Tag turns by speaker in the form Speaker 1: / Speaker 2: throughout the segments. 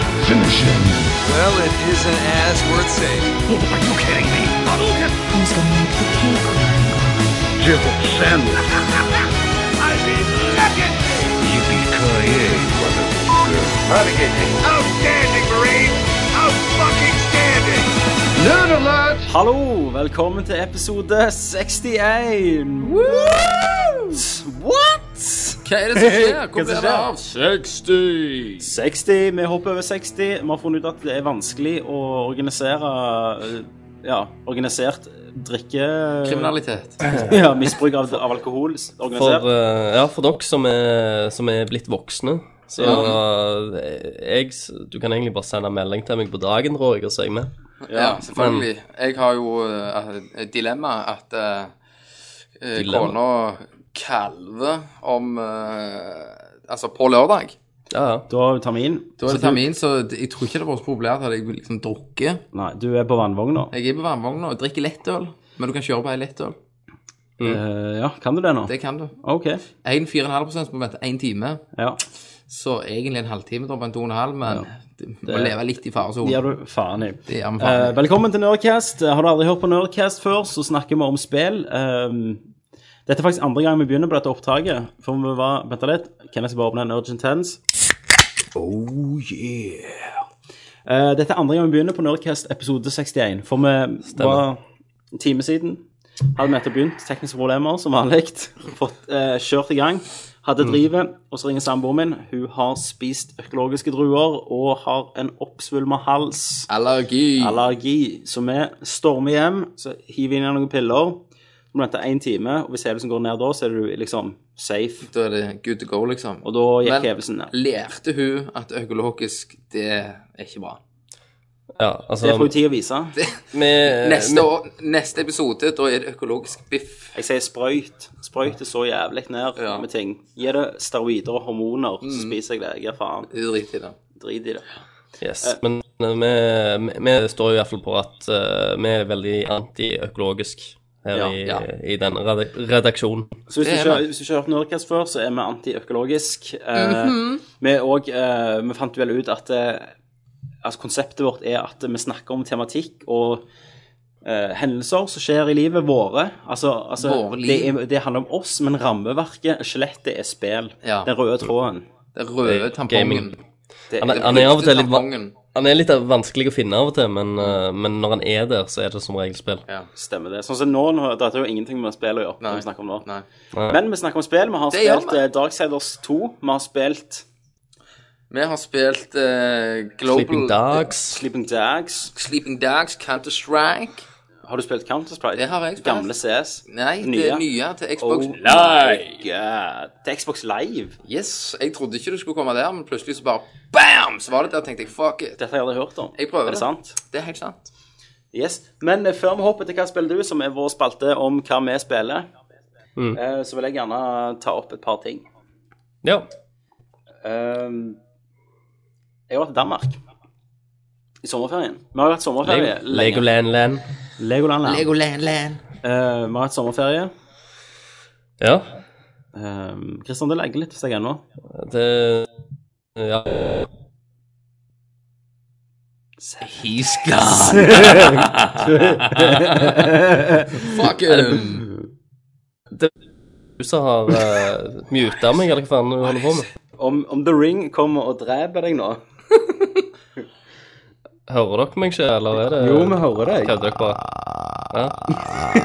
Speaker 1: Nation.
Speaker 2: Well, it is an ass worth saving.
Speaker 3: Are you kidding me?
Speaker 4: Who's gonna make the cake?
Speaker 3: Jill Sandwich. Yippee-ki-yay, motherfucker. Outstanding, Marine! Out-fucking-standing! Nerd alert!
Speaker 5: Hallo, velkommen til episode 61. What?
Speaker 6: Hva er det som skjer?
Speaker 5: Hva
Speaker 6: Hvor
Speaker 5: som
Speaker 6: blir det
Speaker 5: skjer?
Speaker 6: av? 60!
Speaker 5: 60, vi hopper over 60. Vi har funnet ut at det er vanskelig å organisere eh, ja, organisert drikke...
Speaker 6: Kriminalitet.
Speaker 5: Ja, misbruk av, av alkohol. s- Organisert.
Speaker 7: For, eh, ja, for dere som er, Eh, som er blitt voksne. Så eh, jeg, s- du kan egentlig bare sende melding til meg på dagen, Roger, så er jeg med.
Speaker 6: Ja, selvfølgelig. Jeg har jo eh, et dilemma at eh, eh,
Speaker 7: Dilemma?
Speaker 6: kona kalver om eh, Altså, på lørdag.
Speaker 7: Ja, ja.
Speaker 5: Da tar vi inn.
Speaker 6: Da er det termin, så jeg tror ikke det var så populært at jeg liksom drukker.
Speaker 5: Nei, du er på vannvogna.
Speaker 6: Jeg er på varmevogna og drikker lettøl, men du kan kjøre på ei lettøl.
Speaker 5: Eh, ja, kan du det nå?
Speaker 6: Mm. Det kan du.
Speaker 5: OK.
Speaker 6: En 4,5 må vente én time.
Speaker 5: Ja.
Speaker 6: Så egentlig en halvtime, da, på en 2,5, men du må leve litt i
Speaker 5: Det
Speaker 6: faresonen.
Speaker 5: gjør du faen i.
Speaker 6: Det gjør vi faen i.
Speaker 5: Eh, velkommen til Nerdcast. Eh, Har du aldri hørt på Nerdcast før, så snakker vi om spill. Ehm, dette er faktisk andre gang vi begynner på dette opptaket. For vi var Vent litt. Kenneth skal bare åpne en Urgent Tense. Oh yeah. Eh, dette er andre gang vi begynner på Nerdcast episode 61. For vi var en time siden. Hadde vi nettopp begynt. Tekniske problemer, som vanlig. Fått eh, kjørt i gang. Hadde drivet, og så ringer samboeren min. Hun har spist økologiske druer og har en oppsvulma hals
Speaker 6: Allergi.
Speaker 5: allergi. Så vi stormer hjem, så hiver vi inn noen piller. Så må du vente én time, og hvis hevelsen går ned da, så er du liksom safe.
Speaker 6: Da er det good to go, liksom.
Speaker 5: Og da gikk
Speaker 6: Men-
Speaker 5: hevelsen ned.
Speaker 6: Lærte hun at økologisk, det er ikke bra.
Speaker 7: ja
Speaker 5: Det får jo
Speaker 7: altså,
Speaker 5: tid å vise.
Speaker 7: vi,
Speaker 6: Neste, år, neste episode, da er det økologisk biff.
Speaker 5: Jeg sier sprøyt. Sprøyt er så jævlig ned
Speaker 6: Ja. Mm.
Speaker 5: med ting. Gi det steroider og hormoner, så spiser jeg det. Jeg gir faen.
Speaker 6: Det er drit i det.
Speaker 5: Drit i det.
Speaker 7: Yes, men eh, vi, vi, vi står jo i hvert fall på at eh, vi er veldig anti-økologisk her
Speaker 5: Ja,
Speaker 7: i,
Speaker 6: ja.
Speaker 7: i denne redak- redaksjonen.
Speaker 5: Så hvis du,
Speaker 6: Det er
Speaker 5: ikke,
Speaker 6: vi.
Speaker 5: hvis du ikke har hørt Nerdcast før, så er vi antiøkologisk. Eh, Vi er òg eh, Vi fant vel ut at eh, altså konseptet vårt er at vi snakker om tematikk og eh, hendelser som skjer i livet våre. Altså, altså
Speaker 6: Våre liv.
Speaker 5: Det, er, det handler om oss, men rammeverket, skjelettet, er spill.
Speaker 6: Ja.
Speaker 5: Den røde tråden.
Speaker 6: Den røde
Speaker 7: Det-
Speaker 6: tampongen.
Speaker 7: Eh, gaming.
Speaker 5: Det,
Speaker 7: Han er,
Speaker 6: Den
Speaker 7: han er av og
Speaker 6: brukte
Speaker 7: til litt, va-
Speaker 6: tampongen.
Speaker 7: han er litt vanskelig å finne av og til, men, eh, men når han er der, så er det som regel spill.
Speaker 6: Ja.
Speaker 5: stemmer det. Sånn som nå, nå dette er jo ingenting med spill å gjøre. det Vi snakker om nå.
Speaker 6: Nei.
Speaker 5: Men vi snakker om spill. Vi har
Speaker 6: Det gjør
Speaker 5: spilt
Speaker 6: vi.
Speaker 5: eh, Darksiders 2. Vi har spilt
Speaker 6: Vi har spilt eh, Global
Speaker 7: Sleeping Dogs.
Speaker 5: Sleeping Dags.
Speaker 6: Sleeping Dogs, Counter-Strike.
Speaker 5: Har du spilt Counter-Strike?
Speaker 6: Det har jeg spilt.
Speaker 5: Gamle CS?
Speaker 6: Nei, det er nye til
Speaker 7: Oh,
Speaker 6: Xbox.
Speaker 5: Oh God. Til Xbox Live?
Speaker 6: Yes, Jeg trodde ikke du skulle komme der, men plutselig så bare BAM! Så var det der, tenkte jeg. Fuck it.
Speaker 5: Dette har jeg aldri hørt om.
Speaker 6: Jeg prøver
Speaker 5: Er det
Speaker 6: det.
Speaker 5: sant?
Speaker 6: Det er helt sant.
Speaker 5: Yes. Men eh, før vi hopper til hva spiller du, som er vår spalte om hva vi spiller, eh, så vil jeg gjerne ta opp et par ting.
Speaker 7: Ja.
Speaker 5: Ehm, jeg har vært i Danmark i sommerferien. Vi har jo hatt sommerferie
Speaker 7: Lego- Legoland-land.
Speaker 5: Legoland. Land.
Speaker 6: Legoland Land.
Speaker 5: Eh, vi har hatt sommerferie.
Speaker 7: Ja.
Speaker 5: Ehm, Kristian, det legger litt hos deg ennå.
Speaker 7: Det Ja.
Speaker 6: He's gone. Fuck him.
Speaker 7: Du som har uh, muta meg, eller hva faen du holder på med.
Speaker 5: Om, om The Ring kommer og dreper deg nå
Speaker 7: Hører dere meg ikke, eller er det
Speaker 5: hører
Speaker 7: Kødder dere bare? Ja.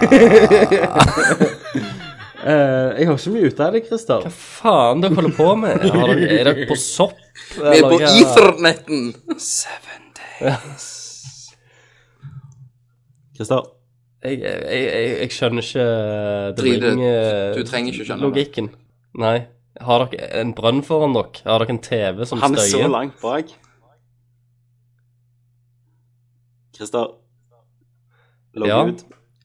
Speaker 5: Eh, jeg har ikke mye ute av det, Christer.
Speaker 7: Hva faen dere holder på med? Har dere, er dere på sopp?
Speaker 6: Vi er på ethernetten.
Speaker 5: Christer.
Speaker 7: Jeg, jeg, jeg, jeg skjønner ikke The
Speaker 6: Drit i det.
Speaker 7: Ring, eh,
Speaker 6: Du trenger ikke skjønne det.
Speaker 7: Logikken. Nei. Har dere en brønn foran dere? Har dere en TV som
Speaker 5: Han er så
Speaker 7: støyer?
Speaker 5: langt bak. Christer. Logg
Speaker 7: Ja.
Speaker 5: ut.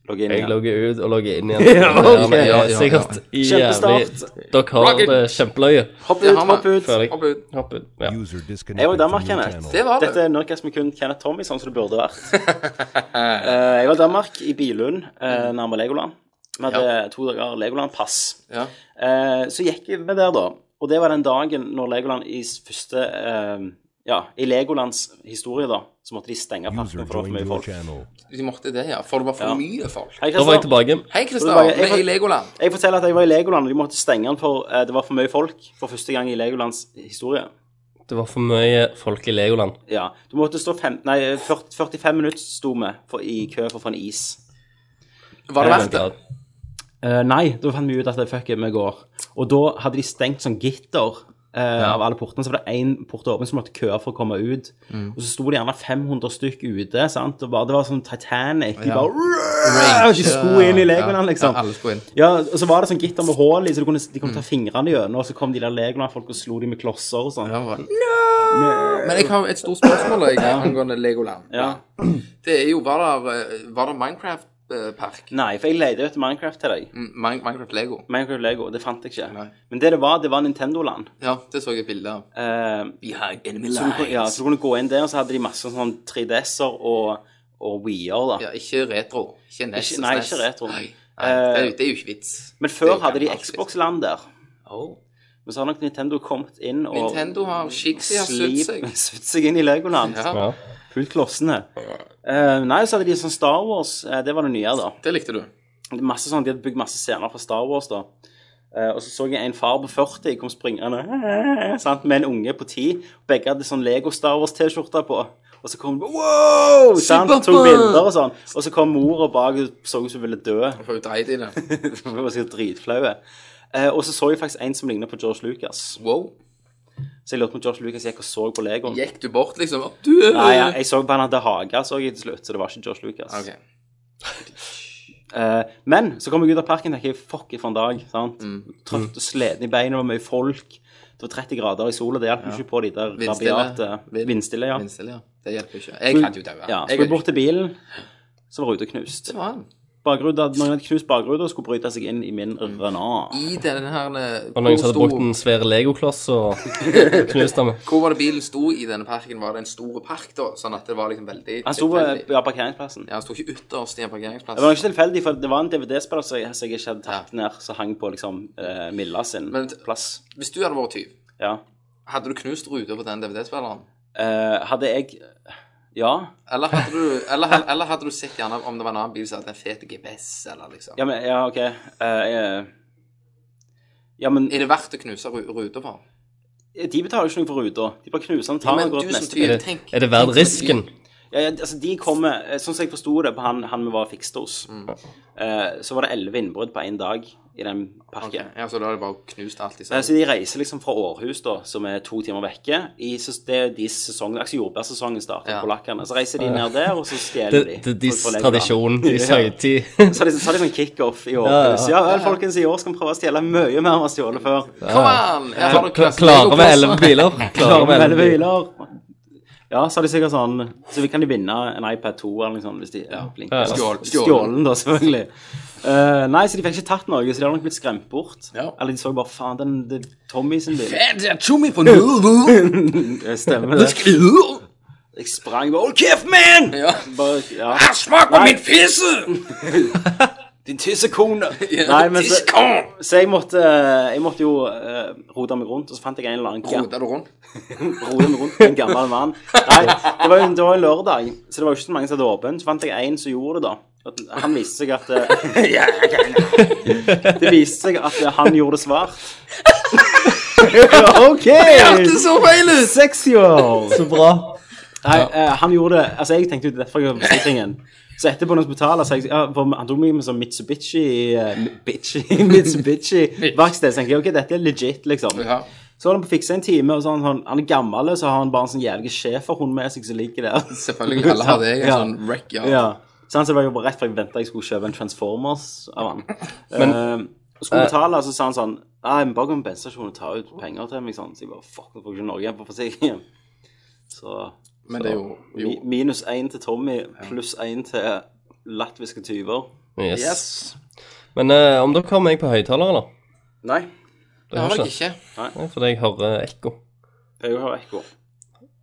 Speaker 5: Logg inn
Speaker 7: Jeg
Speaker 5: igjen.
Speaker 7: logger ut og logger inn igjen. ja,
Speaker 6: ok.
Speaker 7: men jeg
Speaker 6: Ja,
Speaker 7: er
Speaker 6: ja,
Speaker 7: Sikkert jævlig
Speaker 5: Kjempestart.
Speaker 7: Dere har
Speaker 6: Rocket.
Speaker 7: det kjempeløye.
Speaker 5: Hopp
Speaker 6: Det
Speaker 5: ut,
Speaker 6: har vi.
Speaker 5: hopp ut.
Speaker 7: Ferdig.
Speaker 6: Hopp ut.
Speaker 7: Hopp ut. Ja.
Speaker 1: User disconnected
Speaker 5: Jeg var i Danmark,
Speaker 1: from your
Speaker 5: Kenneth.
Speaker 1: channel.
Speaker 6: Det var
Speaker 5: Dette
Speaker 6: det.
Speaker 5: er Nerdcast med kun Kenneth Tommy, sånn som det burde vært. Eh, jeg var i Danmark, i Bilund, eh, nærme Legoland. Vi hadde to dager Legoland-pass.
Speaker 6: Ja.
Speaker 5: Eh, så gikk vi der, da. Og det var den dagen når Legoland i s- første eh, ja, I Legolands historie, da, så måtte de stenge
Speaker 1: User
Speaker 5: parken for det var for
Speaker 1: joined
Speaker 5: mye
Speaker 1: your
Speaker 5: folk.
Speaker 1: channel.
Speaker 6: De måtte det, ja. For det var for
Speaker 5: Ja.
Speaker 6: mye folk.
Speaker 5: Hei,
Speaker 7: Da var jeg
Speaker 5: Christer.
Speaker 7: tilbake.
Speaker 6: Hei, Christer.
Speaker 5: Hvor er det?
Speaker 6: Vi er
Speaker 5: Jeg-
Speaker 6: i Legoland.
Speaker 5: Jeg forteller at jeg var i Legoland, og de måtte stenge den for eh, det var for mye folk for første gang i Legolands historie.
Speaker 7: Det var for mye folk i Legoland.
Speaker 5: Ja, Du måtte stå fem, nei, 40, 45 minutter sto vi for- i kø for å få en is.
Speaker 6: Var det verdt det?
Speaker 5: Eh, nei, da fant vi ut at det fuck it, vi går. Og da hadde de stengt sånn gitter eh, av alle portene, så var det én port åpen som måtte køer for å komme ut.
Speaker 6: Mm.
Speaker 5: Og så sto det gjerne 500 stykk ute, sant? og bare, det var sånn Titanic. De bare De skulle inn i Legoland, liksom.
Speaker 6: Ja, alle skulle inn.
Speaker 5: Ja, og så var det sånn gitter med hull i, så du kunne, de kunne
Speaker 6: Mm.
Speaker 5: ta fingrene gjennom, og så kom de der Legoland-folk og slo de med klosser og sånn.
Speaker 6: Ja, bra. Men jeg har et stort spørsmål jeg, angående Legoland.
Speaker 5: Ja.
Speaker 6: Det er jo Var det, var det Minecraft-park? Mm,
Speaker 5: Nei, for jeg leide etter Minecraft til deg.
Speaker 6: Minecraft Lego?
Speaker 5: Minecraft Lego, det fant jeg ikke.
Speaker 6: Nei.
Speaker 5: Men det det var, det var Nintendo-land.
Speaker 6: Ja, det så jeg et bilde av.
Speaker 5: Eh,
Speaker 6: Behind enemy
Speaker 5: Så du, kunne- ja, så du kunne gå inn der, og så hadde de masse sånn 3DS-er og, og Wii-er, da.
Speaker 6: Ja, ikke retro. Ikke E NES.
Speaker 5: Ikke- nei,
Speaker 6: SNES.
Speaker 5: ikke retro. Eh,
Speaker 6: Nei, nei det, er jo, det er jo ikke vits.
Speaker 5: Men
Speaker 6: Det er
Speaker 5: før
Speaker 6: jo
Speaker 5: hadde de
Speaker 6: gammelt vits.
Speaker 5: Xbox-land der.
Speaker 6: Åh.
Speaker 5: Men så har nok Nintendo kommet inn og
Speaker 6: Oh. Nintendo har Shixi har sutt
Speaker 5: slip-
Speaker 6: seg.
Speaker 5: sutt seg inn i Legoland.
Speaker 6: Ja,
Speaker 7: Ja.
Speaker 5: Fullt klossene. Eh, nei, så hadde de sånn Star Wars. eh, det var det nye, da.
Speaker 6: det likte du.
Speaker 5: Masse sånn, De hadde bygd masse scener fra Star Wars, da. Eh, og så så jeg en far på 40 kom springende sant, med en unge på 10. Begge hadde sånn Lego-Star Wars-T-skjorte på. Og så kom de wow! Sant,
Speaker 6: Superman!
Speaker 5: tok bilder og sånn. Og så kom mora bak og så ut som hun ville dø.
Speaker 6: For hun dreit i det.
Speaker 5: Hun var sikkert dritflau. Eh, og så så jeg faktisk en som lignet på George Lucas.
Speaker 6: Wow.
Speaker 5: Så jeg lurte på om George Lucas gikk og så på Legoen.
Speaker 6: Gikk du bort, liksom? Å, Du
Speaker 5: Nei, jeg, jeg så på han hadde hage, så jeg til slutt, så det var ikke George Lucas.
Speaker 6: OK.
Speaker 5: Eh, men så kom jeg ut av parken og tenkte fuck it for en dag. sant?
Speaker 6: Mm.
Speaker 5: Trøtt og sliten i beina, det var mye folk. Det var 30 grader i sola, det hjalp jo ikke på de der
Speaker 6: Vindstille.
Speaker 5: rabiate
Speaker 6: Vind-
Speaker 5: Vindstille, ja.
Speaker 6: Vindstille, ja. Det hjelper ikke. Jeg kan jo daue.
Speaker 5: Ja,
Speaker 6: Jeg
Speaker 5: Skulle
Speaker 6: er jo
Speaker 5: bort til bilen, så var ruta knust.
Speaker 6: ikke vann.
Speaker 5: Bakruta, noen hadde knust bakruta og skulle bryte seg inn i min Renault.
Speaker 6: Mm. I denne her eh,
Speaker 7: Og noen
Speaker 6: hvor
Speaker 7: som
Speaker 6: stor-
Speaker 7: hadde brukt en svær legokloss og knust den.
Speaker 6: Hvor var det bilen sto i denne parken? Var det en stor park, da? Sånn at det var liksom veldig
Speaker 5: Han sto på
Speaker 6: tilfeldig?
Speaker 5: ja, parkeringsplassen.
Speaker 6: Ja, han sto ikke ytterst i en parkeringsplass.
Speaker 5: Det var nok ikke tilfeldig, for det var en DVD-spiller som jeg, som jeg ikke hadde tatt ned, som hang på liksom eh, Milla sin
Speaker 6: Men-
Speaker 5: plass.
Speaker 6: Hvis du hadde vært tyv,
Speaker 5: Ja.
Speaker 6: hadde du knust ruta på den DVD-spilleren?
Speaker 5: Eh, hadde jeg Ja.
Speaker 6: Eller hadde du, eller, had- eller hadde du sett gjerne om det var en annen bil som hadde en fet GPS, eller liksom?
Speaker 5: Ja, men Ja, OK. Eh, jeg- ja, men
Speaker 6: Er det verdt å knuse ru- ruta for?
Speaker 5: de betaler jo ikke noe for ruta. De bare knuser den,
Speaker 6: Ja,
Speaker 5: tar den
Speaker 6: men
Speaker 5: og går
Speaker 6: du
Speaker 5: til
Speaker 6: som
Speaker 5: neste
Speaker 6: tyv,
Speaker 5: bil.
Speaker 6: tenk.
Speaker 7: Er det verdt risken?
Speaker 5: Ja, ja, altså, de kommer eh, Sånn som jeg forsto det på han, han vi var og fikste hos,
Speaker 6: Mm.
Speaker 5: eh, så var det elleve innbrudd på én dag i den
Speaker 6: Ok,
Speaker 5: parken.
Speaker 6: Ja, så da hadde du bare knust alt i
Speaker 5: Eh, Så
Speaker 6: seg.
Speaker 5: de reiser liksom fra Århus, da, som er to timer vekke. I ses- det er de sesongen, altså jordbærsesongen starter
Speaker 6: Ja.
Speaker 5: polakkene. Så reiser de ned der, og så
Speaker 7: Det
Speaker 5: stjeler de.
Speaker 7: det er deres
Speaker 5: For- for Legoland.
Speaker 7: tradisjon i
Speaker 5: Ja.
Speaker 7: høytid.
Speaker 5: Så har de, så har de sånn kickoff i Århus. Ja, vel, folkens, i år skal vi prøve å stjele mye mer enn vi har stjålet før.
Speaker 6: Kom an! Her har du knust
Speaker 7: Klarer vi
Speaker 6: Lego-klosser.
Speaker 7: elleve biler? Klarer vi elleve biler?
Speaker 5: Ja, så har de sikkert sånn Så vi kan de vinne en iPad 2 eller noe sånt hvis de ja, blinker.
Speaker 7: Ja.
Speaker 6: Skål.
Speaker 5: Stjålen, da, selvfølgelig. Eh, nei, så de fikk ikke tatt noe, så de har nok blitt skremt bort.
Speaker 6: Ja.
Speaker 5: Eller de så bare faen, den det er Tommy sin bil.
Speaker 6: Tjommi på null!
Speaker 5: Det Stemmer det. Jeg sprang bare Hold kjeft, man!
Speaker 6: Ja.
Speaker 5: Bare, ja.
Speaker 6: Smak på min fisse!
Speaker 5: Din tissekone! Nei, men så, så jeg måtte eh, Jeg måtte jo uh, rote meg rundt, og så fant jeg en eller annen
Speaker 6: Rota du rundt?
Speaker 5: roe meg rundt med en gammel mann. Nei, det var, jo- det var en lørdag, så det var jo ikke så mange som hadde åpent. Så fant jeg en som gjorde det, da. At Han viste seg at eh, Det viste seg at eh, han gjorde det svart. OK!
Speaker 6: Det så feil ut!
Speaker 5: Sexy år!
Speaker 7: Så bra.
Speaker 5: Nei, eh, han gjorde det Altså, jeg tenkte jo derfor jeg var på forsikringen. Så etterpå når jeg skulle betale, så jeg, ja, for han tok meg med sånn Mitsubishi eh, Bitchy, Mitsubishi-verksted. Så tenkte jeg ok, dette er legit, liksom.
Speaker 6: Ja.
Speaker 5: Så holder han på å fikse en time, og så har han, sånn- han er gammel, og så har han bare en sånn jævlig schæferhund med seg som ligger der.
Speaker 6: Selvfølgelig. Alle har det. Jeg er
Speaker 5: Ja.
Speaker 6: sånn wreck, ja.
Speaker 5: Ja. Så han sa det var jo bare rett før jeg ventet jeg skulle kjøpe en Transformers av han. Eh, og skulle betale, så sa han sånn Nei, men bare gå på bensinstasjonen og ta ut penger til meg, sånn. Så jeg bare fuck, nå får jeg ikke noe igjen på forsikringen. Så
Speaker 6: Men det er jo, jo.
Speaker 5: mi- minus én til Tommy, pluss én til latviske tyver.
Speaker 7: Yes. Men eh, om dere har meg på høyttaler, eller?
Speaker 5: Nei.
Speaker 6: Det har jeg ikke.
Speaker 7: Nei, fordi jeg hører ekko.
Speaker 5: Jeg har ekko.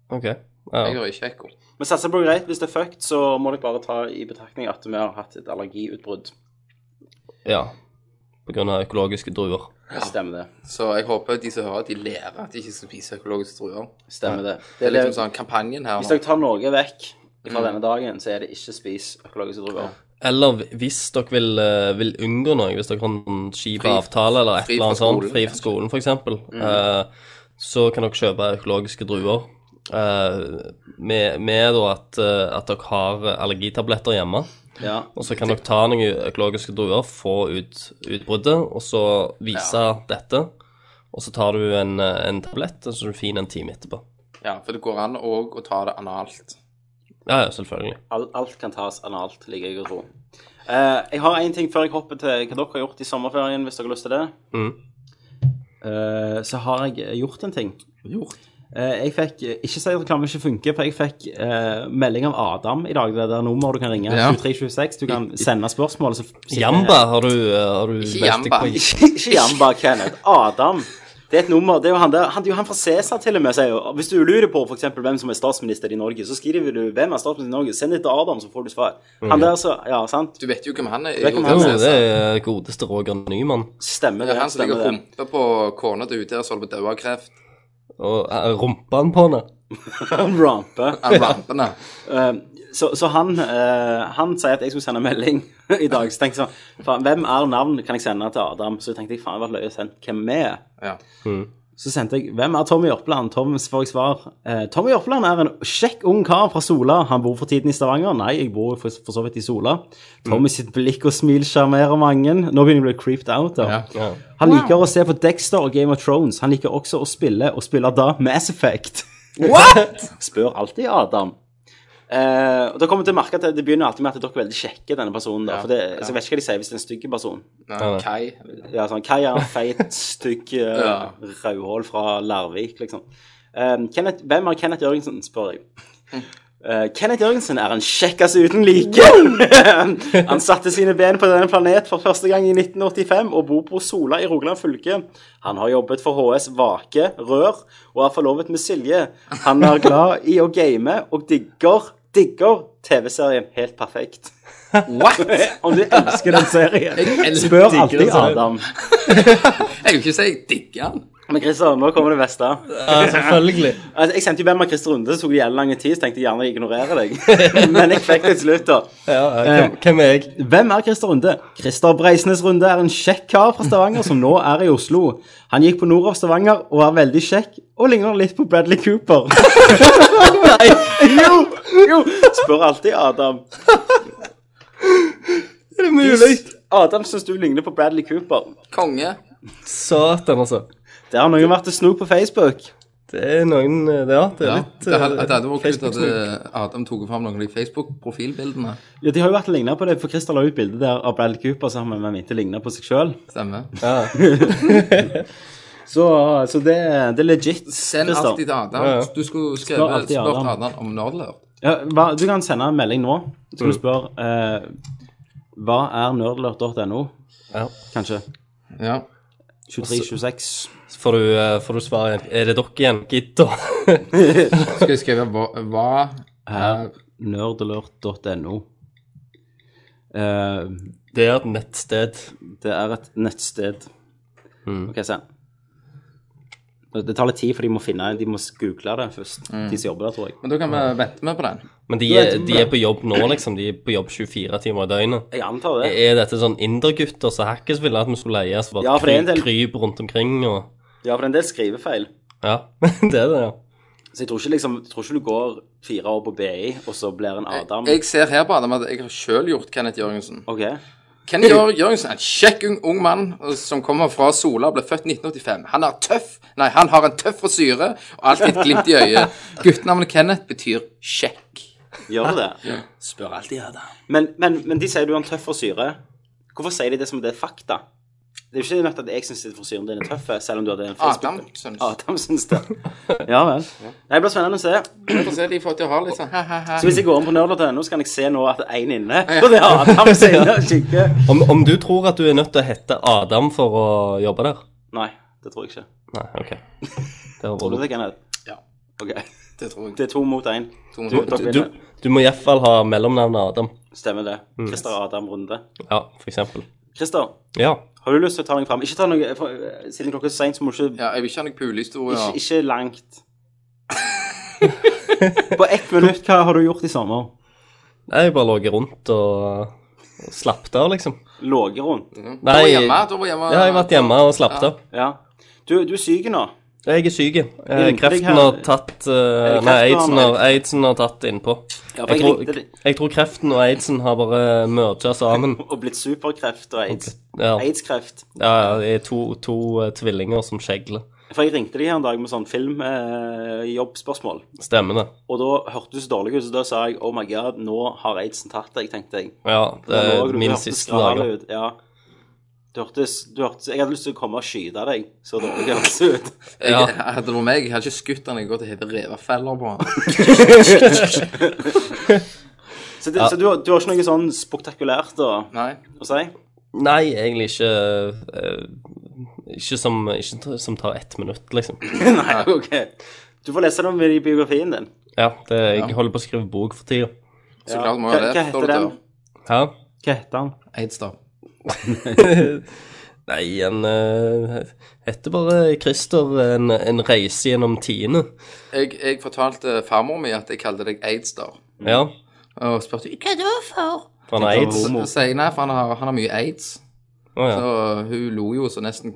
Speaker 7: OK. Ja.
Speaker 6: Jeg hører ikke ekko.
Speaker 5: Men satser på greit. Hvis det er fucked, så må dere bare ta i betraktning at vi har hatt et allergiutbrudd.
Speaker 7: ja. På grunn av økologiske druer.
Speaker 5: Stemmer det.
Speaker 6: Så jeg håper de som hører, de lærer at de ikke skal spise økologiske druer.
Speaker 5: Stemmer det.
Speaker 6: Det er liksom sånn kampanjen her
Speaker 5: Hvis
Speaker 6: nå.
Speaker 5: dere tar noe vekk fra denne dagen, så er det ikke spis økologiske druer.
Speaker 7: Eller hvis dere vil, eh, vil unngå noe, hvis dere har en skip
Speaker 6: Fri-
Speaker 7: avtale eller et
Speaker 6: fri
Speaker 7: eller annet
Speaker 6: fra skolen,
Speaker 7: sånt,
Speaker 6: Mm.
Speaker 7: fri fra skolen f.eks., eksempel, eh, så kan dere kjøpe økologiske druer. eh, med, med da at, eh, at dere har allergitabletter hjemme.
Speaker 5: Ja.
Speaker 7: Og så kan dere ta noen økologiske druer, få ut utbruddet, og så vise dette. Og så tar du en, eh, en tablett, og så er du fin en time etterpå.
Speaker 6: Ja, for det går an òg å ta det analt.
Speaker 7: Ja, ja, selvfølgelig.
Speaker 5: Alt, alt kan tas analt, liker jeg å tro. Eh, jeg har én ting før jeg hopper til hva dere har gjort i sommerferien, hvis dere har lyst til det.
Speaker 7: Mhm.
Speaker 5: Eh, så har jeg gjort en ting.
Speaker 7: Gjort.
Speaker 5: Eh, jeg fikk, Ikke si at reklame ikke funker, for jeg fikk eh, melding av Adam i dag. Det der nummeret du kan ringe.
Speaker 6: Ja.
Speaker 5: 2326. Du kan sende spørsmål. Så sitter-
Speaker 7: Jamba har du, eh, har du
Speaker 6: Ikke
Speaker 7: meldt deg
Speaker 6: jamba.
Speaker 7: på?
Speaker 5: ikke Jamba, Kenneth. Adam. Det er et nummer. Det er jo han der. Han, det er jo han fra Cæsar, til og med. sier jo. Hvis du lurer på for eksempel, hvem som er statsminister i Norge, så skriver du 'Hvem er statsminister i Norge?' Send det til Adam, så får du svar. Han der, så Ja, sant?
Speaker 6: Du vet jo hvem han er.
Speaker 5: vet hvem
Speaker 7: Jo,
Speaker 5: han
Speaker 6: Johan
Speaker 7: det
Speaker 6: Cæsar.
Speaker 7: er godeste Roger Nyman.
Speaker 5: Stemmer
Speaker 6: Det
Speaker 5: det.
Speaker 6: er han som ligger
Speaker 5: stemmer
Speaker 6: og
Speaker 5: det.
Speaker 6: humper på kona til hun der som holder på å dø av kreft.
Speaker 7: Og eh, rumpa han på henne.
Speaker 5: Han ramper.
Speaker 6: Han rampende.
Speaker 5: Eh, så, så han, eh, han sier at jeg skulle sende melding i dag. Så tenkte jeg sånn faen, Hvem er navn kan jeg sende til Adam? Så tenkte jeg faen, det hadde vært løye å sende hvem vi er.
Speaker 6: Ja.
Speaker 5: Så sendte jeg 'Hvem er Tommy Jørpeland?' Tom får jeg svar. Eh, Tommy Jørpeland er en kjekk ung kar fra Sola. Han bor for tiden i Stavanger. Nei, jeg bor for, for så vidt i Sola. Tommy sitt blikk og smil sjarmerer mange. Nå begynner jeg å bli creeped out. da.
Speaker 7: Ja.
Speaker 5: Han liker å se på Dexter og Game of Thrones. Han liker også å spille, og spiller da Mass Effect. What?! Spør alltid Adam. Eh, og da kommer jeg til å merke at det, det begynner alltid med at dere er veldig kjekke, denne personen. da, for det, Så jeg vet ikke hva de sier hvis det er en stygg person.
Speaker 6: Nei, Kai.
Speaker 5: Ja, sånn Kai er en feit, stygg eh,
Speaker 6: Ja.
Speaker 5: rødhål fra Larvik, liksom. Eh, Kenneth, hvem er Kenneth Jørgensen, spør jeg. Eh, Kenneth Jørgensen er en kjekkas uten like. Han satte sine ben på denne planet for første gang i 1985 og bor på Sola i Rogaland fylke. Han har jobbet for HS Vake Rør og er forlovet med Silje. Han er glad i å game og digger, digger TV-serien helt perfekt.
Speaker 6: What?!
Speaker 5: Om du elsker den serien,
Speaker 6: Jeg
Speaker 5: spør
Speaker 6: digger
Speaker 5: alltid Adam.
Speaker 6: Jeg vil ikke si jeg digger han.
Speaker 5: Men Christer, nå kommer det beste.
Speaker 7: Ja, selvfølgelig.
Speaker 5: Altså, jeg sendte jo hvem av Christer Runde, så tok det jævlig lang tid, så tenkte jeg gjerne jeg ignorerer deg. Men jeg fikk det til slutt, da.
Speaker 7: Ja, ja, hvem, hvem er jeg?
Speaker 5: Hvem er Christer Runde? Christer Breisnes Runde er en kjekk kar fra Stavanger som nå er i Oslo. Han gikk på nord av Stavanger og er veldig kjekk, og ligner litt på Bradley Cooper. Nei, jo, jo, spør alltid Adam.
Speaker 7: Er det mulig?
Speaker 5: Adam syns du ligner på Bradley Cooper.
Speaker 6: Konge.
Speaker 7: Satan, altså.
Speaker 5: Det har noen vært og snodd på Facebook.
Speaker 7: Det er noen eh, Ja, det er
Speaker 6: Ja.
Speaker 7: litt
Speaker 6: Det hadde
Speaker 7: eh,
Speaker 6: det hadde vært kult at
Speaker 7: Facebook-snakk.
Speaker 6: eh, Adam tok fram noen av de Facebook-profilbildene.
Speaker 5: Ja, De har jo vært og lignet på det, for Christer la ut bilde der av Bradley Cooper sammen med mente lignet på seg sjøl.
Speaker 6: Stemmer.
Speaker 7: Ja.
Speaker 5: Så, så det, det er legit.
Speaker 6: Send
Speaker 5: Christer.
Speaker 6: alltid til Adam.
Speaker 7: Ja, ja.
Speaker 6: Du skulle
Speaker 5: Spør
Speaker 6: skrevet
Speaker 5: alltid
Speaker 6: spurt
Speaker 5: Adam.
Speaker 6: Adam om nerdlurt.
Speaker 5: Ja, hva, du kan sende en melding nå. Så kan du spørre eh, Hva er nerdlurt.no?
Speaker 7: Ja.
Speaker 5: Kanskje.
Speaker 6: Ja.
Speaker 5: 2326.
Speaker 7: Så får du, eh, får du svar igjen. Er det dere igjen, gitt, da?
Speaker 6: Skal jeg skrive hva, hva
Speaker 5: Her. Nerdlurt.no. Eh,
Speaker 7: Det er et nettsted.
Speaker 5: det er et nettsted. OK, se. Det tar litt tid, for de må finne De må google det først.
Speaker 6: Mm.
Speaker 5: De som jobber der, tror jeg.
Speaker 6: Men da kan vi vente med på den.
Speaker 7: Men de, er- de er på jobb nå, liksom. De er på jobb 24 timer i døgnet.
Speaker 5: Jeg antar
Speaker 6: Eh.
Speaker 5: det.
Speaker 7: Er dette sånn indergutter som hackes ville at vi skulle leie, som bare
Speaker 5: Ja, for det er en
Speaker 7: kry-
Speaker 5: del-
Speaker 7: kryper rundt omkring og
Speaker 5: Ja, for det er en del skrivefeil.
Speaker 7: Ja, det er det, ja.
Speaker 5: Så jeg tror ikke, liksom, jeg tror ikke du går fire år på BI, og så blir en Adam.
Speaker 6: Eh, Jeg ser her på Adam at jeg har sjøl gjort Kenneth Jørgensen.
Speaker 5: OK.
Speaker 6: Kenneth Jør- Jørgensen er en kjekk ung, ung mann eh, som kommer fra Sola, ble født 1985. Han er tøff, nei, han har en tøff frisyre og alltid et glimt i øyet. Guttenavnet Kenneth betyr kjekk.
Speaker 5: Gjør du det?
Speaker 6: Spør alltid Adam.
Speaker 5: Men, men, men de sier du har en tøff frisyre. Hvorfor sier de det som det er fakta? Det er jo ikke nødt til at jeg syns frisyren din er tøff, selv om du hadde en Facebook.
Speaker 6: Adam syns.
Speaker 5: Adam syns det. Ja vel. Nei, Det blir spennende å se.
Speaker 6: Vi får se, de får til å ha litt sånn ha-ha-ha.
Speaker 5: Så hvis jeg går om på nerdlot.no, så kan jeg se nå at det er én inne. Og det er Adam som er inne og kikker.
Speaker 7: Om, om du tror at du er nødt til å hete Adam for å jobbe der?
Speaker 5: Nei, det tror jeg ikke.
Speaker 7: Nei, OK. Det var
Speaker 5: Tror du
Speaker 7: bra.
Speaker 5: det, Kenneth?
Speaker 6: Ja.
Speaker 5: OK.
Speaker 6: Det tror jeg.
Speaker 5: Det er to mot én.
Speaker 6: To
Speaker 7: Du,
Speaker 6: mot
Speaker 7: du, du, du må iallfall ha mellomnavnet Adam.
Speaker 5: Mm. Stemmer det. Christer Adam Runde.
Speaker 7: Ja, for eksempel.
Speaker 5: Christer,
Speaker 7: Ja.
Speaker 5: har du lyst til å ta noe fram? Ikke ta noe, for, eh, Siden klokka er seint, så må du ikke
Speaker 6: Ja, jeg vil ikke ha noen pulehistorier.
Speaker 5: Ikke, ikke langt. På ett minutt, hva har du gjort i sommer?
Speaker 7: Nei, jeg bare lå rundt og, og slappet av, liksom.
Speaker 5: Ligget rundt?
Speaker 6: Du var
Speaker 7: Nei,
Speaker 6: hjemme, du var hjemme.
Speaker 7: Ja, jeg har vært hjemme og slappet av.
Speaker 5: Ah, Ja. Du, du er syk nå.
Speaker 7: Jeg er syk. Eh,
Speaker 5: Ringte deg
Speaker 7: Kreften
Speaker 5: her-
Speaker 7: har tatt eh,
Speaker 5: kreften
Speaker 7: Nei,
Speaker 5: har-
Speaker 7: aidsen har, aidsen har tatt innpå.
Speaker 5: Ja, for
Speaker 7: Jeg
Speaker 5: jeg
Speaker 7: tror,
Speaker 5: ringte deg
Speaker 7: jeg tror kreften og aidsen har bare merga sammen.
Speaker 5: og blitt superkreft og aids.
Speaker 7: Ja, ja,
Speaker 5: Aidskreft.
Speaker 7: ja, det er to, to eh, tvillinger som skjegler.
Speaker 5: For jeg ringte deg her en dag med sånn filmjobbspørsmål. Eh, jobbspørsmål.
Speaker 7: Stemmene.
Speaker 5: og da hørte du så dårlig ut, så da sa jeg oh my god, nå har aidsen tatt deg, tenkte jeg.
Speaker 7: Ja, det
Speaker 5: Da lå
Speaker 7: er
Speaker 5: du- du
Speaker 7: min
Speaker 5: hørtes
Speaker 7: siste
Speaker 5: skral
Speaker 7: dag.
Speaker 5: ut, Ja. Du hørtes, du hørtes Jeg hadde lyst til å komme og skyte deg, så dårlig hørtes det ut.
Speaker 6: Jeg,
Speaker 7: Ja.
Speaker 6: hadde det vært meg, jeg hadde ikke skutt han, jeg hadde gått og hett revefeller på han.
Speaker 5: Så, det, så du, har- du har ikke noe sånn spektakulært å,
Speaker 6: Nei.
Speaker 5: å si?
Speaker 7: Nei, egentlig ikke eh, Ikke som, ikke t- som tar ett minutt, liksom.
Speaker 5: Nei, ok. Du får lese det om i biografien din.
Speaker 7: Ja, det, jeg holder på å skrive bok for tida.
Speaker 6: Så klart må
Speaker 5: Hva,
Speaker 6: jeg ha
Speaker 5: hva
Speaker 6: det. da du
Speaker 5: heter den?
Speaker 6: dør.
Speaker 7: Hæ?
Speaker 5: Hva heter den?
Speaker 6: Aids, da.
Speaker 7: Nei, han eh, heter bare Christer en, en reise gjennom tiende.
Speaker 6: Jeg, jeg fortalte farmor mi at jeg kalte deg Aids, da.
Speaker 7: Ja.
Speaker 6: Og spurte hva da for?
Speaker 7: For han er aids.
Speaker 6: Så sier jeg nei, for han har, han har mye aids.
Speaker 7: Å ja.
Speaker 6: Så øh, hun lo jo så nesten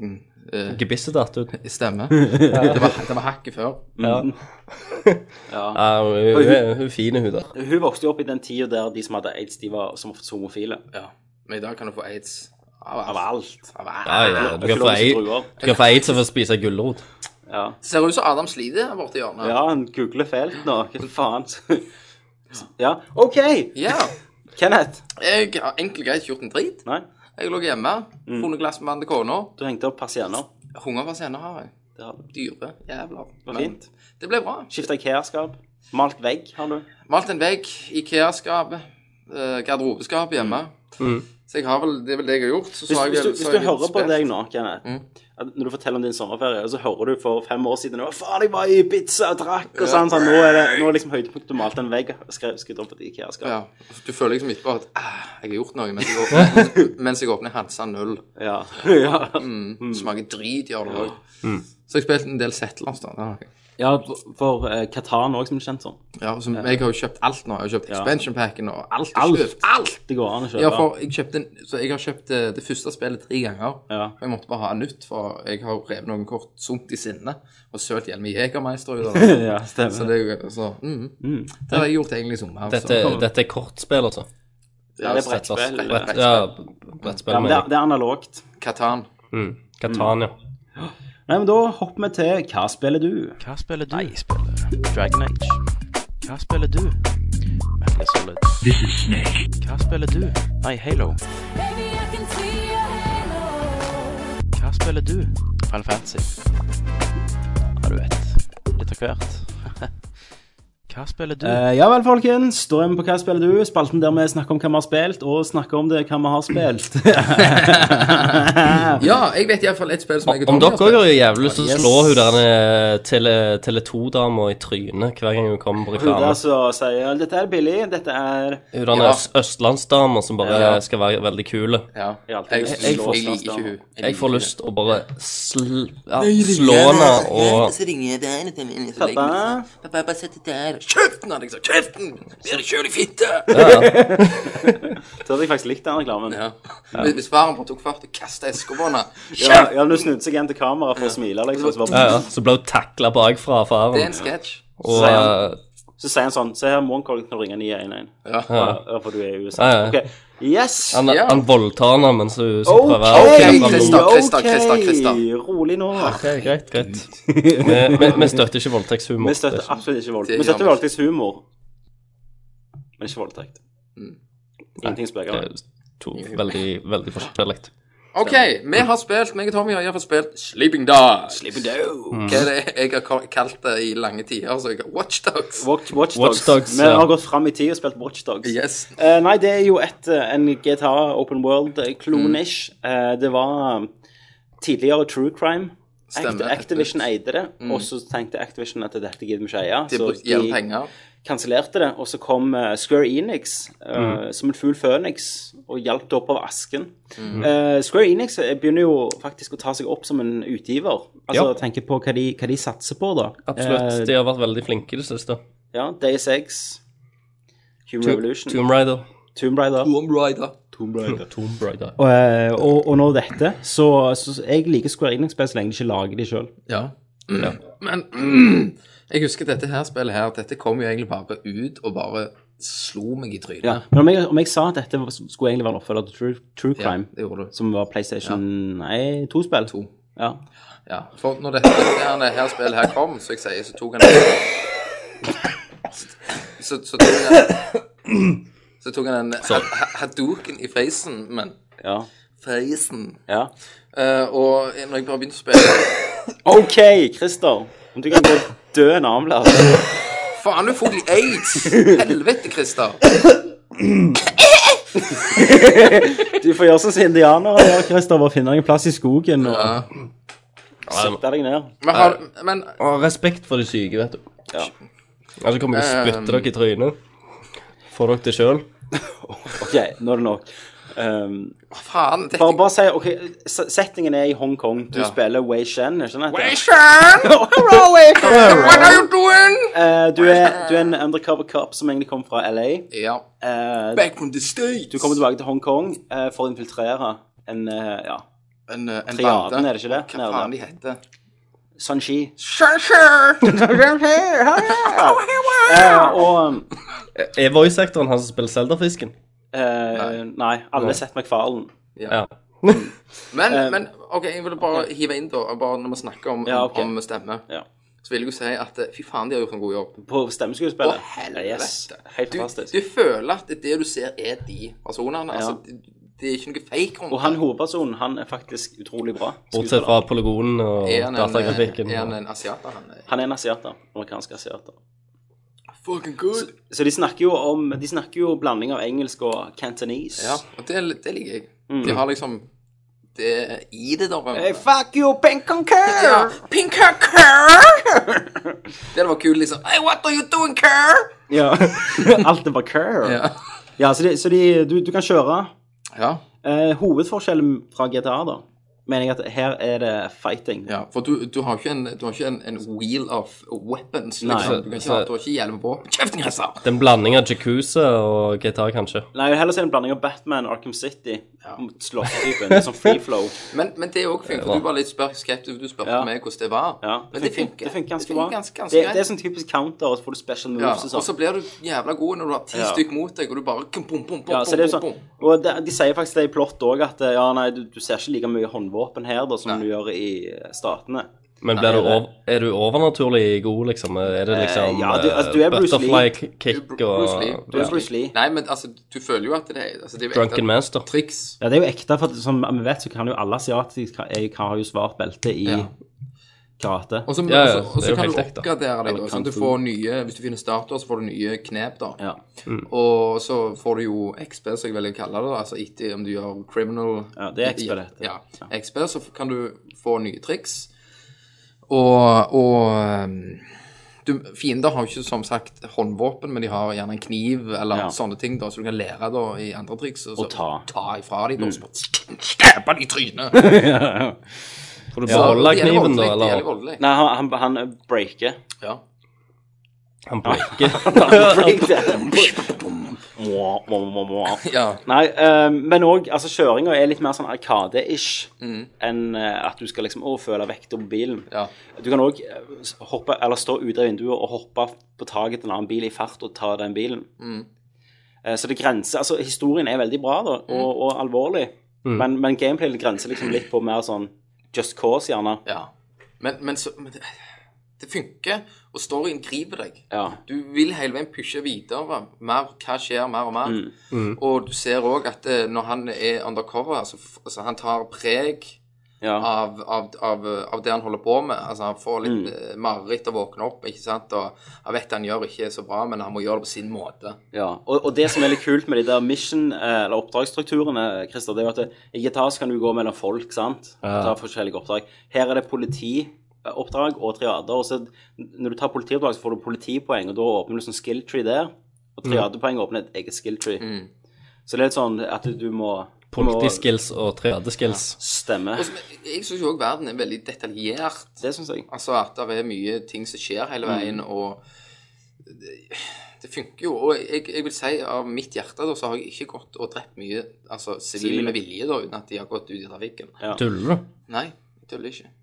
Speaker 6: eh,
Speaker 7: Gebisset datt ut.
Speaker 6: i stemme. Det var, det var hakket før.
Speaker 7: Ja.
Speaker 5: Ja.
Speaker 7: Ja, hun, hun, er- hun er fin, hun der.
Speaker 5: Hun vokste jo opp i den tida der de som hadde aids, de var som oftest homofile.
Speaker 6: Ja. Men i dag kan du få aids av
Speaker 5: Av
Speaker 6: alt.
Speaker 5: alt.
Speaker 6: Av alt.
Speaker 7: Ja, ja. Du kan få
Speaker 5: Økologiske
Speaker 7: ei-
Speaker 5: druer.
Speaker 7: du kan få aids av å spise gulrot.
Speaker 5: Ja.
Speaker 6: Ser ut som Adam sliter her borte i hjørnet.
Speaker 5: ja, han googler fælt nå. Hva faen? Ja, OK!
Speaker 6: Ja.
Speaker 5: Kenneth.
Speaker 6: Jeg har enkelt og greit gjort en drit.
Speaker 5: Nei,
Speaker 6: Jeg lå hjemme,
Speaker 5: Mm.
Speaker 6: funnet glass med vann til kona.
Speaker 5: du hengte opp persienner.
Speaker 6: Hunger for senere har jeg.
Speaker 5: Det har du.
Speaker 6: Dyre jævler.
Speaker 5: var
Speaker 6: Men
Speaker 5: fint.
Speaker 6: Det ble bra.
Speaker 5: Skifta IKEA-skap. Malt vegg har du.
Speaker 6: Malt en vegg, Ikea-skap, eh, garderobeskap hjemme. Så jeg har vel, det er vel det jeg har gjort. Så
Speaker 5: Mm. Hvis,
Speaker 6: så har jeg,
Speaker 5: hvis, du,
Speaker 6: så
Speaker 5: hvis du
Speaker 6: har jeg
Speaker 5: hører på
Speaker 6: spilt. Mm.
Speaker 5: deg nå, Kenneth, at når du forteller om din sommerferie, og så hører du for fem år siden 'Å, faen, jeg var i Ibiza og drakk' og sånn, sånn nå er det nå er liksom høydepunktet du malte en vegg og skrev skudd opp et IKEA-skap.
Speaker 6: Ja, Du føler liksom etterpå at ah, jeg har gjort noe mens jeg åpner, mens jeg åpner Hansa 0.
Speaker 5: Ja. ja.
Speaker 6: Mm.
Speaker 5: Mm.
Speaker 6: Smaker drit, gjør det òg. Så jeg spilte en del Settlers, da. det har jeg.
Speaker 5: ja for- for eh, Katan òg, som det er kjent som.
Speaker 6: Ja, så jeg har jo kjøpt alt nå. Jeg har kjøpt expansion packen og alt. er
Speaker 5: Alt.
Speaker 6: Kjøpt. alt.
Speaker 5: Det går an å
Speaker 6: Ja,
Speaker 5: kjøpe.
Speaker 6: for jeg kjøpte en, Så jeg har kjøpt eh, det første spillet tre ganger.
Speaker 5: Ja.
Speaker 6: Og jeg måtte bare ha nytt, for jeg har revet noen kort sunt i sinne og sølt hjelm i Jegermeister ut av det.
Speaker 5: Ja,
Speaker 6: Så
Speaker 5: stemmer.
Speaker 6: det er jo så, mm. Det har jeg gjort egentlig i sommer. altså.
Speaker 7: Dette, dette er kortspill, altså.
Speaker 5: Ja, det er
Speaker 7: Settlers.
Speaker 5: brettspill.
Speaker 7: Brett, ja, brettspill,
Speaker 5: Ja, men det,
Speaker 7: mener
Speaker 5: er- det er analogt.
Speaker 6: Katan.
Speaker 7: jeg. Mm. Catania.
Speaker 5: Nei, men da hopper vi til Hva spiller du?
Speaker 1: Hva spiller du? Nei, jeg spiller Dragon Age. Hva spiller du? Metal Gear Solid. Hva spiller du? Nei, Halo. Hva spiller du? Final Fantasy. Ja, du vet. Litt av hvert. Hva spiller du?
Speaker 5: Eh, ja vel, folkens. Da er vi på Hva spiller du? Spalten der vi snakker om hva vi har spilt, og snakker om det hva vi har spilt.
Speaker 6: Ja, jeg vet iallfall et spill som jeg og
Speaker 7: Om
Speaker 6: Tommy har
Speaker 7: dere
Speaker 6: spilt.
Speaker 7: òg har jo jævlig lyst til å
Speaker 5: Yes.
Speaker 7: slå hun der eh, tele, Tele2-dama i trynet hver gang hun kommer på
Speaker 5: Hun
Speaker 7: reklame.
Speaker 5: der som sier 'dette er billig', dette er
Speaker 7: Hun der
Speaker 6: Ja.
Speaker 7: øst- østlandsdama som bare
Speaker 5: Ja.
Speaker 7: skal være veldig kul.
Speaker 6: Ja. Jeg,
Speaker 5: alltid
Speaker 6: jeg,
Speaker 5: lyst til å slå
Speaker 6: jeg liker ikke
Speaker 5: Katan.
Speaker 6: hun.
Speaker 7: Jeg får lyst til å bare sl ja, slå henne og
Speaker 8: Så ringer jeg deg, og så legger jeg meg.
Speaker 5: Pappa.
Speaker 8: Pappa, bare sett det der.
Speaker 6: Kjeften, hadde jeg sagt. Kjeften! Blir det kjøl i fitte?
Speaker 5: Så hadde jeg faktisk likt den reklamen. Ja,
Speaker 6: Ja. Hvis- Hvis faren bare tok fart og kasta eskebånda
Speaker 5: ja, men hun snudde seg igjen til kamera for å smile, liksom. Så,
Speaker 7: ja,
Speaker 5: bare,
Speaker 7: ja. Så ble hun takla bakfra av
Speaker 6: Det er
Speaker 7: faren.
Speaker 6: en sketsj.
Speaker 7: Og
Speaker 5: sier
Speaker 7: eh,
Speaker 5: han- så sier han sånn Se her, Morgenkollen kan ringe 911.
Speaker 6: Ja.
Speaker 5: Ja, for du er i USA.
Speaker 7: Ja, ja.
Speaker 5: Ok. Yes!
Speaker 7: han,
Speaker 6: Ja.
Speaker 7: han voldtar henne mens hun skal
Speaker 5: OK,
Speaker 7: prøve
Speaker 6: ok,
Speaker 7: kjempe mot-
Speaker 6: Christer, Christer,
Speaker 5: ok.
Speaker 6: Christer, Christer.
Speaker 5: Rolig nå.
Speaker 7: Ok, greit, greit. Vi- Vi vi støtter ikke voldtektshumor.
Speaker 5: Vi støtter absolutt ikke voldtekt.
Speaker 6: Det
Speaker 5: Vi
Speaker 6: gjør
Speaker 5: støtter
Speaker 6: vi ikke.
Speaker 5: voldtektshumor, men ikke voldtekt.
Speaker 6: Mm.
Speaker 5: Ingenting spøker med.
Speaker 7: Det er To veldig, veldig forskjellig.
Speaker 6: OK, vi har spilt, meg og Tommy har iallfall spilt Sleeping Dogs. Sleeping Dogs. Hva er det jeg har ka- kalt det i lange tider? Så jeg har Watch Dogs.
Speaker 5: Watch, Watch Dogs.
Speaker 7: Watch Dogs,
Speaker 5: Vi
Speaker 7: ja.
Speaker 5: har gått fram i tid og spilt Watch Dogs.
Speaker 6: Yes.
Speaker 5: Eh, nei, det er jo et, eh, en GTA Open World-klonish.
Speaker 6: Mm.
Speaker 5: det var um, tidligere True Crime. Act,
Speaker 6: Stemmer. Mm.
Speaker 5: Activision eide det, og så tenkte Activision at dette gidder vi ikke eie.
Speaker 6: De
Speaker 5: så
Speaker 6: brukte jævlig penger.
Speaker 5: kansellerte det, og så kom eh, Square Enix eh,
Speaker 7: Mm.
Speaker 5: som en fugl føniks og hjalp det opp av asken.
Speaker 6: Mm.
Speaker 5: Eh, Square Enix eh, begynner jo faktisk å ta seg opp som en utgiver. Altså
Speaker 7: Ja.
Speaker 5: tenke på hva de, hva de satser på, da.
Speaker 7: Absolutt.
Speaker 5: Eh,
Speaker 7: De har vært veldig flinke i det siste.
Speaker 5: ja, Days Eggs, Human Revolution,
Speaker 7: Tomb Raider.
Speaker 5: Tomb Raider.
Speaker 6: Boom Rider.
Speaker 7: Tomb Raider.
Speaker 5: Og, eh, og, og nå dette, så, så jeg liker Square Enix best så lenge de ikke lager de sjøl.
Speaker 6: Ja. Men mm, jeg husker dette her spillet her, dette kom jo egentlig bare ut og bare slo meg i trynet.
Speaker 5: Men om jeg, om jeg sa at dette var- skulle egentlig være en oppfølger til True, True
Speaker 6: Ja,
Speaker 5: Crime,
Speaker 6: det gjorde du.
Speaker 5: som var PlayStation Nei, to-spill. To. Ja.
Speaker 6: Ja. For når dette, dette her, det her spillet her kom, så jeg sier, så tok han en Så, så tok han Så tok han en ha- ha- Hadouken i feisen, men
Speaker 5: ja.
Speaker 6: Feisen.
Speaker 5: ja.
Speaker 6: Eh, og når jeg bare begynte å spille
Speaker 5: OK, Christer. Om du kan gå og dø en annen plass.
Speaker 6: Faen, du får de aids! Helvete, Christer.
Speaker 5: Du får gjøre sånn som indianere gjør, Christer. Bare finne deg en plass i skogen og
Speaker 6: Ja.
Speaker 5: sette deg ned.
Speaker 6: Men, har, men
Speaker 7: Og respekt for de syke, vet du.
Speaker 5: Ja. Eh,
Speaker 7: Ellers kommer jeg til å spytte dere i trynet. Får dere det sjøl.
Speaker 5: OK, nå er det nok. Um,
Speaker 6: faen dette,
Speaker 5: bare, bare si OK, s- settingen er i Hongkong. Du
Speaker 6: Ja.
Speaker 5: spiller Wei Shen, ikke sant?
Speaker 6: Hey, Sean!
Speaker 5: Hello, Wei Shen!
Speaker 6: What are you doing?
Speaker 5: Eh, du, er, du er en undercover cop som egentlig kom fra LA.
Speaker 6: Ja.
Speaker 5: Eh,
Speaker 6: Back from the States.
Speaker 5: du kommer tilbake til Hongkong eh, for å infiltrere en eh, ja,
Speaker 6: En, eh, en
Speaker 5: Triaden,
Speaker 6: bande.
Speaker 5: er det ikke det?
Speaker 6: Hva
Speaker 5: Nede.
Speaker 6: faen de heter?
Speaker 5: Sanchi.
Speaker 6: Sure,
Speaker 5: Eh, og
Speaker 7: Er voice-sektoren han som spiller Zelda-fisken?
Speaker 5: eh, Nei, alle har sett McFarlane.
Speaker 7: Ja.
Speaker 6: Men,
Speaker 5: Eh,
Speaker 6: men OK, jeg ville bare hive inn, da, bare når vi snakker om,
Speaker 5: Ja, ok.
Speaker 6: om stemme.
Speaker 5: Ja.
Speaker 6: Så vil jeg jo si at eh, fy faen, de har gjort en god jobb.
Speaker 5: På stemmeskuespillet.
Speaker 6: Å, helvete.
Speaker 5: yes. Helt
Speaker 6: Du,
Speaker 5: fantastisk.
Speaker 6: du føler at det du ser, er de personene. Altså, det, det er ikke noe fake rundt
Speaker 5: Og han hovedpersonen, han er faktisk utrolig bra.
Speaker 7: Bortsett
Speaker 5: skuespiller.
Speaker 7: fra polygonen og
Speaker 6: Er han en, eh,
Speaker 7: datagrafikken.
Speaker 6: Er han en asiater, han? eh? er?
Speaker 5: Han er en asiater. Amerikansk asiater.
Speaker 6: Fucking good.
Speaker 5: Så de snakker jo om De snakker jo blanding av engelsk og cantonese.
Speaker 6: Ja, og det, det liker jeg.
Speaker 5: Mm.
Speaker 6: De har liksom det er i det, da. på en måte.
Speaker 5: Hey, fuck you, pink on care!
Speaker 6: Ja, pink her, Kerr! Det var kult, liksom. Hey, what are you doing, Kerr?
Speaker 5: Ja. Alt er bare care.
Speaker 6: Ja.
Speaker 5: Ja, så, de, så de, du, du kan kjøre.
Speaker 6: Ja,
Speaker 5: Eh, hovedforskjellen fra GTA, da, mener jeg at her er det fighting.
Speaker 6: ja, for du, du har ikke en, du har ikke en, en wheel of weapons. Liksom.
Speaker 5: Nei.
Speaker 6: du, kan
Speaker 7: altså-
Speaker 6: ikke, ha- du har ikke hjelm på. Kjeften, Christer!
Speaker 7: Det er en blanding av Jacuzzi og GTA, kanskje.
Speaker 5: Nei, heller så er det en blanding av Batman, Arkham City, slåsstypen, sånn free flow.
Speaker 6: Men, men det òg funker. Du var litt spør- skeptisk. Du spurte
Speaker 5: Ja.
Speaker 6: meg hvordan det var.
Speaker 5: Ja,
Speaker 6: men det funker.
Speaker 5: Det funker ganske
Speaker 6: Det
Speaker 5: bra.
Speaker 6: funker ganske, ganske
Speaker 5: det,
Speaker 6: greit.
Speaker 5: det er sånn typisk counter, og så får du special moves
Speaker 6: ja,
Speaker 5: og
Speaker 6: og så
Speaker 5: sånn.
Speaker 6: blir du jævla god når du har ti
Speaker 5: Ja.
Speaker 6: stykk mot deg, og du bare kum, bum, bum, bum,
Speaker 5: Ja, så det er jo
Speaker 6: bum,
Speaker 5: sånn,
Speaker 6: bum.
Speaker 5: og de, de sier faktisk det i plott òg, at eh, ja, nei, du, du ser ikke like mye håndvåpen her da, som
Speaker 6: Nei.
Speaker 5: du gjør i eh, statene.
Speaker 7: Men blir du over, er du overnaturlig god, liksom? Er det liksom
Speaker 5: Eh, ja, du- altså, du er
Speaker 7: eh,
Speaker 5: Bruce Lee.
Speaker 7: butterfly kick
Speaker 6: Bru-
Speaker 7: og
Speaker 6: Bruce Lee.
Speaker 5: Du er
Speaker 7: ja.
Speaker 5: Bruce Lee.
Speaker 6: Nei, men altså, du føler jo at det er altså, det er jo
Speaker 7: Drunken
Speaker 6: ekte
Speaker 7: Master?
Speaker 6: triks.
Speaker 5: Ja, det er jo ekte, for som vi vet, så kan jo alle asiatiske jeg har jo svart belte i
Speaker 6: Ja.
Speaker 5: karate.
Speaker 6: Og så,
Speaker 7: Ja, ja,
Speaker 6: og så- og
Speaker 7: det er
Speaker 6: så
Speaker 7: jo
Speaker 6: kan du
Speaker 7: helt ekte.
Speaker 6: oppgradere deg.
Speaker 5: Eller
Speaker 6: da, sånn at du
Speaker 5: kung fu.
Speaker 6: får nye, Hvis du finner starter, så får du nye knep. da
Speaker 5: Ja.
Speaker 6: Og så får du jo XP, som jeg velger å kalle det. da, Altså etter om du gjør criminal
Speaker 5: Ja, det er XP det heter.
Speaker 6: Ja. XP, så kan du få nye triks. Og, og um, du, Fiender har jo ikke som sagt håndvåpen, men de har gjerne en kniv eller
Speaker 5: Ja.
Speaker 6: sånne ting, da, så du kan lære da i andre triks. Og, så,
Speaker 5: Og ta.
Speaker 6: ifra dem, da. så bare Stabbe dem i trynet!
Speaker 7: Får du
Speaker 6: Så
Speaker 7: beholde
Speaker 6: det gjelder
Speaker 7: kniven,
Speaker 6: voldelig,
Speaker 7: da,
Speaker 6: Det gjelder
Speaker 7: eller?
Speaker 6: voldelig.
Speaker 5: Nei, han, han, han breaker.
Speaker 6: Ja.
Speaker 7: Han breaker.
Speaker 5: Mwah, mwah, mwah, mwah.
Speaker 6: ja.
Speaker 5: Nei, eh, men òg altså, kjøringa er litt mer sånn arkade-ish enn eh, at du skal liksom å, føle vekta på bilen.
Speaker 6: Mm. Ja.
Speaker 5: Du kan òg hoppe, eller stå ute av vinduet og hoppe på taket til en annen bil i fart og ta den bilen.
Speaker 6: Mm.
Speaker 5: Eh, så det grenser Altså, historien er veldig bra da, og,
Speaker 6: Mm.
Speaker 5: og alvorlig, men, men gameplay grenser liksom litt på mer sånn Just Cause, gjerne.
Speaker 6: Ja. Men, men, så, men det, det funker, og storyen griper deg.
Speaker 5: Ja.
Speaker 6: Du vil hele veien pushe videre. Mer, hva skjer, mer og mer.
Speaker 5: Mm.
Speaker 6: Og du ser òg at eh, når han er undercover, så f- altså, han tar preg
Speaker 5: ja.
Speaker 6: av, av, av, av det han holder på med. Altså, han får litt
Speaker 5: Mm.
Speaker 6: eh, mareritt av å våkne opp, ikke sant. Og han vet han gjør ikke er så bra, men han må gjøre det på sin måte.
Speaker 5: Ja, og, og det som er litt kult med de der mission- eh, eller oppdragsstrukturene, Christer, det er jo at det- i GTA så kan du gå mellom folk, sant? Du tar forskjellige oppdrag. Her er det politi oppdrag og triader. Og så når du tar politioppdrag, så får du politipoeng, og da åpner du sånn skill tree der. Og triadepoeng åpner et eget skill tree. Så det er litt sånn at du, du må du må
Speaker 7: Politiskills og tredjeskills.
Speaker 5: Stemme.
Speaker 6: Og så- men Jeg syns jo òg verden er veldig detaljert.
Speaker 5: Det syns jeg.
Speaker 6: Altså at det er mye ting som skjer
Speaker 5: Mm.
Speaker 6: hele veien, og det, det funker jo. Og jeg, jeg vil si av mitt hjerte da, så har jeg ikke gått og drept mye altså, sivile med vilje da, uten at de har gått ut i trafikken.
Speaker 7: Tuller du?
Speaker 6: Nei, jeg tuller ikke.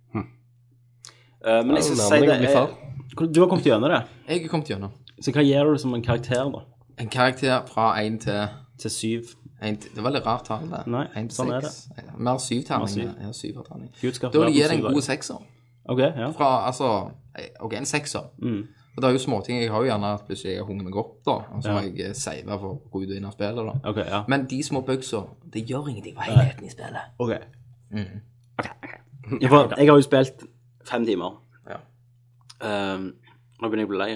Speaker 5: Eh, men
Speaker 7: Ja,
Speaker 5: jeg skal
Speaker 7: nærmer
Speaker 5: si
Speaker 7: deg å
Speaker 5: det
Speaker 7: bli far.
Speaker 5: eh, Du har kommet gjennom det.
Speaker 6: Jeg er kommet gjennom.
Speaker 5: Så hva gir du som en karakter, da?
Speaker 6: En karakter fra én til
Speaker 5: Til syv?
Speaker 6: en til- Det var litt rart tall, det.
Speaker 5: Nei,
Speaker 6: En til
Speaker 5: sånn er
Speaker 6: seks. Mer syvterning.
Speaker 5: Mer syv.
Speaker 6: Ja, syverterning.
Speaker 5: Gud skapte
Speaker 6: Da vil jeg gi
Speaker 5: verden
Speaker 6: det
Speaker 5: på syv
Speaker 6: en god
Speaker 5: dager.
Speaker 6: sekser.
Speaker 5: OK, ja.
Speaker 6: Fra, altså OK, en sekser.
Speaker 5: Mm.
Speaker 6: Og det er jo småting. Jeg har jo gjerne at plutselig jeg hunger meg opp, da. Og så må
Speaker 5: Ja.
Speaker 6: jeg save for å gå ut og inn av spillet, da.
Speaker 5: Ok, ja.
Speaker 6: Men de små bugsa, det gjør ingenting for helheten i spillet.
Speaker 5: Ok. Ok, ok. Jeg, får, Mm. jeg har jo spilt fem timer.
Speaker 6: Ja.
Speaker 5: Ehm, nå begynner jeg å bli lei.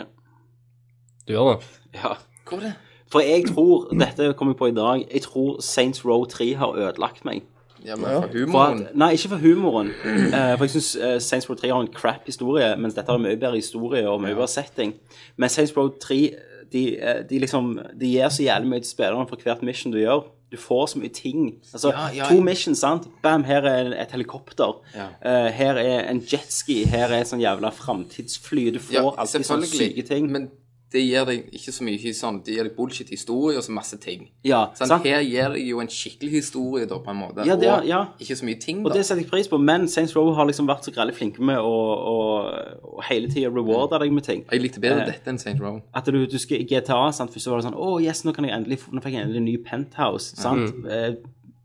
Speaker 7: Du gjør det?
Speaker 5: Ja.
Speaker 6: Hvor er det?
Speaker 5: For jeg tror, dette kom jeg på i dag, jeg tror Saints Row 3 har ødelagt meg.
Speaker 6: Ja, men for
Speaker 5: For at,
Speaker 6: humoren
Speaker 5: nei, ikke for humoren. eh, for jeg syns Saints Row 3 har en crap historie, mens dette har en mye bedre historie og mye bedre setting. Men Saints Row 3 de, eh, de liksom De gir så jævlig mye til spilleren for hvert mission du gjør. Du får så mye ting. Altså,
Speaker 6: Ja, ja.
Speaker 5: To missions, sant? Bam, her er en- et helikopter.
Speaker 6: Ja.
Speaker 5: Eh, her er en jetski. Her er sånn jævla framtidsfly. Du får alltid sånne syke ting.
Speaker 6: Men det gir deg ikke så mye sånn Det gir deg bullshit-historie og så masse ting.
Speaker 5: ja,
Speaker 6: Sånn,
Speaker 5: sant?
Speaker 6: Her gir deg jo en skikkelig historie, da, på en måte.
Speaker 5: Ja, det er-
Speaker 6: og
Speaker 5: ja.
Speaker 6: ikke så mye ting,
Speaker 5: Og
Speaker 6: da.
Speaker 5: det setter jeg pris på, men Saints Row har liksom vært så grelle flinke med å, å, å hele tida rewarde deg med ting.
Speaker 6: Jeg likte bedre
Speaker 5: Eh.
Speaker 6: dette enn St. Row.
Speaker 5: At du, du skal i GTA, sant? først så var det sånn Å, yes, nå, kan jeg endelig, få- nå fikk jeg endelig en ny penthouse. Sant?
Speaker 7: Mhm.
Speaker 5: Eh,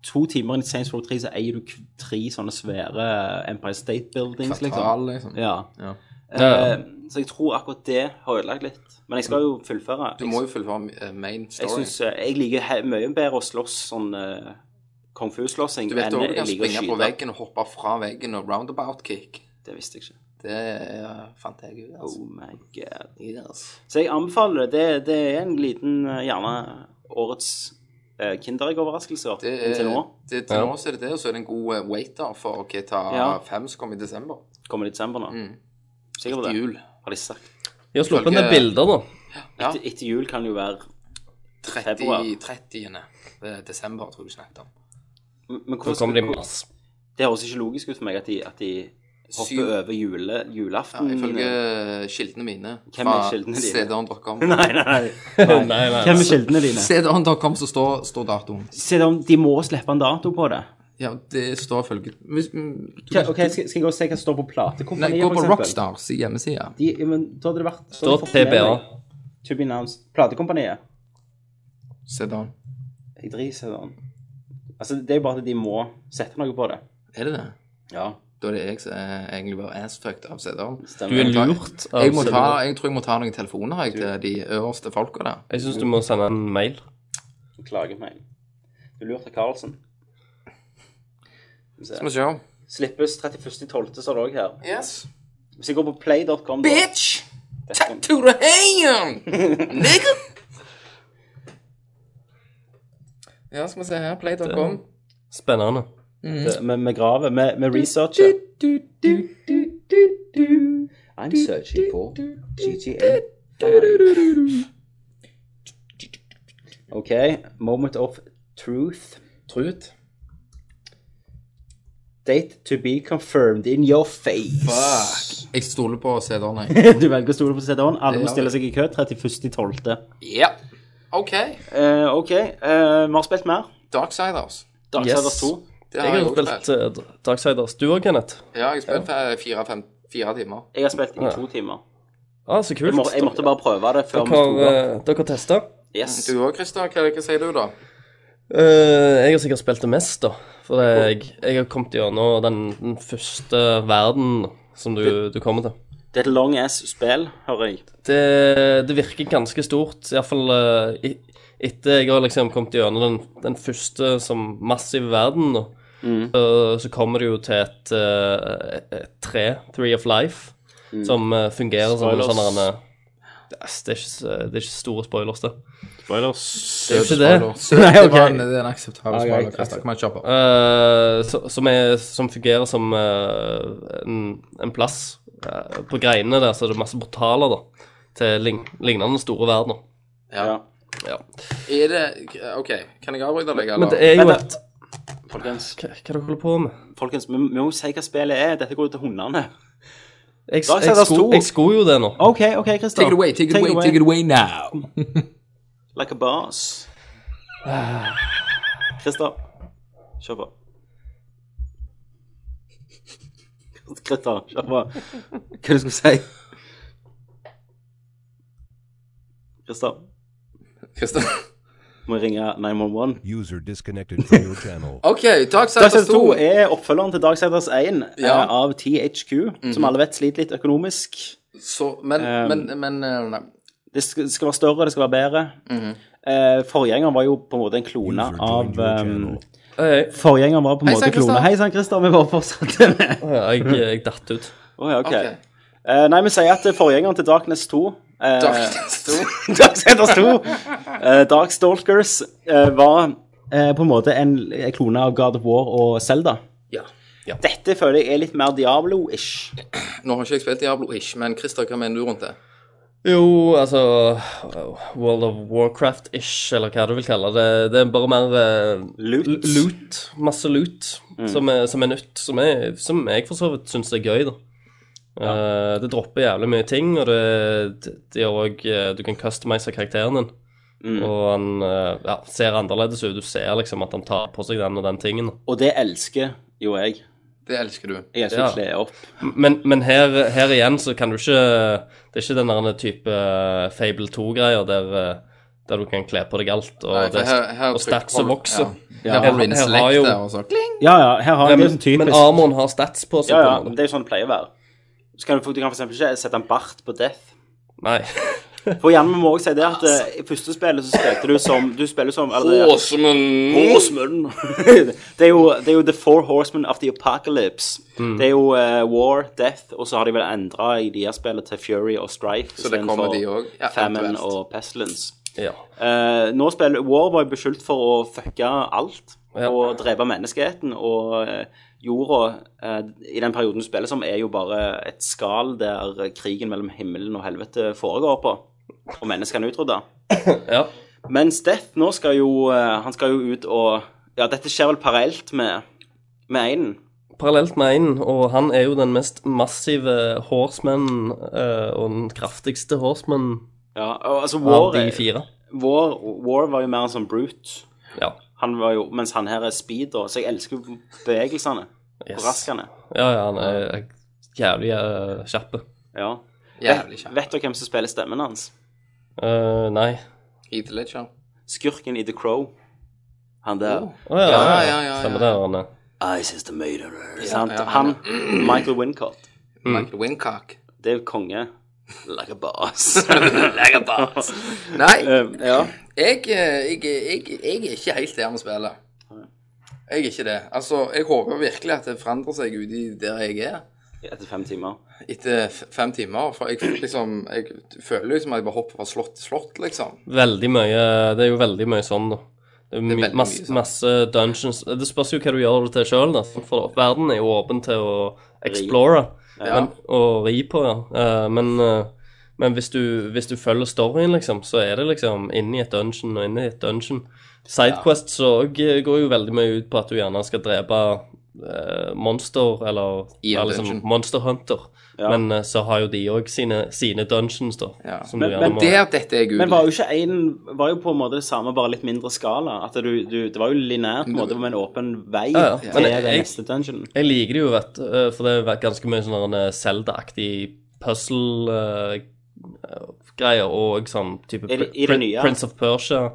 Speaker 5: to timer inn i Saints Row 3 så eier du k- tre sånne svære eh, Empire State Buildings,
Speaker 6: Kvartal,
Speaker 5: liksom.
Speaker 6: liksom.
Speaker 5: Ja.
Speaker 6: Ja.
Speaker 7: Ja.
Speaker 5: Eh, så jeg tror akkurat det har ødelagt litt. Men jeg skal jo fullføre.
Speaker 6: Du må jo følge eh, main
Speaker 5: jeg,
Speaker 6: story.
Speaker 5: synes, eh, jeg liker he mye bedre å slåss sånn eh, kung fu-slåssing
Speaker 6: Du vet
Speaker 5: enn
Speaker 6: òg du
Speaker 5: jeg
Speaker 6: kan
Speaker 5: liker å
Speaker 6: springe på
Speaker 5: skyte.
Speaker 6: veggen og hoppe fra veggen og roundabout kick.
Speaker 5: Det visste jeg ikke.
Speaker 6: Det eh, fant jeg ut,
Speaker 5: Oh
Speaker 6: altså.
Speaker 5: my god.
Speaker 6: Yes.
Speaker 5: Så jeg anbefaler det. det. Det er en liten, eh, gjerne årets eh, Kinderegg-overraskelse
Speaker 6: Det er,
Speaker 5: inntil nå.
Speaker 6: Det, til nå så er det det, og så er det en god eh, waiter for GTA
Speaker 5: Ja.
Speaker 6: 5 som kommer i desember.
Speaker 5: Kommer det i desember nå?
Speaker 6: Mm.
Speaker 5: Sikkert
Speaker 6: Til
Speaker 5: det.
Speaker 6: jul.
Speaker 5: Har de sagt.
Speaker 7: Jeg har sluppet
Speaker 6: Ifølge-
Speaker 7: ned bilder, da.
Speaker 6: Ja.
Speaker 5: Etter, etter jul kan det jo være
Speaker 6: 30.
Speaker 5: Februar.
Speaker 6: 30. eh, desember, tror jeg du snakket om.
Speaker 5: Men men
Speaker 7: Så
Speaker 5: hvordan-
Speaker 7: kommer det en masse.
Speaker 5: Det høres ikke logisk ut for meg at de, at de hopper
Speaker 6: Syv-
Speaker 5: over jule,
Speaker 6: Ja,
Speaker 5: julaften.
Speaker 6: ifølge eh, kildene mine
Speaker 5: Hvem er kildene dine?
Speaker 6: cdon.com.
Speaker 5: Nei, nei, nei.
Speaker 7: Nei, nei,
Speaker 5: Hvem er
Speaker 7: nei.
Speaker 5: kildene dine?
Speaker 6: cdon.com så står, står datoen.
Speaker 5: Se om de må slippe en dato på det.
Speaker 6: Ja, det står følge Hvis- mm, du-
Speaker 5: Ok, skal, skal jeg gå og se hva som står på
Speaker 6: Nei,
Speaker 5: platekompaniet,
Speaker 6: gå på
Speaker 5: for eksempel?
Speaker 6: Rockstars hjemmeside.
Speaker 5: De, ja, men da hadde det vært da hadde jeg
Speaker 7: Står
Speaker 5: fått med
Speaker 7: TBA.
Speaker 5: meg. To be announced. Platekompaniet.
Speaker 6: Cdon.
Speaker 5: Jeg driter i den. Altså, det er jo bare at de må sette noe på det.
Speaker 6: Er det det?
Speaker 5: Ja,
Speaker 6: Da er det jeg som er egentlig bare assfucked av cdon.
Speaker 7: Du er
Speaker 5: stemmer.
Speaker 7: lurt. av
Speaker 6: Jeg, må ta,
Speaker 7: selve-
Speaker 6: jeg tror jeg må ta noen telefoner jeg, til de øverste folka der.
Speaker 7: Jeg syns du må sende en mail.
Speaker 5: Du klager meg. Du lurte Karlsen. Skal vi se.
Speaker 6: Skal vi se.
Speaker 5: Slippes 31.12., så er det òg her.
Speaker 6: Yes.
Speaker 5: Hvis jeg går på play.com da-
Speaker 6: Bitch! Take to the hand! Nigga! Ja, skal vi se her. Play.com.
Speaker 7: Spennende.
Speaker 5: Det- Vi vi graver. Vi vi researcher. I'm searching for GTA. OK. Moment of truth.
Speaker 6: Trut.
Speaker 5: Date to be confirmed in your face.
Speaker 6: Fuck. Jeg stoler på CD-en, jeg.
Speaker 5: Du velger å stole på CD-en. Alle må
Speaker 6: Ja.
Speaker 5: stille seg i kø 31.12.
Speaker 6: Ja. OK.
Speaker 5: Eh, OK, eh, vi har spilt mer.
Speaker 6: Darksiders.
Speaker 5: Darksiders
Speaker 7: Yes.
Speaker 5: 2.
Speaker 6: Det
Speaker 7: Jeg har spilt eh, Darksiders. Du òg, Kenneth?
Speaker 6: Ja, jeg har spilt eh, fire, fem, fire timer.
Speaker 5: Jeg har spilt i to timer.
Speaker 7: Ah, så kult.
Speaker 5: Jeg, må, jeg måtte bare prøve det før vi
Speaker 7: Dere,
Speaker 5: sto opp.
Speaker 7: eh, dere testa?
Speaker 5: Yes.
Speaker 6: Du òg, Christer. Hva, hva sier du, da?
Speaker 7: Eh, jeg har sikkert spilt det mest, da. For det, jeg, jeg har kommet gjennom den, den første verden som du, du kommer til.
Speaker 5: Det er et long ass spill, hører jeg.
Speaker 7: Det, det virker ganske stort, iallfall uh, etter jeg har liksom kommet gjennom den, den første som massiv verden. Da. Så, så kommer det jo til et, eh, et tre, Three of Life, som eh, fungerer som
Speaker 5: Spoilers.
Speaker 7: en sånn der, eh, det, er ikke, s- det er ikke store spoilers, det.
Speaker 5: Spoilers.
Speaker 7: Det er jo ikke det.
Speaker 6: Søt,
Speaker 5: Nei,
Speaker 6: det,
Speaker 5: ok.
Speaker 6: var en, det er en akseptabel
Speaker 5: Ja,
Speaker 6: spørsmål,
Speaker 5: greit,
Speaker 6: Christer. Kom igjen, kjør på.
Speaker 7: Eh, så- som, er, som fungerer som eh, en, en plass eh, På greinene der så er det masse portaler, da. Til lign- lignende store verdener.
Speaker 5: Ja.
Speaker 7: Ja.
Speaker 6: Er det OK, kan jeg avbryte deg,
Speaker 7: Men
Speaker 6: eller?
Speaker 7: det er jo
Speaker 5: Men
Speaker 7: et
Speaker 5: Folkens,
Speaker 7: Hva hva er det du holder på med?
Speaker 5: folkens vi, vi må jo si hva spillet er. Dette går jo til hundene.
Speaker 7: Jeg,
Speaker 5: Dark
Speaker 7: jeg,
Speaker 5: Siders
Speaker 7: sko,
Speaker 5: 2.
Speaker 7: jeg skulle jo det nå.
Speaker 5: OK, OK, Christer.
Speaker 6: Take it away, take it away, take it away now.
Speaker 5: Like a boss. Christer, kjør på. Christer, kjør på. Hva du skulle si? Christer,
Speaker 6: Christer.
Speaker 5: må jeg ringe 911?
Speaker 9: User disconnected from your channel.
Speaker 6: OK, Darksiders
Speaker 5: Darksiders
Speaker 6: 2.
Speaker 5: 2 er oppfølgeren til Darksiders 1 eh,
Speaker 6: Ja.
Speaker 5: av THQ,
Speaker 9: Mhm.
Speaker 5: som alle vet sliter litt økonomisk.
Speaker 6: Så, men,
Speaker 7: Ehm,
Speaker 5: Um,
Speaker 6: men, men eh, nei.
Speaker 5: Det skal, det skal være større, det skal være bedre. Eh, forgjengeren var jo på en måte en klone
Speaker 9: User joined
Speaker 5: av
Speaker 9: Mhm. your
Speaker 5: um,
Speaker 9: channel.
Speaker 7: Jeg,
Speaker 5: Forgjengeren var på en
Speaker 6: Hei
Speaker 5: måte
Speaker 6: sann,
Speaker 5: klone.
Speaker 6: Christer.
Speaker 5: Hei sann, Christer. Vi bare fortsatte med
Speaker 7: jeg, jeg datt ut.
Speaker 5: Å ja, ok.
Speaker 6: OK.
Speaker 5: Eh, nei, vi sier at forgjengeren til Darkness 2 eh,
Speaker 6: Darksiders 2.
Speaker 5: Darksiders 2, eh, Darkstalkers, eh, var eh, på en måte en klone av God of War og Zelda.
Speaker 6: Ja.
Speaker 5: Dette føler jeg er litt mer Diablo-ish.
Speaker 6: Nå har ikke jeg spilt Diablo ish, men Christer, hva mener du rundt det?
Speaker 7: Jo, altså uh, World of Warcraft-ish, eller hva du vil kalle det. Det er bare mer eh,
Speaker 5: Loot. Mm.
Speaker 7: l- loot. Masse loot som, er, som er nytt. Som, er, som jeg for så vidt syns er gøy, da. Eh, det dropper jævlig mye ting, og det, det- det gjør òg Du kan customize karakteren din.
Speaker 5: Mm.
Speaker 7: Og han eh, ja, ser annerledes ut. Du ser liksom at han tar på seg den og den tingen. da.
Speaker 5: Og det elsker jo jeg.
Speaker 6: Det elsker du.
Speaker 5: Jeg elsker å
Speaker 7: Ja.
Speaker 5: kle opp.
Speaker 7: Men, men her, her igjen så kan du ikke Det er ikke den der type eh, Fable 2-greier der, eh, der du kan kle på deg alt, og,
Speaker 6: Nei, for
Speaker 7: det,
Speaker 6: her- her
Speaker 7: og stats
Speaker 6: trykker-
Speaker 7: som vokser.
Speaker 6: Ja. Her
Speaker 7: Her-
Speaker 6: har du en
Speaker 7: her har
Speaker 6: select
Speaker 7: jo-
Speaker 6: der, og så kling.
Speaker 5: Ja, ja, her har
Speaker 7: Ja,
Speaker 5: jeg det
Speaker 7: men,
Speaker 5: sånn typisk.
Speaker 7: men armoren har stats på seg.
Speaker 5: ja, ja,
Speaker 7: på en måte.
Speaker 5: det er jo sånn det pleier å være. Så kan du, for- du kan for eksempel ikke sette en bart på Death.
Speaker 7: Nei.
Speaker 5: For gjerne vi må også si det at eh, i første spillet så spilte du som Du spiller som eller, Horsemen. det, er jo, det er jo The Four Horsemen of the Apocalypse.
Speaker 6: Mm.
Speaker 5: Det er jo eh, War, Death, og så har de vel endra i de her spillene til Fury og Strife.
Speaker 6: Så det
Speaker 5: istedenfor
Speaker 6: kommer de også, ja,
Speaker 5: Famine
Speaker 6: eventuelt.
Speaker 5: og Pestilence.
Speaker 7: Ja.
Speaker 5: Eh, nå spiller War var jo beskyldt for å fucke alt
Speaker 7: Ja.
Speaker 5: og drepe menneskeheten. Og eh, jorda eh, i den perioden du spiller som, er jo bare et skall der krigen mellom himmelen og helvete foregår på. Og menneskene er utrydda.
Speaker 7: ja.
Speaker 5: Mens Death nå skal jo eh, Han skal jo ut og Ja, dette skjer vel parallelt med med Einen.
Speaker 7: Parallelt med Einen, og han er jo den mest massive horseman, eh, og den kraftigste horseman
Speaker 5: Ja, og, altså
Speaker 7: av
Speaker 5: War,
Speaker 7: de fire.
Speaker 5: War, War var jo mer en sånn brute.
Speaker 7: Ja.
Speaker 5: Han var jo, mens han her er speed, da. Så jeg elsker jo bevegelsene.
Speaker 7: Yes.
Speaker 5: Og rask han er.
Speaker 7: Ja, ja, han er jævlig eh, kjappe.
Speaker 5: Ja.
Speaker 6: Jævlig kjapt.
Speaker 5: Vet dere hvem som spiller stemmen hans?
Speaker 7: Eh, nei.
Speaker 6: Heath Ledger.
Speaker 5: Skurken i The Crow. Han der.
Speaker 7: Å ja,
Speaker 6: Ja, ja, ja,
Speaker 7: Stemmer
Speaker 6: ja.
Speaker 7: det, Arne.
Speaker 5: Ice is the murderer. sant?
Speaker 6: ja,
Speaker 5: han,
Speaker 6: han,
Speaker 5: Michael Wincott.
Speaker 6: Michael Wincock.
Speaker 5: Det er jo konge. Like a boss.
Speaker 6: Like a boss. Nei,
Speaker 7: Ehm,
Speaker 5: Um, ja.
Speaker 6: jeg, eh, jeg, jeg, jeg er ikke helt der med spillet. Jeg er ikke det. Altså, jeg håper virkelig at det forandrer seg ute i der jeg er.
Speaker 5: Etter fem timer.
Speaker 6: Etter f- fem timer. For jeg, liksom, jeg føler liksom at jeg bare hopper fra slott til slott, liksom.
Speaker 7: Veldig mye Det er jo veldig mye sånn, da. Det er
Speaker 6: Det er
Speaker 7: my,
Speaker 6: veldig
Speaker 7: masse,
Speaker 6: mye sånn.
Speaker 7: masse dungeons Det spørs jo hva du gjør det til sjøl, da. For verden er jo åpen til å explore men, og ri på, ja. Eh, men eh, men hvis, du, hvis du følger storyen, liksom, så er det liksom inni et dungeon og inni et dungeon. Sidequests òg går jo veldig mye ut på at du gjerne skal drepe eh, monster, eller
Speaker 6: I en
Speaker 7: være liksom
Speaker 6: dungeon.
Speaker 7: monster hunter. Men eh, så har jo de òg sine, sine dungeons, da.
Speaker 6: Ja.
Speaker 7: som
Speaker 5: Men-
Speaker 7: du
Speaker 5: men
Speaker 7: gjerne må
Speaker 6: Der dette er
Speaker 5: Men var
Speaker 6: Gud.
Speaker 5: jo ikke én Var jo på en måte det samme, bare litt mindre skala. At du, du, det var jo lineært, på en måte, med en åpen vei
Speaker 7: Ja, ja.
Speaker 5: til
Speaker 7: Men
Speaker 5: den
Speaker 7: jeg-
Speaker 5: neste dungeonen.
Speaker 7: Jeg liker det jo, vet du, eh, for det er ganske mye sånn eh, Zelda-aktig puzzle-greier, og sånn type
Speaker 5: I det- i det
Speaker 7: Prin-
Speaker 5: nye?
Speaker 7: Prince of Persia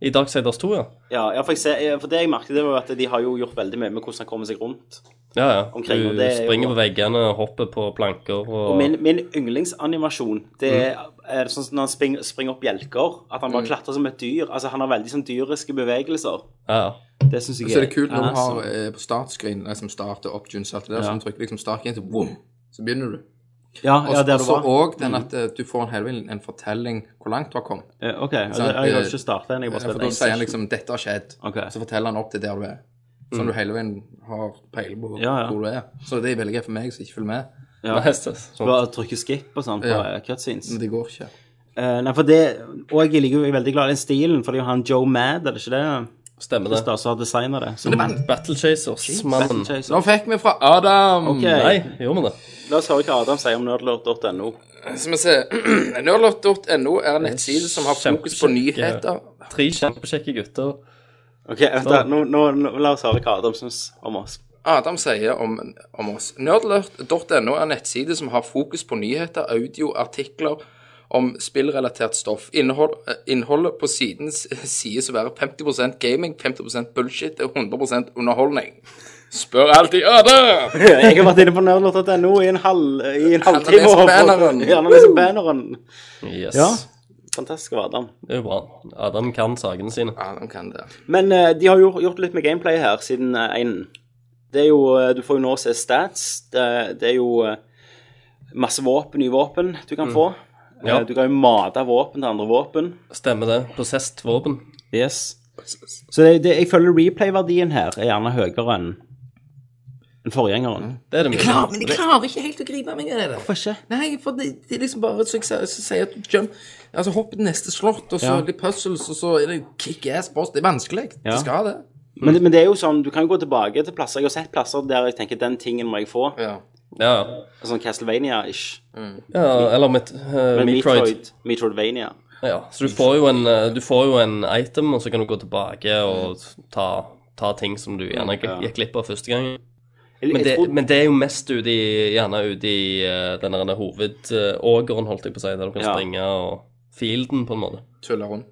Speaker 7: i Darksiders 2, ja.
Speaker 5: Ja, ja for, jeg ser, for det jeg merket, det var jo at de har jo gjort veldig mye med hvordan han kommer seg rundt.
Speaker 7: Ja, ja.
Speaker 5: Omkring, og
Speaker 7: du
Speaker 5: det er jo-
Speaker 7: springer på veggene, hopper på planker og,
Speaker 5: Og min, min yndlingsanimasjon, det er, er sånn som når han spring, springer opp bjelker. At han bare klatrer som et dyr. Altså, han har veldig sånn dyriske bevegelser.
Speaker 7: Ja, ja.
Speaker 5: Det syns jeg
Speaker 6: Så er det kult når du
Speaker 5: awesome.
Speaker 6: har eh, på startscreen liksom start og options og alt det der, så du trykker liksom start igjen, så boom, så begynner du.
Speaker 5: Ja,
Speaker 6: Og
Speaker 5: ja,
Speaker 6: så
Speaker 5: der du var.
Speaker 6: òg den at eh, du får en, helvete- en fortelling hvor langt du har kommet.
Speaker 5: Eh, OK, ja, det,
Speaker 6: Sant,
Speaker 5: jeg har
Speaker 6: eh,
Speaker 5: ikke starta den, jeg bare
Speaker 6: For da
Speaker 5: spilte
Speaker 6: sier han liksom 'dette har skjedd',
Speaker 5: Ok. Mm.
Speaker 6: så forteller han opp til der du er. Sånn du hele veien har peiling på hvor,
Speaker 5: Ja, ja.
Speaker 6: hvor du er. Så det er veldig gøy for meg som ikke følger med.
Speaker 5: Ja.
Speaker 7: Nei, så-
Speaker 5: Du
Speaker 7: sånn.
Speaker 5: bare trykker skip og sånn på
Speaker 6: Ja. Mm.
Speaker 5: cutscenes.
Speaker 6: Men det går ikke.
Speaker 5: Eh, nei, for det, og jeg liker jo jeg er veldig glad i den stilen, for det er jo han Joe Mad, er det ikke det?
Speaker 7: Stemmer
Speaker 5: Hvis
Speaker 7: det.
Speaker 5: det også har designet det. Så,
Speaker 7: Battle Chasers-mannen.
Speaker 5: Chaser.
Speaker 6: Nå fikk vi fra Adam.
Speaker 5: Ok,
Speaker 7: Nei, gjorde vi det?
Speaker 5: la oss høre hva Adam sier om nerdlord.no.
Speaker 6: Skal vi se. Nerdlot.no er en nettside som har fokus på
Speaker 7: Kjempekjekke-
Speaker 6: nyheter.
Speaker 7: Tre kjempekjekke gutter.
Speaker 5: Ok, vent da, nå, nå, nå, la oss høre hva Adam syns om oss.
Speaker 6: Adam sier om, om oss. Nerdlert.no er en nettside som har fokus på nyheter, audio, artikler om spillrelatert stoff. Innhold, eh, innholdet på siden s- sies å være 50 gaming, 50 bullshit og 100 underholdning. Spør alltid Adam!
Speaker 5: Jeg har vært inne på nerdlord.no i en halv i en halvtime.
Speaker 6: leser
Speaker 5: og-
Speaker 6: banneren.
Speaker 5: Ja, han leser banneren.
Speaker 7: Yes.
Speaker 5: Ja. Fantastisk av Adam.
Speaker 7: Det er jo bra. Adam kan sakene sine.
Speaker 6: Adam kan det.
Speaker 5: Men eh, de har gjort, gjort litt med gameplay her siden eh, en. Det er jo, eh, du får jo nå se stats. Det, det er jo eh, masse våpen, nye våpen du kan få. Eh,
Speaker 7: Ja.
Speaker 5: Du kan jo mate våpen til andre våpen.
Speaker 7: Stemmer det. Possessed våpen.
Speaker 5: Yes. Så det, det, jeg føler replay-verdien her er gjerne høyere enn enn forgjengeren.
Speaker 7: Det er det mye.
Speaker 6: Ja, men jeg klarer ikke helt å gripe meg i det. der.
Speaker 5: Hvorfor ikke?
Speaker 6: Nei, for det, det er liksom bare så jeg sier- så sier at jump Altså hopp til neste slott, og så
Speaker 5: Ja.
Speaker 6: litt puzzles, og så er det kick ass boss. Det er vanskelig.
Speaker 5: Ja.
Speaker 6: Det skal det.
Speaker 5: Men, men det er jo sånn, du kan jo gå tilbake til plasser. Jeg har sett plasser der jeg tenker den tingen må jeg få.
Speaker 6: Ja.
Speaker 7: Ja.
Speaker 5: Sånn Castlevania-ish.
Speaker 7: ja eller mitt, eh,
Speaker 5: Men
Speaker 7: Metroid.
Speaker 5: Metroid. Metroidvania.
Speaker 7: Ja, så du får, jo en, eh, du får jo en item, og så kan du gå tilbake og ta, ta ting som du gjerne gikk gikk glipp av første gang.
Speaker 5: Jeg-
Speaker 7: Men
Speaker 5: jeg
Speaker 7: det,
Speaker 5: trodde-
Speaker 7: men det er jo mest ute i, gjerne ute i eh, den der hovedågeren, holdt jeg på å si, der du kan
Speaker 5: Ja.
Speaker 7: springe og fielden, på en måte. Eh,
Speaker 6: Tuller rundt.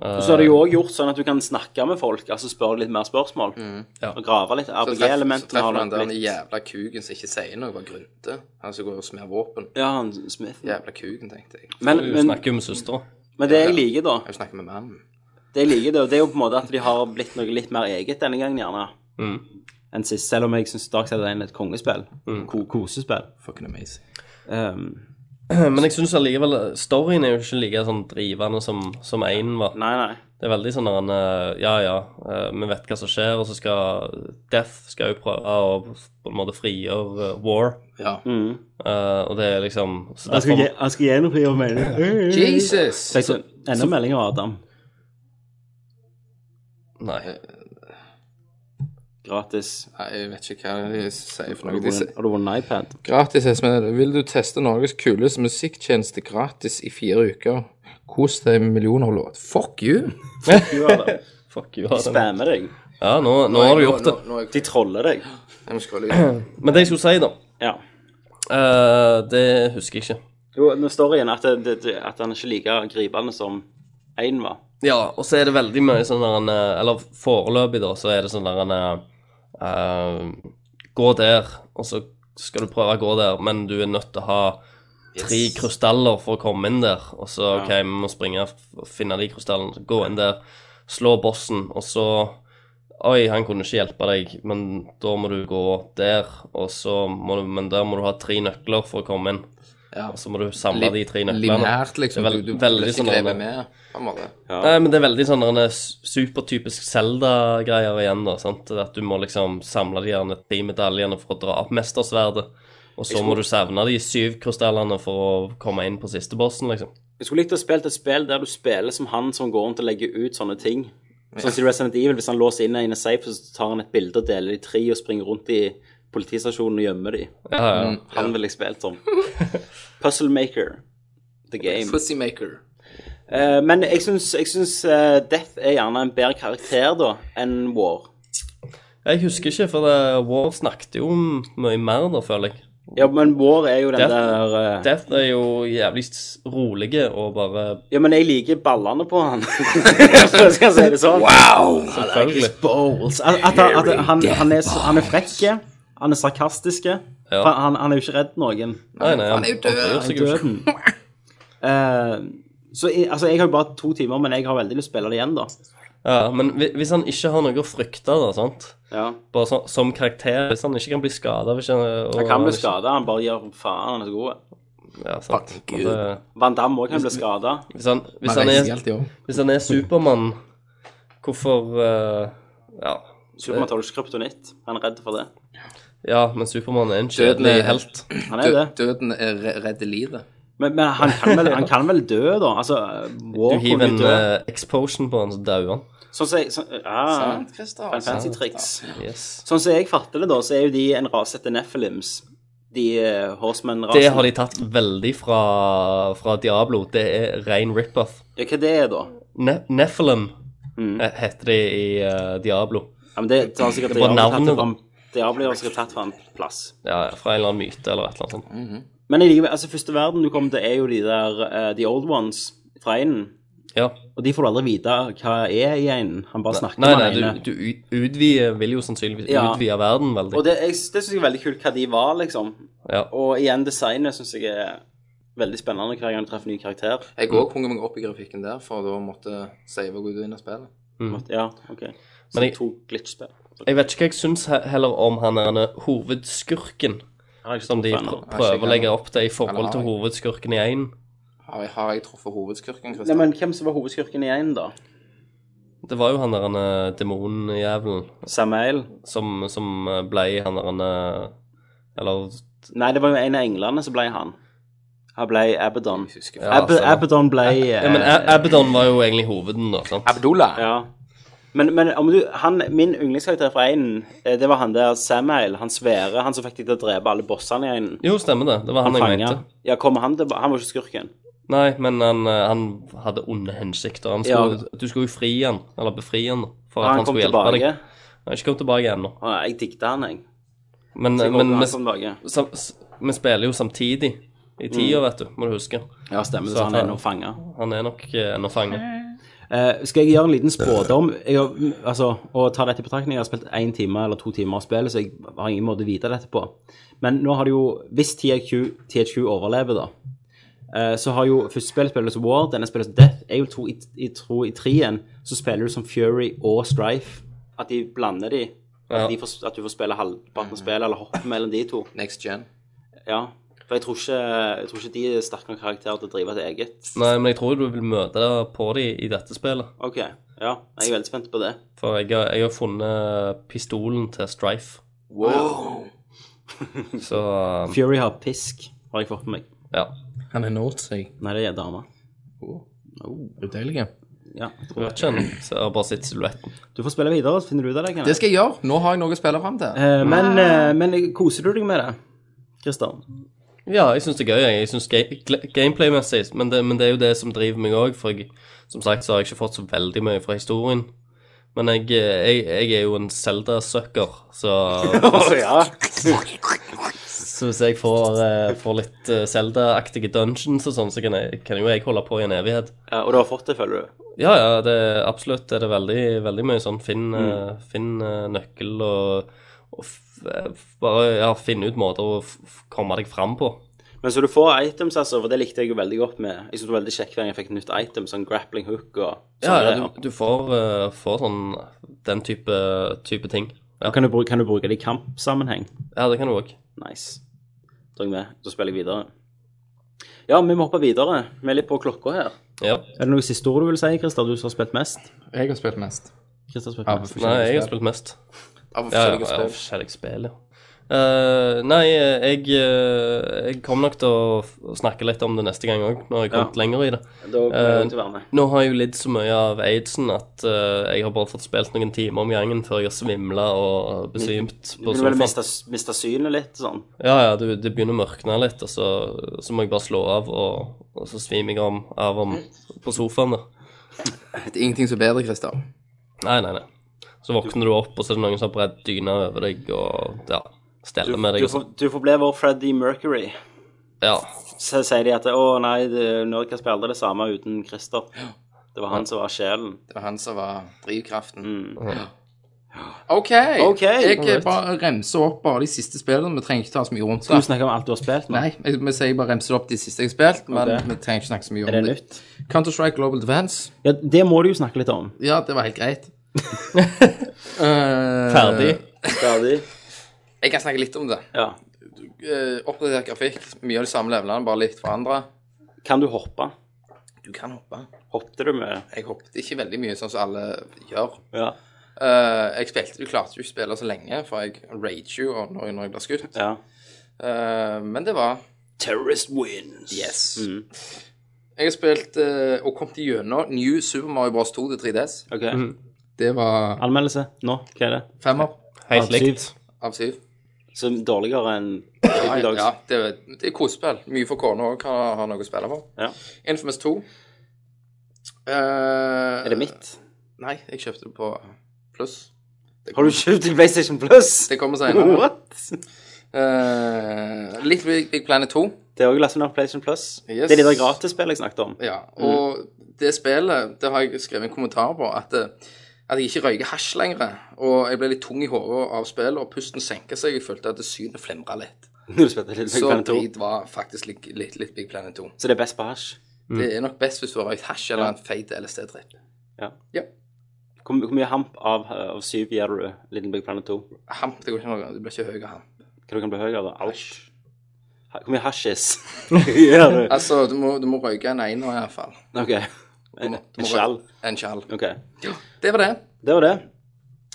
Speaker 5: Og så har de jo òg gjort sånn at du kan snakke med folk, altså spørre litt mer spørsmål.
Speaker 7: Ja.
Speaker 5: Og grave litt.
Speaker 6: Mm. Så treff- så
Speaker 5: RPG-elementene
Speaker 6: treffer
Speaker 5: har
Speaker 6: du han der
Speaker 5: nok
Speaker 6: den
Speaker 5: blitt
Speaker 6: jævla kuken som ikke sier noe, bare grunter. Han som går og smer våpen.
Speaker 5: Ja, han Smith.
Speaker 6: Jævla kuken, tenkte jeg.
Speaker 5: Men,
Speaker 7: Du
Speaker 5: men,
Speaker 7: snakker jo med søstera.
Speaker 5: men det jeg liker, da,
Speaker 6: Jeg snakker med mannen.
Speaker 5: det jeg liker da, det er jo på en måte at de har blitt noe litt mer eget denne gangen, gjerne,
Speaker 7: Mm. Mm.
Speaker 5: enn sist. Selv om jeg syns Darkside er et kongespill. Ko kosespill.
Speaker 6: Fucking amazing.
Speaker 5: Um,
Speaker 7: Men jeg syns allikevel eh, storyen er jo ikke like sånn drivende som, som én var.
Speaker 5: nei, nei.
Speaker 7: Det er veldig sånn der en eh, Ja, ja, eh, vi vet hva som skjer, og så skal Death skal jo prøve å på en måte frigjøre eh, War.
Speaker 6: Ja.
Speaker 5: Mm.
Speaker 7: Eh, og det er liksom så
Speaker 5: Han skal,
Speaker 7: derfor,
Speaker 5: gi- han skal gjenopplive meningen.
Speaker 6: Jesus!
Speaker 5: Fikk du enda melding av Adam?
Speaker 7: Nei.
Speaker 5: Gratis.
Speaker 6: Nei, jeg vet ikke hva de sier for
Speaker 5: Har du
Speaker 6: noe. De sier
Speaker 5: vunnet- har du vunnet iPad?
Speaker 6: gratis SMS. Vil du teste Norges kuleste musikktjeneste gratis i fire uker? Kos deg med millioner av låt. Fuck you!
Speaker 5: Du har det.
Speaker 7: Fuck you, Adam.
Speaker 5: Spammer deg.
Speaker 7: Ja, nå, nå har du gjort det.
Speaker 6: Nå, nå, nå,
Speaker 5: De troller deg.
Speaker 6: jeg må skrolle igjen.
Speaker 7: Men det jeg skulle si, da
Speaker 5: Ja.
Speaker 7: eh, Det husker jeg ikke.
Speaker 5: Jo, nå står det igjen at, det, det, at han ikke er like gripende som én var.
Speaker 7: Ja, og så er det veldig mye sånn der en eh, Eller foreløpig, da, så er det sånn der en eh, Gå der, og så skal du prøve å gå der, men du er nødt til å ha tre krystaller for å komme inn der. Og så OK, vi må springe og finne de krystallene, så gå inn der, slå bossen, og så Oi, han kunne ikke hjelpe deg, men da må du gå der, og så må du Men der må du ha tre nøkler for å komme inn.
Speaker 6: Ja.
Speaker 7: Og så må du samle de tre nøklene.
Speaker 6: Lineært, liksom.
Speaker 7: Det er
Speaker 6: Du,
Speaker 7: vel-
Speaker 6: du
Speaker 7: veldig
Speaker 6: blir ikke
Speaker 7: sånn
Speaker 6: grevet
Speaker 7: der-
Speaker 6: med. på en måte.
Speaker 5: Eh,
Speaker 7: Nei, men det er veldig sånn derne s- supertypisk Zelda-greier igjen, da. sant? At du må liksom samle de gjerne de medaljene for å dra opp mestersverdet. Og så må du savne de syv krystallene for å komme inn på siste bossen, liksom.
Speaker 5: Jeg skulle likt å spille et spill der du spiller som han som går rundt og legger ut sånne ting. Sånn som i Resident Evil, hvis han låser inn en i en safe, så tar han et bilde og deler de tre og springer rundt i politistasjonen og gjemmer de.
Speaker 7: Ja, ja.
Speaker 5: Han ville jeg spilt som. Puzzle Maker. The game.
Speaker 6: Pussymaker.
Speaker 5: Eh, men jeg syns, jeg syns eh, Death er gjerne en bedre karakter da enn War.
Speaker 7: Jeg husker ikke, for det, War snakket jo om mye mer, da, føler jeg.
Speaker 5: Ja, men War er jo den
Speaker 7: Death-
Speaker 5: der eh,
Speaker 7: Death er jo jævlig s- rolige og bare
Speaker 5: Ja, men jeg liker ballene på han. Så Skal jeg si det sånn?
Speaker 7: Selvfølgelig.
Speaker 5: Bowles. At, at, han- at han, han, er, så- han er frekke, han er sarkastiske.
Speaker 7: Ja.
Speaker 5: Han, han, han er jo ikke redd noen.
Speaker 7: Nei, nei, han,
Speaker 6: er jo død.
Speaker 7: bryr seg jo ikke.
Speaker 5: Døden. Eh, så jeg, altså, jeg har jo bare to timer, men jeg har veldig lyst til å spille det igjen, da.
Speaker 7: Ja, men hvi- hvis han ikke har noe å frykte, da, sant
Speaker 5: Ja.
Speaker 7: Bare så, som karakter, hvis han ikke kan bli skada hvis han og-
Speaker 5: Han kan bli
Speaker 7: ikke-
Speaker 5: skada, han bare gir faen, han er så god.
Speaker 7: Ja, sant. Men det-
Speaker 5: Van Damme òg kan bli skada.
Speaker 7: Hvis han, hvis
Speaker 6: Man
Speaker 7: han,
Speaker 6: reiser
Speaker 7: er,
Speaker 6: helt i år.
Speaker 7: hvis han er Supermann, hvorfor eh, Ja.
Speaker 5: Supermann tåler ikke kryptonitt. Han er redd for det.
Speaker 7: Ja, men Supermann er en
Speaker 6: Døden
Speaker 7: kjedelig
Speaker 6: er-
Speaker 7: helt.
Speaker 5: Han er jo det.
Speaker 6: Døden er re- redder livet.
Speaker 5: Men, men han, kan vel, han kan vel dø, da? Altså,
Speaker 7: Du
Speaker 5: War
Speaker 7: hiver
Speaker 5: kunne
Speaker 7: en
Speaker 5: dø.
Speaker 7: eh, exposion på han, så dauer han.
Speaker 5: Sånn som jeg sånn, ah,
Speaker 6: Sant, Christer?
Speaker 5: Final Fantasy-triks.
Speaker 7: Yes.
Speaker 5: Sånn som jeg fatter det, da, så er jo de en rase etter Nephilims. De eh, Horseman-rasen.
Speaker 7: Det har de tatt veldig fra, fra Diablo. Det er rein rip-off.
Speaker 5: Ja, hva det er da?
Speaker 7: Ne Nephilim eh, heter de i eh, Diablo.
Speaker 5: Ja, men det, det har sikkert
Speaker 7: Det var
Speaker 5: Diablo tatt
Speaker 7: navnet,
Speaker 5: det
Speaker 7: da.
Speaker 5: fram. Diablo har sikkert tatt fra en plass.
Speaker 7: Ja, ja, fra en eller annen myte eller et eller annet sånt.
Speaker 5: Men allikevel, altså, første verden du kommer til, er jo de der eh, The Old Ones fra einen.
Speaker 7: Ja.
Speaker 5: Og de får du aldri vite hva er i einen. Han bare snakker
Speaker 7: Nei,
Speaker 5: med
Speaker 7: nei,
Speaker 5: den ene.
Speaker 7: du, du ut- utvider Vil jo sannsynligvis
Speaker 5: Ja.
Speaker 7: utvide verden veldig.
Speaker 5: Og det, jeg, det syns jeg er veldig kult hva de var, liksom.
Speaker 7: Ja.
Speaker 5: Og igjen, designet syns jeg er veldig spennende hver gang du treffer en ny karakter.
Speaker 6: Jeg òg hang meg opp i grafikken der, for da måtte save og gå inn og spille.
Speaker 5: Ja, OK. Så
Speaker 7: Mm. Men jeg-
Speaker 5: jeg... to glitchspill.
Speaker 7: Jeg vet ikke hva jeg syns he- heller om han er denne hovedskurken. Som de pr prøver å legge opp til i forhold til hovedskurken i 1.
Speaker 6: Har jeg, har jeg truffet hovedskurken,
Speaker 5: Nei,
Speaker 6: Christer?
Speaker 5: men hvem som var hovedskurken i én, da?
Speaker 7: Det var jo han der denne demonjævelen
Speaker 5: Samael?
Speaker 7: som, som ble han der denne- Eller
Speaker 5: Nei, det var jo en av englene som ble han. Han ble Abaddon.
Speaker 7: Ja,
Speaker 5: Ab
Speaker 7: stemmer.
Speaker 5: Abaddon ble eh,
Speaker 7: Ja, men A- Abaddon var jo egentlig hoveden, da. sant?
Speaker 6: Abdullah.
Speaker 5: ja. Men, men om du, han, min yndlingskarakter fra einen, eh, det var han der Samael. Han svære, han som fikk deg til å drepe alle bossene i einen.
Speaker 7: Jo, stemmer det. Det var han, jeg
Speaker 5: Fanga.
Speaker 7: mente.
Speaker 5: Ja, kommer han tilbake? Han var ikke skurken.
Speaker 7: Nei, men han, eh, han hadde onde hensikter. Han skulle, Du skulle jo fri han, eller befri han, da, for at
Speaker 5: Han,
Speaker 7: han,
Speaker 5: kom
Speaker 7: skulle hjelpe
Speaker 5: tilbake.
Speaker 7: deg. Han har ikke kommet tilbake ennå.
Speaker 5: Å, nei, jeg digget han, jeg.
Speaker 7: Men,
Speaker 5: Så jeg håper
Speaker 7: men
Speaker 5: han
Speaker 7: vi,
Speaker 5: kom tilbake.
Speaker 7: sam, s- vi spiller jo samtidig. I tida, vet du, må du huske.
Speaker 5: Ja, stemmer.
Speaker 7: Så
Speaker 5: Så han
Speaker 7: at
Speaker 5: er
Speaker 7: han-
Speaker 5: nå fanga.
Speaker 7: Han er nok eh, ennå fanget.
Speaker 5: Eh, skal jeg gjøre en liten spådom? Jeg har, altså, og ta dette i betraktning, jeg har spilt én time eller to timer av spillet, så jeg har ingen måte å vite dette på. Men nå har det jo Hvis THQ, THQ overlever, da, eh, så har jo første spillet spilles som War, denne spilles Death. Jeg vil tro i, i, tro i trien så spiller du som Fury og Strife. At de blander de. At,
Speaker 7: Ja.
Speaker 5: de får, at du får spille halvparten av spillet, eller hoppe mellom de to.
Speaker 6: Next gen.
Speaker 5: Ja. For jeg tror ikke, jeg tror ikke de er sterke nok karakterer til å drive et eget.
Speaker 7: Nei, men jeg tror du vil møte deg på de i dette spillet.
Speaker 5: OK. Ja, jeg er veldig spent på det.
Speaker 7: For jeg har, jeg har funnet pistolen til Strife. Wow! Så eh,
Speaker 5: Fury har pisk, har jeg fått med meg.
Speaker 7: ja.
Speaker 6: Han er nådd seg.
Speaker 5: Nei, det er dama.
Speaker 6: Udeilig.
Speaker 5: Ja, jeg
Speaker 7: Jeg
Speaker 5: tror det.
Speaker 7: vet ikke, jeg har bare sett silhuetten.
Speaker 5: Du får spille videre, så finner du ut av det. Kan
Speaker 6: Det
Speaker 5: jeg?
Speaker 6: skal jeg gjøre. Nå har jeg noe å spille fram til.
Speaker 5: Eh, men, eh, men koser du deg med det, Christer?
Speaker 7: Ja, jeg syns det er gøy. jeg. Jeg synes ga gla- Gameplay-messig, men, det- men det er jo det som driver meg òg. For jeg, som sagt så har jeg ikke fått så veldig mye fra historien. Men jeg, jeg, jeg er jo en Zelda-sucker, så,
Speaker 5: ja.
Speaker 7: så hvis jeg får, eh, får litt eh, Zelda-aktige dungeons og sånn, så kan, jeg, kan jo jeg holde på i en evighet.
Speaker 5: Og du har fått det, føler du?
Speaker 7: Ja, ja, det, absolutt er det veldig, veldig mye sånn finn, eh, finn eh, nøkkel og, og f, eh, f- bare ja, finne ut måter å f, f, komme deg fram på.
Speaker 5: Men så du får items, altså, for det likte jeg jo veldig godt med. Jeg synes det var veldig kjekt hver gang jeg fikk et nytt item, sånn grappling hook og sånn.
Speaker 7: Ja, ja
Speaker 5: greier.
Speaker 7: du, du får, eh, får sånn den type, type ting.
Speaker 5: Og Kan, du bruke, kan du bruke det i kampsammenheng?
Speaker 7: Ja, det kan du òg.
Speaker 5: Nice. Da er jeg med. Da spiller jeg videre. Ja, vi må hoppe videre. Vi er litt på klokka her.
Speaker 7: Ja.
Speaker 5: Er det noe siste ord du vil si, Christer? Du som har spilt mest?
Speaker 6: Eh, Jeg har spilt mest.
Speaker 5: Christer har spilt
Speaker 6: Av
Speaker 5: mest.
Speaker 7: Nei,
Speaker 6: forskjellige
Speaker 7: jeg har
Speaker 6: spill.
Speaker 7: spilt mest.
Speaker 6: Av
Speaker 7: Ja, ja,
Speaker 6: forskjellige
Speaker 7: ja,
Speaker 6: spill.
Speaker 7: forskjellige spill, ja. Eh, nei, jeg, eh, jeg kommer nok til å f- snakke litt om det neste gang òg, når jeg har kommet lenger i det.
Speaker 5: Da kommer jeg til å være med.
Speaker 7: Nå har jeg jo lidd så mye av aidsen at eh, jeg har bare fått spilt noen timer om gangen før jeg har svimla og besvimt på
Speaker 5: Du vil
Speaker 7: sofaen.
Speaker 5: miste, miste synet litt, sånn.
Speaker 7: Ja, ja, du, det begynner å mørkne litt, og så, så må jeg bare slå av, og, og så svimer jeg om, av om på sofaen. da.
Speaker 6: Det er ingenting som er bedre, Christer.
Speaker 7: Nei, nei, nei. Så våkner du opp, og så er det noen som har bredd dyna over deg og ja,
Speaker 5: Du,
Speaker 7: steller med
Speaker 5: du,
Speaker 7: deg. og
Speaker 5: får,
Speaker 7: sånn.
Speaker 5: du får bli vår Freddie Mercury.
Speaker 7: Ja,
Speaker 5: Så sier de at å nei, det- Nerdcast ble aldri det samme uten Christer. Det var han som var sjelen.
Speaker 6: Det var han som var drivkraften.
Speaker 7: Mhm.
Speaker 6: Ja. OK.
Speaker 5: Ok,
Speaker 6: Jeg
Speaker 7: alright.
Speaker 6: bare remser opp bare de siste spillene. Vi trenger ikke ta så mye rundt
Speaker 5: Skal du
Speaker 6: det.
Speaker 5: snakke om alt du har spilt nå?
Speaker 6: Nei, jeg, vi sier bare remser opp de siste jeg har spilt, men
Speaker 5: Ok.
Speaker 6: vi trenger ikke snakke så mye
Speaker 5: Er det
Speaker 6: om det.
Speaker 5: nytt?
Speaker 6: Counter-Strike Global Defense.
Speaker 5: Ja, det må du jo snakke litt om.
Speaker 6: Ja, det var helt greit. Eh,
Speaker 7: ferdig.
Speaker 5: Ferdig?
Speaker 6: Jeg kan snakke litt om det.
Speaker 5: Ja.
Speaker 6: Eh, Oppdatert grafikk, mye av de samme levelene, bare litt forandra.
Speaker 5: Kan du hoppe?
Speaker 6: Du kan hoppe.
Speaker 5: Hoppte du med?
Speaker 6: Jeg hoppet ikke veldig mye, sånn som alle gjør.
Speaker 5: Ja.
Speaker 6: Eh, jeg spilte, du klarte jo ikke å spille så lenge, for jeg rager jo når, når jeg blir skutt.
Speaker 5: Ja.
Speaker 6: Eh, men det var
Speaker 5: Terrorist wins. Mm.
Speaker 6: Yes. Jeg har spilt eh, og kommet gjennom New Super Mario Bros. 2 til 3DS.
Speaker 5: Ok.
Speaker 6: Det var
Speaker 5: Mm. Anmeldelse nå. Hva er det?
Speaker 6: femmer
Speaker 7: Helt
Speaker 5: Av syv.
Speaker 7: likt.
Speaker 6: av syv.
Speaker 5: Så dårligere enn
Speaker 6: Ja,
Speaker 5: i dag.
Speaker 6: ja, det, er- det er kosespill. Mye for kona òg har, har noe å spille for.
Speaker 5: Ja.
Speaker 6: Infamous 2. Eh,
Speaker 5: Er det mitt?
Speaker 6: Nei, jeg kjøpte det på Pluss. Det
Speaker 5: Har du kjøpt til PlayStation Plus?
Speaker 6: Det kommer senere.
Speaker 5: What?
Speaker 6: Uh, Little Big, Big Planet 2.
Speaker 5: Det er også lastet ned på PlayStation Plus.
Speaker 6: Yes.
Speaker 5: Det er de der gratisspillene jeg snakket om.
Speaker 6: Ja, og det spillet, det har jeg skrevet en kommentar på, at, eh, at jeg ikke røyker hasj lenger. Og jeg ble litt tung i hodet av spillet, og pusten senket seg. Jeg følte at synet flimra litt.
Speaker 5: Når du spilte Little Big
Speaker 6: Så
Speaker 5: Planet 2.
Speaker 6: drit var faktisk litt, litt, litt Big Planet 2.
Speaker 5: Så det er best på hasj.
Speaker 6: Det er nok best hvis du har røykt hasj eller en feit LSD-tripp.
Speaker 5: Ja.
Speaker 6: Ja.
Speaker 5: Hvor, hvor mye hamp av, av syv gir du Little Big Planet 2?
Speaker 6: Hamp, det går ikke noe. Du blir ikke høy av hamp.
Speaker 5: Hva du kan bli høyere? Alt. Ha- Hvor mye hasjis gjør du?
Speaker 6: Altså, du må, du må røyke en einer i hvert fall.
Speaker 5: OK.
Speaker 6: Du må-
Speaker 5: En,
Speaker 6: du må
Speaker 5: en skjall.
Speaker 6: røyke En skjall.
Speaker 5: OK.
Speaker 6: Det var det.
Speaker 5: Det var det.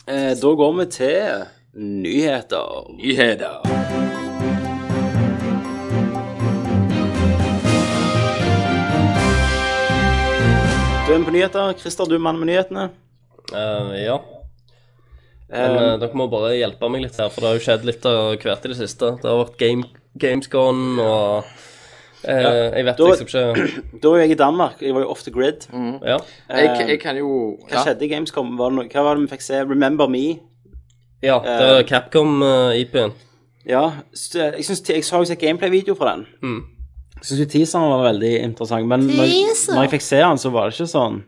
Speaker 5: Eh, da går vi til nyheter.
Speaker 6: Nyheter.
Speaker 5: Du er med på nyheter. Christer, du er mann med nyhetene.
Speaker 7: Eh, ja. Men
Speaker 5: Eh,
Speaker 7: eh, dere må bare hjelpe meg litt her, for det har jo skjedd litt av hvert i det siste. Det har vært game, Gamescon og eh, Jeg vet
Speaker 5: da-
Speaker 7: liksom ikke
Speaker 5: da var jeg i Danmark. Jeg var jo off the grid.
Speaker 6: Mm.
Speaker 7: Ja.
Speaker 6: Jeg, jeg kan jo
Speaker 5: Eh, Hva skjedde i Gamescom? Var det noe, hva var det vi fikk se? Remember Me?
Speaker 7: ja det
Speaker 5: Eh.
Speaker 7: eh, er Capcom-IP-en.
Speaker 5: Ja. s- Jeg, synes, jeg så jo sett gameplay-video fra den. Jeg syns teaseren var veldig interessant, men når,
Speaker 4: Teaser?
Speaker 5: når jeg fikk se den, så var det ikke sånn.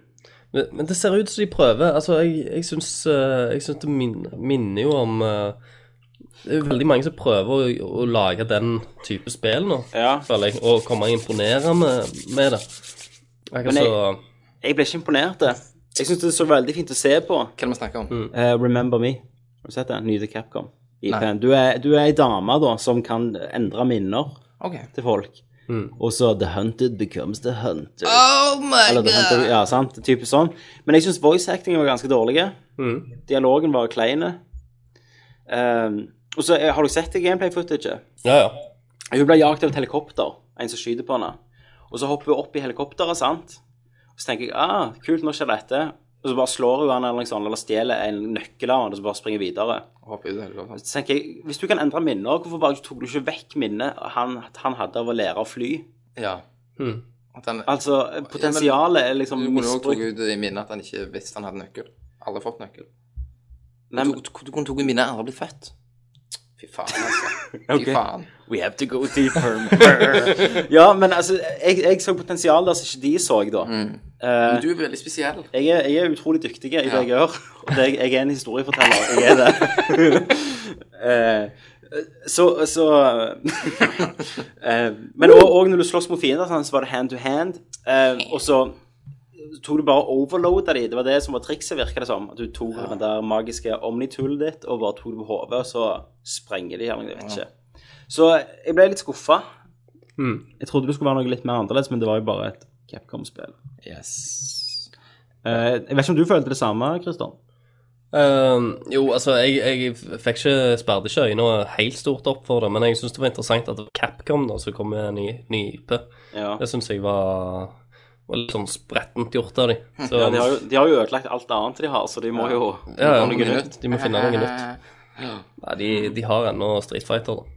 Speaker 7: Men, men det ser ut som de prøver. Altså, jeg, jeg syns, eh, jeg syns det min, minner jo om eh, Det er jo veldig mange som prøver å, å lage den type spill nå,
Speaker 5: Ja.
Speaker 7: føler jeg, og komme og imponere med, med det. Akkurat
Speaker 5: Men jeg-
Speaker 7: så
Speaker 5: Jeg ble ikke imponert. det. Jeg syns det så veldig fint å se på.
Speaker 6: Hva er det vi snakker om?
Speaker 5: Eh, Remember Me. Har du sett den? Nye til Capcom. IP-en. Du er, du er ei dame da, som kan endre minner
Speaker 6: OK.
Speaker 5: til folk. Og så The Hunted becomes The Hunted.
Speaker 6: Oh my
Speaker 5: Eller The Hunted, ja, sant? Typisk sånn. Men jeg syns voice acting var ganske dårlig.
Speaker 7: Mm.
Speaker 5: Dialogen var kleine. Ehm, og så eh, Har du sett det gameplay-footaget?
Speaker 7: Ja, ja.
Speaker 5: Hun blir jagt av et helikopter, en som skyter på henne. Og så hopper hun opp i helikopteret, sant? Og så tenker jeg, ah, kult, nå skjer dette. Og så bare slår hun han eller noe sånt, eller stjeler en nøkkel av han, og så bare springer videre.
Speaker 6: Hoppe ut av helikopteren.
Speaker 5: Så tenker jeg, hvis du kan endre minner, hvorfor bare tok du ikke vekk minnet han, han hadde av å lære å fly?
Speaker 6: Ja.
Speaker 5: Mm.
Speaker 6: At han,
Speaker 5: Altså, potensialet er liksom
Speaker 6: du kunne jo tatt
Speaker 5: misbrukt.
Speaker 6: ut i minnet at han ikke visste han hadde nøkkel. Aldri fått nøkkel.
Speaker 5: Nei,
Speaker 6: Du,
Speaker 5: men-
Speaker 6: du, du kunne tatt ut minnet aldri blitt født. Fy faen, altså.
Speaker 5: Ok.
Speaker 6: Fy faen.
Speaker 5: We have to go deeper. man. ja, men altså, jeg, jeg så potensial der som ikke de så,
Speaker 6: Mm.
Speaker 5: da.
Speaker 6: Men du er veldig spesiell.
Speaker 5: Jeg er, jeg er utrolig dyktig i det jeg gjør. Og det, jeg er en historieforteller. Jeg er det. Eh, så så eh, Men òg når du slåss mot fiender, sånn, så var det hand to hand. Eh, og så tok du bare overloada de. Det var det som var trikset, virka det som. At du tok den der magiske omnitulet ditt og bare tok det på hodet, og så sprenger de eller noe, jeg vet ikke. Så jeg ble litt skuffa. Jeg trodde det skulle være noe litt mer annerledes, men det var jo bare et Capcom-spill.
Speaker 6: Yes.
Speaker 5: Eh, jeg vet ikke om du følte det samme, Kristian?
Speaker 7: Ehm, jo, altså, jeg, jeg fikk ikke sperret ikke øynene helt stort opp for det, men jeg syns det var interessant at det var Capcom da, som kom med en ny, ny IP.
Speaker 5: Ja.
Speaker 7: Det syns jeg var, var litt sånn sprettent gjort av de. Så
Speaker 5: de, har jo, de har jo ødelagt alt annet de har, så de må jo
Speaker 7: ja,
Speaker 5: ha
Speaker 7: noe
Speaker 5: noe nytt.
Speaker 7: nytt. De må finne noe nytt. Nei, de, de har ennå Street Fighter, da.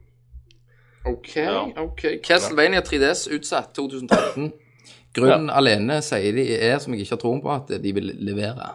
Speaker 6: OK, OK. Castlevania 3DS utsatt 2013. Grunnen alene sier de er, som jeg ikke har troen på, at de vil levere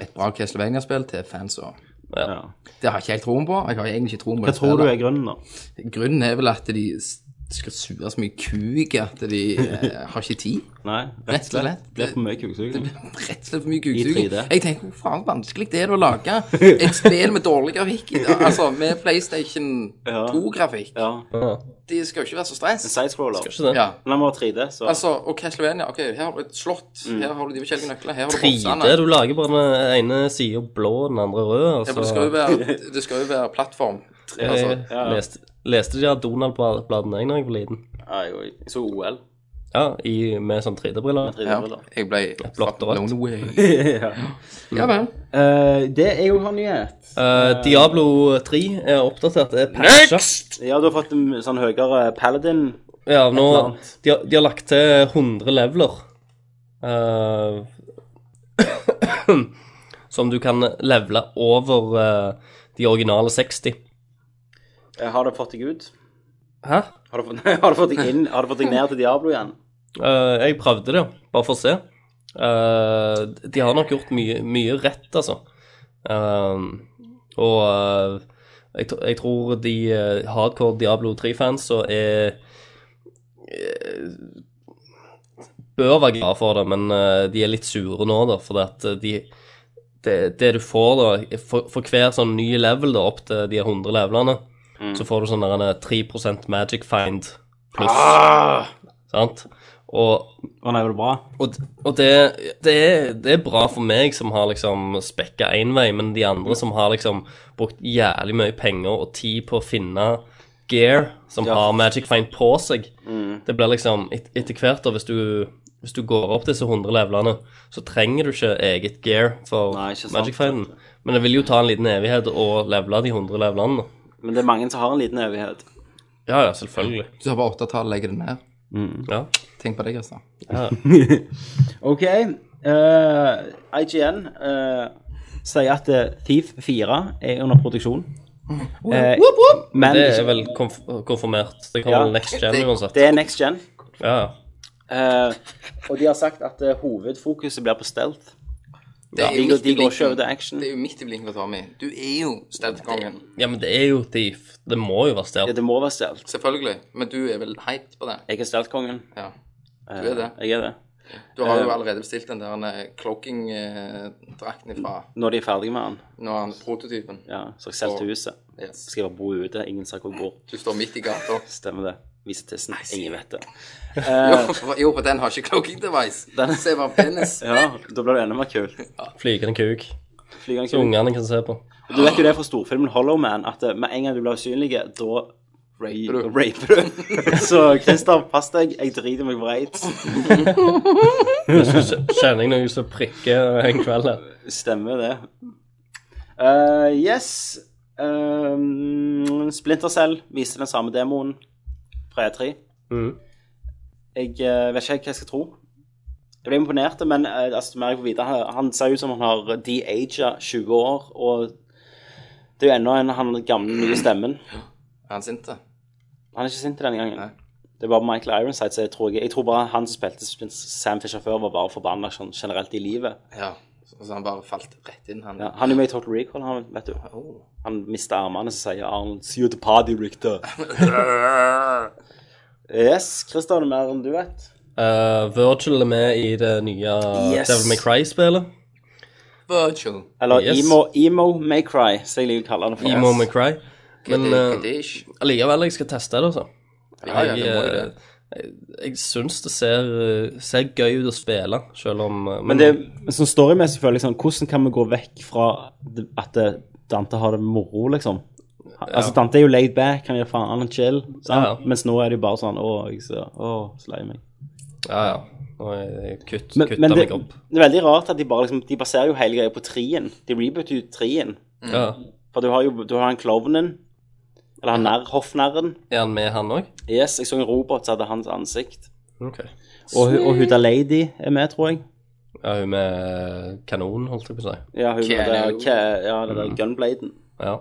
Speaker 6: et bra Castlevania-spill til fansa.
Speaker 7: Ja.
Speaker 5: Ja.
Speaker 6: Det har jeg ikke helt troen på. Jeg har egentlig ikke troen på
Speaker 5: Hva
Speaker 6: det
Speaker 5: tror du
Speaker 6: spillet.
Speaker 5: er grunnen, da?
Speaker 6: Grunnen er vel at de s- skal suge så mye kuk at de eh, har ikke tid.
Speaker 5: Nei,
Speaker 6: Rett og slett.
Speaker 5: Det er for mye kuksuging.
Speaker 6: Rett og slett for mye
Speaker 5: I 3D.
Speaker 6: kuksuging. Jeg tenker hvor faen vanskelig det er å lage et spill med dårlig grafikk. Altså med PlayStation
Speaker 5: Ja.
Speaker 6: 2-grafikk.
Speaker 5: Ja.
Speaker 6: Det skal jo ikke være så stress.
Speaker 5: Sidescroller.
Speaker 7: Ikke det?
Speaker 6: Ja.
Speaker 5: Men han må ha 3D, så
Speaker 6: Altså, og Castlevania OK, her har du et slott. Her har du de forskjellige nøklene. Her har du
Speaker 7: 3D,
Speaker 6: bossene.
Speaker 7: Mm. du lager bare den ene sida blå, den andre rød.
Speaker 6: Ja,
Speaker 7: Altså.
Speaker 6: for det skal jo være, det skal jo være plattform. Altså,
Speaker 7: jeg leste, leste de av Donald-bladene jeg da jeg var liten.
Speaker 5: ja, jeg, jeg så OL.
Speaker 7: Ja, i, med sånn 3D-briller.
Speaker 6: Ja, jeg ble
Speaker 7: blått og rødt.
Speaker 6: blown away. Ja vel.
Speaker 5: Eh, det er jo en nyhet.
Speaker 7: Eh, Diablo 3 er oppdatert. Det er patcha.
Speaker 5: Ja, du har fått en sånn høyere paladin.
Speaker 7: Ja, nå,
Speaker 5: eller annet.
Speaker 7: de, har, de har lagt til 100 leveler. eh, som du kan levele over eh, de originale 60.
Speaker 5: Eh, Har det fått deg ut?
Speaker 7: Hæ?
Speaker 5: Har det fått, har det fått deg inn? Har det fått deg ned til Diablo igjen?
Speaker 7: Eh, jeg prøvde det, bare for å se. Eh, de har nok gjort mye, mye rett, altså. Eh, og eh, jeg, tr- jeg tror de eh, hardcore Diablo 3-fans så er eh, Bør være glad for det, men eh, de er litt sure nå, da, fordi at eh, de det, det du får, da, for, for hver sånn ny level, da, opp til de 100 levelene, så får du sånn der en, eh, 3 magic find pluss. Sant? Og
Speaker 5: Å nei, var det bra?
Speaker 7: og, og det, det, er, det er bra for meg som har liksom spekka én vei, men de andre som har liksom brukt jævlig mye penger og tid på å finne gear som har Magic Find på seg. Det blir liksom et, etter hvert, da, hvis du, hvis du går opp disse 100 levelene, så trenger du ikke eget gear for
Speaker 5: Nei, ikke sant.
Speaker 7: Magic Finden. Men det vil jo ta en liten evighet å levele de 100 levelene. da.
Speaker 5: Men det er mange som har en liten evighet.
Speaker 7: Ja, ja, selvfølgelig.
Speaker 6: Du tar bare åttetall, legger det ned.
Speaker 7: Ja.
Speaker 6: Tenk på altså. det, Kristian.
Speaker 5: OK. eh, IGN eh, sier at eh, Thief 4 er under produksjon. Eh, men
Speaker 7: Det er vel konf konfirmert. Det kommer
Speaker 5: Ja.
Speaker 7: vel next gen uansett.
Speaker 5: det er next gen.
Speaker 7: Ja, ja.
Speaker 5: Eh, og de har sagt at eh, hovedfokuset blir på stealth.
Speaker 6: Det er
Speaker 5: De,
Speaker 6: jo
Speaker 5: går-
Speaker 6: midt
Speaker 5: de
Speaker 6: i
Speaker 5: går ikke over
Speaker 6: blinken.
Speaker 5: til action.
Speaker 6: Det er jo midt i blinken, Tommy. Du er jo steadkongen.
Speaker 7: Ja, men det er jo Thief. Det må jo være
Speaker 5: Ja,
Speaker 7: stjålet.
Speaker 5: det må være stealth.
Speaker 6: Selvfølgelig. Men du er vel hyped på det?
Speaker 5: Jeg er stealth-kongen.
Speaker 6: Ja. Du er det.
Speaker 7: Eh,
Speaker 5: Jeg er det.
Speaker 6: Du har jo allerede bestilt den der eh, cloaking-drakten ifra
Speaker 5: Når de er ferdige med den,
Speaker 6: når han prototypen.
Speaker 5: ja, så har jeg selger til huset.
Speaker 6: Yes.
Speaker 5: Skal jeg bare bo ute, ingen ser hvor jeg bor.
Speaker 6: Du står midt i gata.
Speaker 5: Stemmer det. Viser tissen. Ingen vet det.
Speaker 6: Eh, Jo, Jo, for den har ikke cloaking device. Se hva penis.
Speaker 5: Ja, da blir det enda mer kult.
Speaker 7: Flygende kuk.
Speaker 5: Flygende
Speaker 7: Så
Speaker 5: kul.
Speaker 7: ungene kan se på.
Speaker 5: Du vet jo det fra storfilmen Hollow Man, at eh, med en gang du blir usynlig, da raper du. Raper du. Så Christer, pass deg. Jeg driter meg vreit.
Speaker 7: Så kj- Kjenner jeg noe som prikker en kveld her.
Speaker 5: Stemmer det. Eh, yes. Um, Splinter Cell viser den samme demoen fra E3.
Speaker 7: Mhm.
Speaker 5: Jeg eh, vet ikke helt hva jeg skal tro. Jeg ble imponert, men eh, altså, mer jeg får vite, han- han ser ut som han har de-aga 20 år, og det er jo enda en han gamle, nye stemmen.
Speaker 6: Er han sint? da?
Speaker 5: Han er ikke sint denne gangen.
Speaker 6: Nei.
Speaker 5: Det er bare Michael Ironside, så jeg tror, jeg, jeg tror bare han som spilte Splinter- Sam Fisher før, var bare forbanna sånn generelt i livet.
Speaker 6: Ja. Så så han bare falt rett inn, han.
Speaker 5: Ja, han er med i Total Recall, han, vet du.
Speaker 6: Oh.
Speaker 5: Han mister armene, så sier Arnold See you at the party, Richter. yes, Christer, det er mer enn du vet.
Speaker 7: Eh, Virgil er med i det nye
Speaker 5: Yes.
Speaker 7: Devil May Cry-spillet.
Speaker 6: Virtual.
Speaker 5: Eller
Speaker 7: Yes.
Speaker 5: emo, emo May Cry, som jeg liker å kalle det for.
Speaker 7: Emo May Cry. Men eh,
Speaker 6: Kadish.
Speaker 7: allikevel, jeg skal teste det, altså.
Speaker 6: Ja, ja,
Speaker 7: Jeg,
Speaker 6: det må jo
Speaker 7: eh,
Speaker 6: det.
Speaker 7: jeg syns det ser, eh, ser gøy ut å spille, selv om eh,
Speaker 5: Men det men sånn storymessig føler jeg sånn Hvordan kan vi gå vekk fra det- at det- Dante har det moro, liksom? Han- Altså, Dante er jo laid back, han gir faen, han er chill, sant?
Speaker 7: Ja.
Speaker 5: Mens nå er det jo bare sånn Å, jeg ser Å, slei meg.
Speaker 7: Ja, ja. Nå er jeg kutt,
Speaker 5: Men,
Speaker 7: kutta
Speaker 5: men det,
Speaker 7: meg opp.
Speaker 5: det er veldig rart at de bare liksom De baserer jo hele greia på trien. De rebooter jo trien.
Speaker 7: Ja.
Speaker 5: For du har jo du har han klovnen, eller han nær, hoffnarren.
Speaker 7: Er han med, han òg?
Speaker 5: Yes, jeg så en robot som hadde hans ansikt.
Speaker 7: OK.
Speaker 5: Og, hu- og Huda Lady er med, tror jeg.
Speaker 7: Ja, hun med kanonen, holdt jeg på å si.
Speaker 5: Ja, hun med
Speaker 6: Keanu.
Speaker 5: det, ke, ja, det der gunbladen
Speaker 7: Ja.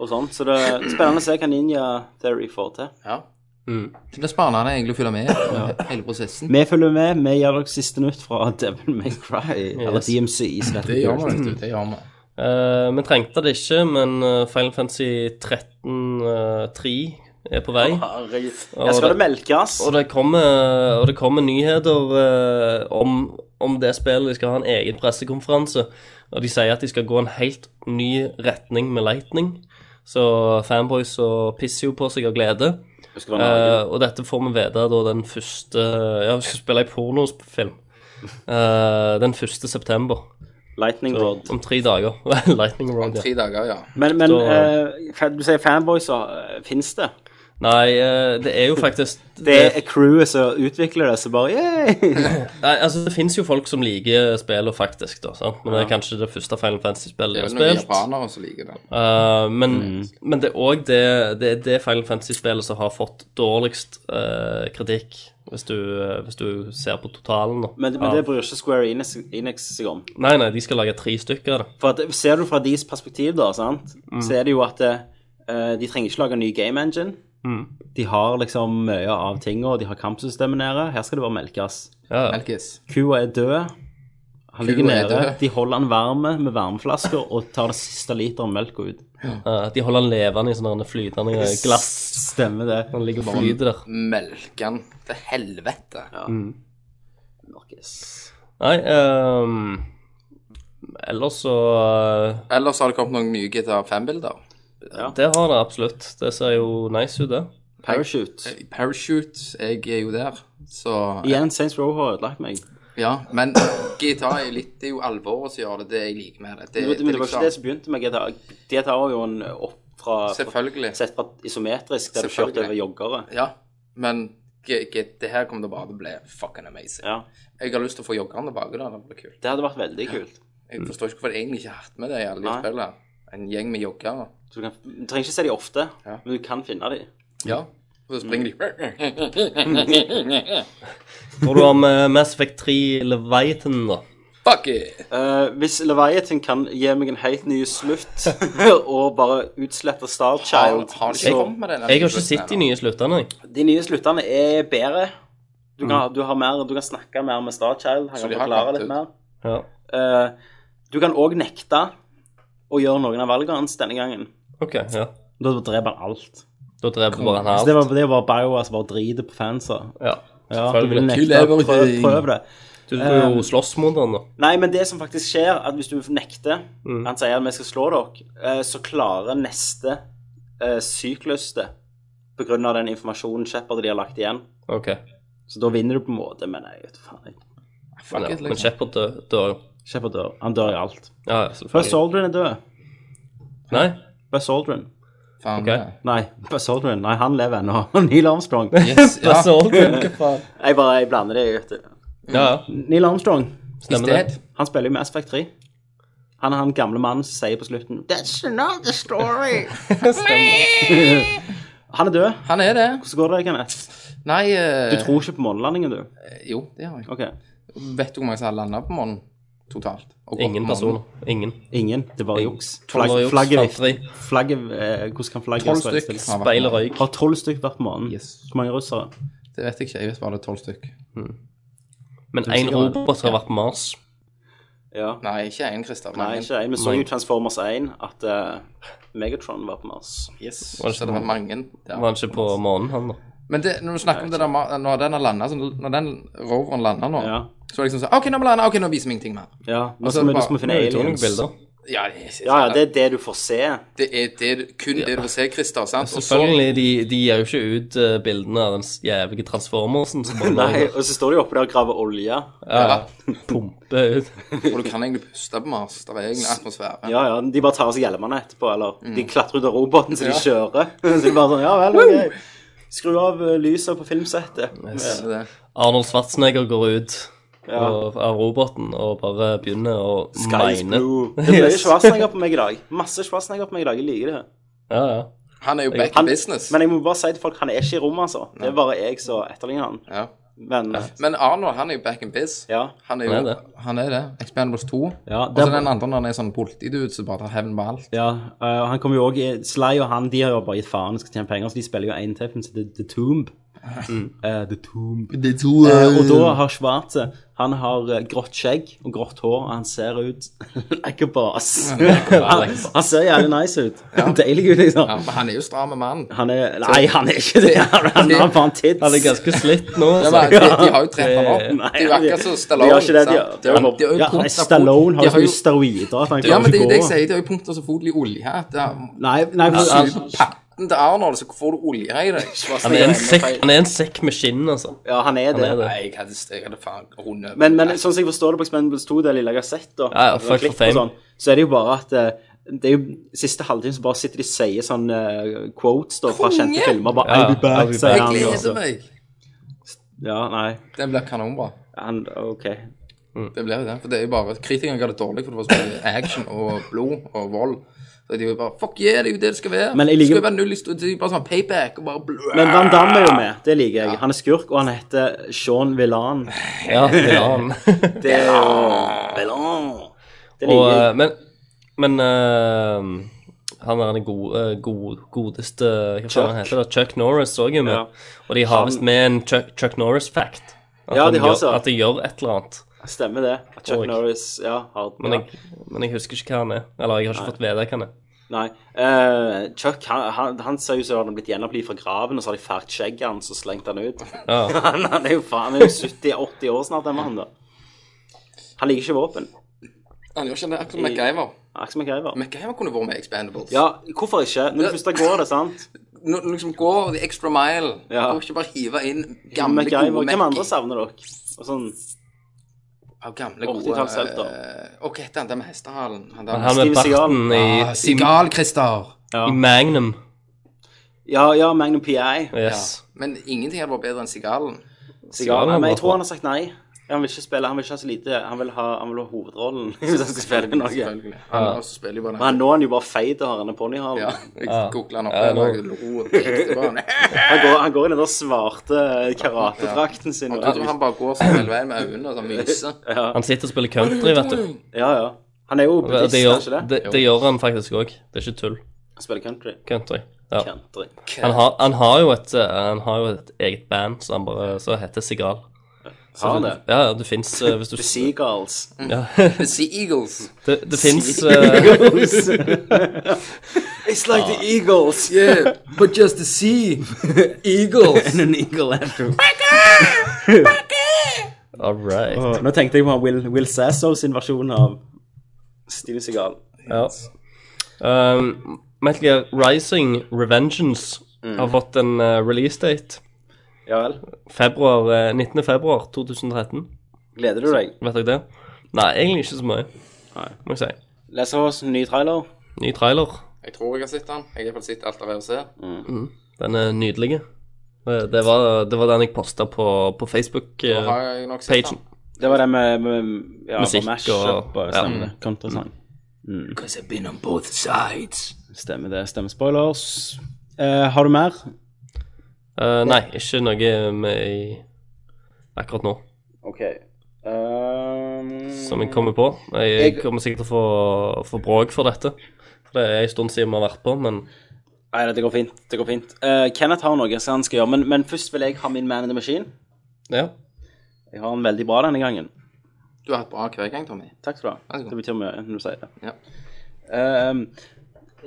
Speaker 5: og sånt. Så det er spennende å se hva Ninja Theory får til.
Speaker 6: Ja.
Speaker 7: Mm.
Speaker 6: eh, Det blir spennende egentlig å følge med i eh, hele prosessen.
Speaker 5: Vi følger med. Vi gir dere siste nytt fra Devil May Cry, eller
Speaker 7: Yes.
Speaker 5: DMC. som heter
Speaker 6: Det gjør vi, vet du. Det gjør vi.
Speaker 7: Eh, vi trengte det ikke, men eh, Final Fantasy 13.3 er på vei.
Speaker 5: Herregud. Jeg skal det melkes.
Speaker 7: Og det kommer, og det kommer nyheter eh, om, om det spillet. De skal ha en egen pressekonferanse. Og de sier at de skal gå en helt ny retning med Lightning. Så fanboys og pisser jo på seg av glede.
Speaker 5: Det skal være Norge.
Speaker 7: Eh, og dette får vi vite da den første Ja, vi skal spille i pornofilm. Eh, den 1. september.
Speaker 5: Lightning
Speaker 7: Så,
Speaker 5: Rod.
Speaker 7: om tre dager. Lightning Road, ja.
Speaker 6: Tre dager, ja.
Speaker 5: Men, men
Speaker 7: Da-
Speaker 5: eh, fa- du sier fanboys, så uh, fins det?
Speaker 7: Nei, eh, det er jo faktisk
Speaker 5: Det er crewet som utvikler det, så bare yeah!
Speaker 7: Nei, altså Det fins jo folk som liker spillet, faktisk. da, sant? Men det er kanskje det første Final Fantasy-spillet
Speaker 6: Det er
Speaker 7: jeg har
Speaker 6: jo noen
Speaker 7: spilt.
Speaker 6: japanere som liker det.
Speaker 7: Eh, men,
Speaker 5: Mm.
Speaker 7: men det er òg det, det, er det Final Fantasy-spillet som har fått dårligst eh, kritikk, hvis du, eh, hvis du ser på totalen. da.
Speaker 5: Men, men det bryr ikke Square Enix, Enix seg om.
Speaker 7: Nei, nei, de skal lage tre stykker. av det.
Speaker 5: For at, Ser du fra deres perspektiv, da, sant?
Speaker 6: Mm.
Speaker 5: så er det jo at eh, de trenger ikke lage en ny game engine.
Speaker 6: Mm.
Speaker 5: De har liksom mye av tingene, og de har kampsystemet nede. Her skal det bare melkes.
Speaker 7: Ja, ja.
Speaker 6: Melkis.
Speaker 5: Kua er død. Han ligger
Speaker 6: er
Speaker 5: nede.
Speaker 6: død.
Speaker 5: De holder han varme med varmeflasker og tar den siste literen melk ut.
Speaker 7: Eh, de holder han levende i sånne flytende glass.
Speaker 5: Stemmer det.
Speaker 6: Sånn
Speaker 7: Han ligger og flyter der.
Speaker 6: Melken til helvete.
Speaker 7: Nei ehm, Ellers så eh,
Speaker 6: Ellers har det kommet noen nye GTA 5-bilder.
Speaker 7: Det har det absolutt. Det ser jo nice ut, det.
Speaker 5: Parachute.
Speaker 6: Eh, Parachute, jeg er jo der, så
Speaker 5: Igjen, Saints Row har ødelagt meg.
Speaker 6: Ja, men GTA er litt Det er jo alvoret som gjør det, det jeg liker med det. Det,
Speaker 5: Men det,
Speaker 6: det, liksom-
Speaker 5: men det var ikke det som begynte med GTA. GTA var jo en opp fra
Speaker 6: Selvfølgelig.
Speaker 5: Sett fra isometrisk, der du
Speaker 6: Selvfølgelig.
Speaker 5: kjørte over joggere.
Speaker 6: Ja, men G- G- det her kommer til å bare til å bli fucking amazing.
Speaker 5: Ja.
Speaker 6: Jeg har lyst til å få joggerne tilbake. da, Det blir kult.
Speaker 5: Det hadde vært veldig kult.
Speaker 6: Jeg forstår ikke hvorfor de egentlig ikke har hatt med det i alle de
Speaker 5: Mm. Nei.
Speaker 6: spillene. En gjeng med joggere.
Speaker 5: Så Du, kan, du trenger ikke se de ofte,
Speaker 6: Ja.
Speaker 5: men du kan finne de.
Speaker 6: Ja. Og så springer de
Speaker 5: Mm.
Speaker 7: Når du har med Mass Effect 3 Leviathan, da.
Speaker 6: Fuck it!
Speaker 5: Eh, hvis Leviathan kan gi meg en helt ny slutt og bare utslette
Speaker 6: Har,
Speaker 5: Starchild
Speaker 6: har de ikke
Speaker 5: så-
Speaker 6: kommet med den?
Speaker 7: Jeg har ikke sett de nye sluttene, jeg.
Speaker 5: De nye sluttene er bedre. Du kan, du har mer, du kan snakke mer med Starchild. Han
Speaker 6: Mm. Så
Speaker 5: kan
Speaker 6: de har
Speaker 5: forklare
Speaker 6: klart
Speaker 5: litt
Speaker 6: ut.
Speaker 5: mer.
Speaker 7: Ja.
Speaker 5: Eh, du kan òg nekte å gjøre noen av valgene hans denne gangen.
Speaker 7: OK, ja.
Speaker 5: Da dreper han alt.
Speaker 7: Da dreper bare han
Speaker 5: Så det
Speaker 7: her.
Speaker 5: var, det var Bioware som bare driter på fansa.
Speaker 7: Ja.
Speaker 5: Ja, du vil
Speaker 7: Selvfølgelig.
Speaker 5: nekte, prøv, prøv det.
Speaker 7: Du skal
Speaker 5: Um,
Speaker 7: jo slåss mot han, da.
Speaker 5: Nei, men det som faktisk skjer, at hvis du nekter Han sier at vi skal slå dere, eh, så klarer neste eh, syklus det. På grunn av den informasjonen Shepherd de har lagt igjen.
Speaker 7: OK.
Speaker 5: Så da vinner du på en måte, men jeg vet faen jeg.
Speaker 6: Fuck
Speaker 7: Ja.
Speaker 6: it,
Speaker 7: Men
Speaker 6: liksom.
Speaker 7: Shepard dø- dør jo.
Speaker 5: Shepherd dør. Han dør i alt.
Speaker 7: Ja,
Speaker 5: Buzz
Speaker 7: selvfølgelig.
Speaker 5: Aldrin er død.
Speaker 7: Nei?
Speaker 5: Buzz Aldrin.
Speaker 6: Faen, eh,
Speaker 7: ok.
Speaker 6: det.
Speaker 5: Nei, Buzz Aldrin. Nei, han lever ennå. Neil Armstrong. Jeg
Speaker 6: Yes, ja.
Speaker 7: Buzz Aldrin, hva faen?
Speaker 5: bare jeg blander det. vet du.
Speaker 7: Ja, ja.
Speaker 5: Neil Armstrong.
Speaker 7: Stemmer det.
Speaker 5: Han spiller jo Mass Effect 3. Han er han gamle mannen som sier på slutten That's another story. han er død.
Speaker 6: Han er det.
Speaker 5: Hvordan går det, Kenneth?
Speaker 6: Nei eh,
Speaker 5: Du tror ikke på månelandingen, du?
Speaker 6: Jo, det har jeg.
Speaker 5: Ok.
Speaker 6: Vet du hvor mange som har landet på månen totalt? Og gått
Speaker 7: Ingen
Speaker 6: på månen?
Speaker 7: personer. Ingen.
Speaker 5: Ingen. Det var juks.
Speaker 7: Tolv
Speaker 5: Flagg-
Speaker 7: juks,
Speaker 5: Flagget
Speaker 7: fanteri.
Speaker 5: vifter. Flagget eh, Hvordan kan flagget
Speaker 6: Tolv
Speaker 5: stå
Speaker 6: stykk.
Speaker 5: stille?
Speaker 6: har vært
Speaker 7: Speil og
Speaker 6: med.
Speaker 7: røyk.
Speaker 5: Har tolv stykk vært på månen?
Speaker 6: Yes.
Speaker 5: Hvor mange russere?
Speaker 6: Det vet jeg ikke. Jeg vet bare det er tolv stykk.
Speaker 7: Men én robot har vært på Mars.
Speaker 5: Ja.
Speaker 6: Nei, ikke én, Christer.
Speaker 5: Nei,
Speaker 6: Mange.
Speaker 5: ikke jeg. Vi så jo i Transformers 1 at eh, Megatron var sånn- på Mars.
Speaker 6: Yes. Så det var mange. Ja.
Speaker 7: Var han ikke på månen, han, da?
Speaker 6: Men det, når du snakker om det der ma- når den har landet, så når den roveren lander nå,
Speaker 5: Ja.
Speaker 6: så er det liksom sånn OK, nå må lande. OK, nå viser vi ingenting mer.
Speaker 5: Ja. Nå
Speaker 6: Altså,
Speaker 5: skal vi, nå
Speaker 6: bare-
Speaker 5: skal vi finne
Speaker 7: Nei, jeg tror noen
Speaker 5: aliens.
Speaker 7: bilder.
Speaker 6: Ja, yes, yes,
Speaker 5: Ja, ja, det er det du får se.
Speaker 6: det er det, du- kun det du får se, Christer. Sant? Og så
Speaker 7: Selvfølgelig, de, de gir jo ikke ut eh, bildene av den jævlige transformersen som bare
Speaker 5: Nei, og så står de oppe der og graver olje.
Speaker 7: ja, pumper ut.
Speaker 6: Og du kan egentlig puste på Mars. Det er egentlig atmosfære.
Speaker 5: Ja, ja, de bare tar av seg hjelmene etterpå, eller de klatrer ut av roboten så de kjører. så de bare sånn, ja vel, ok. Skru av eh, lyset på filmsettet.
Speaker 6: Det er det.
Speaker 7: Arnold Schwarzenegger går ut
Speaker 5: Ja.
Speaker 7: og, av roboten og bare begynner å
Speaker 5: Guys
Speaker 7: mine.
Speaker 5: Blue. Det er mye
Speaker 7: Yes.
Speaker 5: Schwarzenegger på meg i dag. Masse Schwarzenegger på meg i dag. Jeg liker det.
Speaker 7: Ja, ja.
Speaker 6: Han er jo back
Speaker 5: Han-
Speaker 6: in business.
Speaker 5: Men jeg må bare si til folk, han er ikke i rommet, altså. Det er bare jeg som etterligner han.
Speaker 6: Ja.
Speaker 5: Men
Speaker 6: Men Arnold, han er jo back in biz.
Speaker 5: ja.
Speaker 6: Han er jo
Speaker 7: Han er det.
Speaker 6: Han er det. Expendables 2.
Speaker 5: Ja,
Speaker 6: og
Speaker 5: det
Speaker 6: så
Speaker 5: er-
Speaker 6: den andre når han er sånn politidude som bare tar hevn på alt.
Speaker 5: Ja, eh, han kommer jo også i Sly og han, de har jo bare gitt faen og skal tjene penger, så de spiller jo en til film som heter The Tomb. Eh, The Tomb. Eh, og da har Schwarze Han har eh, grått skjegg og grått hår, og han ser ut like bass. han, han ser jævlig nice ut. Deilig ut,
Speaker 6: Ja,
Speaker 5: liksom.
Speaker 6: men han er jo stram mann.
Speaker 5: Han er Nei, han er ikke det. Han har bare en tits.
Speaker 7: Han er ganske slitt nå.
Speaker 6: Ja,
Speaker 7: altså.
Speaker 6: men, de, de har jo treppet han opp.
Speaker 5: Eh, Nei,
Speaker 6: Det er jo akkurat som
Speaker 5: de
Speaker 6: Stallone.
Speaker 5: har ikke det. De,
Speaker 6: sant?
Speaker 5: de, har-
Speaker 6: de har jo
Speaker 5: ja,
Speaker 6: pumpet fot-
Speaker 5: Stallone har
Speaker 6: de
Speaker 5: jo så mye steroider at han
Speaker 6: Ja, men
Speaker 5: klarer ikke
Speaker 6: det er jo det
Speaker 5: å
Speaker 6: jeg
Speaker 5: gå.
Speaker 6: sier. De har jo pumpet så fotlig olje her. Det er,
Speaker 5: Nei, altså- nei, for-
Speaker 6: du suger på patten til Arnold, så får du olje her i deg.
Speaker 7: Han er en sekk, han er en sekk med skinn, altså.
Speaker 5: ja, han er det.
Speaker 7: er det.
Speaker 6: Nei, jeg hadde, jeg hadde faen rundet.
Speaker 5: Men, men sånn som jeg forstår det på Expendables 2, det lille jeg har sett, da,
Speaker 7: Ja, ja,
Speaker 5: og
Speaker 7: fuck
Speaker 5: klipp
Speaker 7: for fame.
Speaker 5: og sånn, så er det jo bare at eh, det er jo siste halvtimen så bare sitter de og sier sånn eh, quotes da, fra
Speaker 6: Konge!
Speaker 5: kjente filmer. Bare,
Speaker 7: Ja,
Speaker 5: I'll be
Speaker 7: I'll
Speaker 5: back,
Speaker 7: be
Speaker 5: sier
Speaker 7: back.
Speaker 5: han. og
Speaker 6: Jeg gleder
Speaker 5: så-
Speaker 6: meg.
Speaker 5: Ja, nei.
Speaker 6: Den blir kanonbra.
Speaker 5: Han, OK.
Speaker 6: Det blir jo den, for det er jo bare Kritikerne ga det dårlig, for det var så mye action og blod og vold. Så de er jo bare Fuck yeah, det er jo det det skal være.
Speaker 5: Men jeg
Speaker 6: Det
Speaker 5: liker-
Speaker 6: skal jo være null historie. Det er bare sånn payback og bare blå.
Speaker 5: Men Van Damme er jo med. Det liker jeg. Han er skurk, og han heter Sean Villan.
Speaker 7: Ja, det er han.
Speaker 5: Det er jo Villan. Det
Speaker 7: Og,
Speaker 5: liker jeg.
Speaker 7: eh, men men eh, han er den gode, eh, god, godeste Hva faen han heter det? Chuck Norris òg er med.
Speaker 5: Ja.
Speaker 7: Og de har visst med en Chuck, Chuck Norris-fact. At,
Speaker 5: Ja,
Speaker 7: han
Speaker 5: de har
Speaker 7: gjør-
Speaker 5: så.
Speaker 7: at de gjør et eller annet.
Speaker 5: Stemmer det. At Chuck
Speaker 7: Og-
Speaker 5: Norris Ja, har
Speaker 7: Men, jeg, men jeg husker ikke hva han er. Eller jeg har ikke fått vite hva han er.
Speaker 5: Nei. Eh, Chuck han, han, han ser jo som han har blitt gjenopplivet fra graven, og så har de fælt skjegget hans og slengt han ut.
Speaker 7: Ja.
Speaker 5: Han, han er jo faen han er jo 70-80 år snart, den mannen. da. Han liker ikke våpen.
Speaker 6: Han gjør ikke det, akkurat som MacGyver.
Speaker 5: Akkurat som MacGyver.
Speaker 6: MacGyver kunne vært med i Expendables.
Speaker 5: Ja, hvorfor ikke? Når det første går, det, sant?
Speaker 6: Nå nå liksom gå the extra mile.
Speaker 5: Ja.
Speaker 6: Og ikke bare hive inn gamle,
Speaker 5: MacGyver.
Speaker 6: gode
Speaker 5: Hvem andre
Speaker 6: Mac.
Speaker 5: savner dere? Og sånn
Speaker 6: Av gamle,
Speaker 5: 80-tallshelter.
Speaker 6: gode eh, Hva heter han der med hestehalen? Han der
Speaker 7: Han med
Speaker 5: Steven Seagal.
Speaker 7: barten i,
Speaker 6: Ah,
Speaker 7: i,
Speaker 6: Sigal, Christer.
Speaker 5: Ja.
Speaker 7: i Magnum.
Speaker 5: Ja, ja, Magnum PI.
Speaker 7: Yes.
Speaker 6: Men ingenting hadde vært bedre enn Sigalen.
Speaker 5: Sigal. Men jeg
Speaker 7: bra.
Speaker 5: tror han har sagt nei. Han vil ikke spille, han vil ikke ha så lite Han vil ha, han vil ha hovedrollen hvis han skal spille noe.
Speaker 6: Selvfølgelig. Han også spiller jo bare
Speaker 5: Men nå er han jo bare feit og har en ponnihale.
Speaker 6: Ja, jeg googlet han opp.
Speaker 7: Ja,
Speaker 6: Ja,
Speaker 7: nå-
Speaker 5: Han, går- han går i den der svarte karatedrakten sin.
Speaker 6: Jeg tror han bare går sånn hele veien med øynene og sånn myser.
Speaker 7: Han sitter og spiller country, vet du.
Speaker 5: Ja, ja. Han er jo
Speaker 7: Det,
Speaker 5: buddhist,
Speaker 7: det,
Speaker 5: er han
Speaker 7: gjør,
Speaker 5: ikke det?
Speaker 7: det, det gjør han faktisk òg. Det er ikke tull.
Speaker 5: Han spiller country.
Speaker 7: Country. Ja.
Speaker 5: Country.
Speaker 7: Han har, han, har jo et, eh, han har jo et eget band som han bare så heter Sigal.
Speaker 5: Har han det?
Speaker 7: Ja, ja, det fins hvis du
Speaker 5: The Seagulls.
Speaker 6: The Sea Eagles.
Speaker 7: Det, det eh, fins
Speaker 5: It's like the Eagles.
Speaker 6: Yeah, but just the sea. Eagles.
Speaker 5: And an eagle after.
Speaker 7: All right.
Speaker 5: Nå tenkte jeg på Will, Will Sasso sin versjon av Steven Seagal.
Speaker 7: Ja. Um, Metal Gear Rising Revengeance
Speaker 5: Mm.
Speaker 7: har fått en eh, release date.
Speaker 5: Ja vel.
Speaker 7: Februar, eh, 19. februar 2013.
Speaker 5: Gleder du deg?
Speaker 7: Vet dere det? Nei, egentlig ikke så mye, må jeg si.
Speaker 5: Leser vi oss en ny trailer?
Speaker 7: Ny trailer.
Speaker 6: Jeg tror jeg har sett han. Jeg har iallfall sett alt av VOC.
Speaker 7: Den er nydelig. Eh, Det var, det var den jeg posta på, på eh,
Speaker 6: Da
Speaker 7: Facebook-pagen.
Speaker 6: har jeg nok sett han.
Speaker 5: Det var det med, med ja,
Speaker 7: Musikk
Speaker 5: med mashup
Speaker 7: og-
Speaker 5: og sånn,
Speaker 7: ja. Mm.
Speaker 5: Stemmer det. Countersang.
Speaker 6: Because I've been on both sides.
Speaker 5: Stemmer det. Stemmer spoilers. Eh, har du mer?
Speaker 7: Eh, nei, ikke noe med i akkurat nå,
Speaker 5: OK. Um,
Speaker 7: som jeg kommer på. Jeg, jeg kommer sikkert til å få, få bråk for dette. For det er en stund siden vi har vært på, men
Speaker 5: Nei, det går fint. det går fint. Eh, Kenneth har noe som han skal gjøre, men, men først vil jeg ha min Man in the Machine.
Speaker 7: ja.
Speaker 5: Jeg har den veldig bra denne gangen.
Speaker 6: Du har hatt bra hver gang, Tommy.
Speaker 5: Takk skal du ha.
Speaker 6: Vær så god.
Speaker 5: Det betyr mye når du sier det.
Speaker 6: Ja.
Speaker 5: Ehm,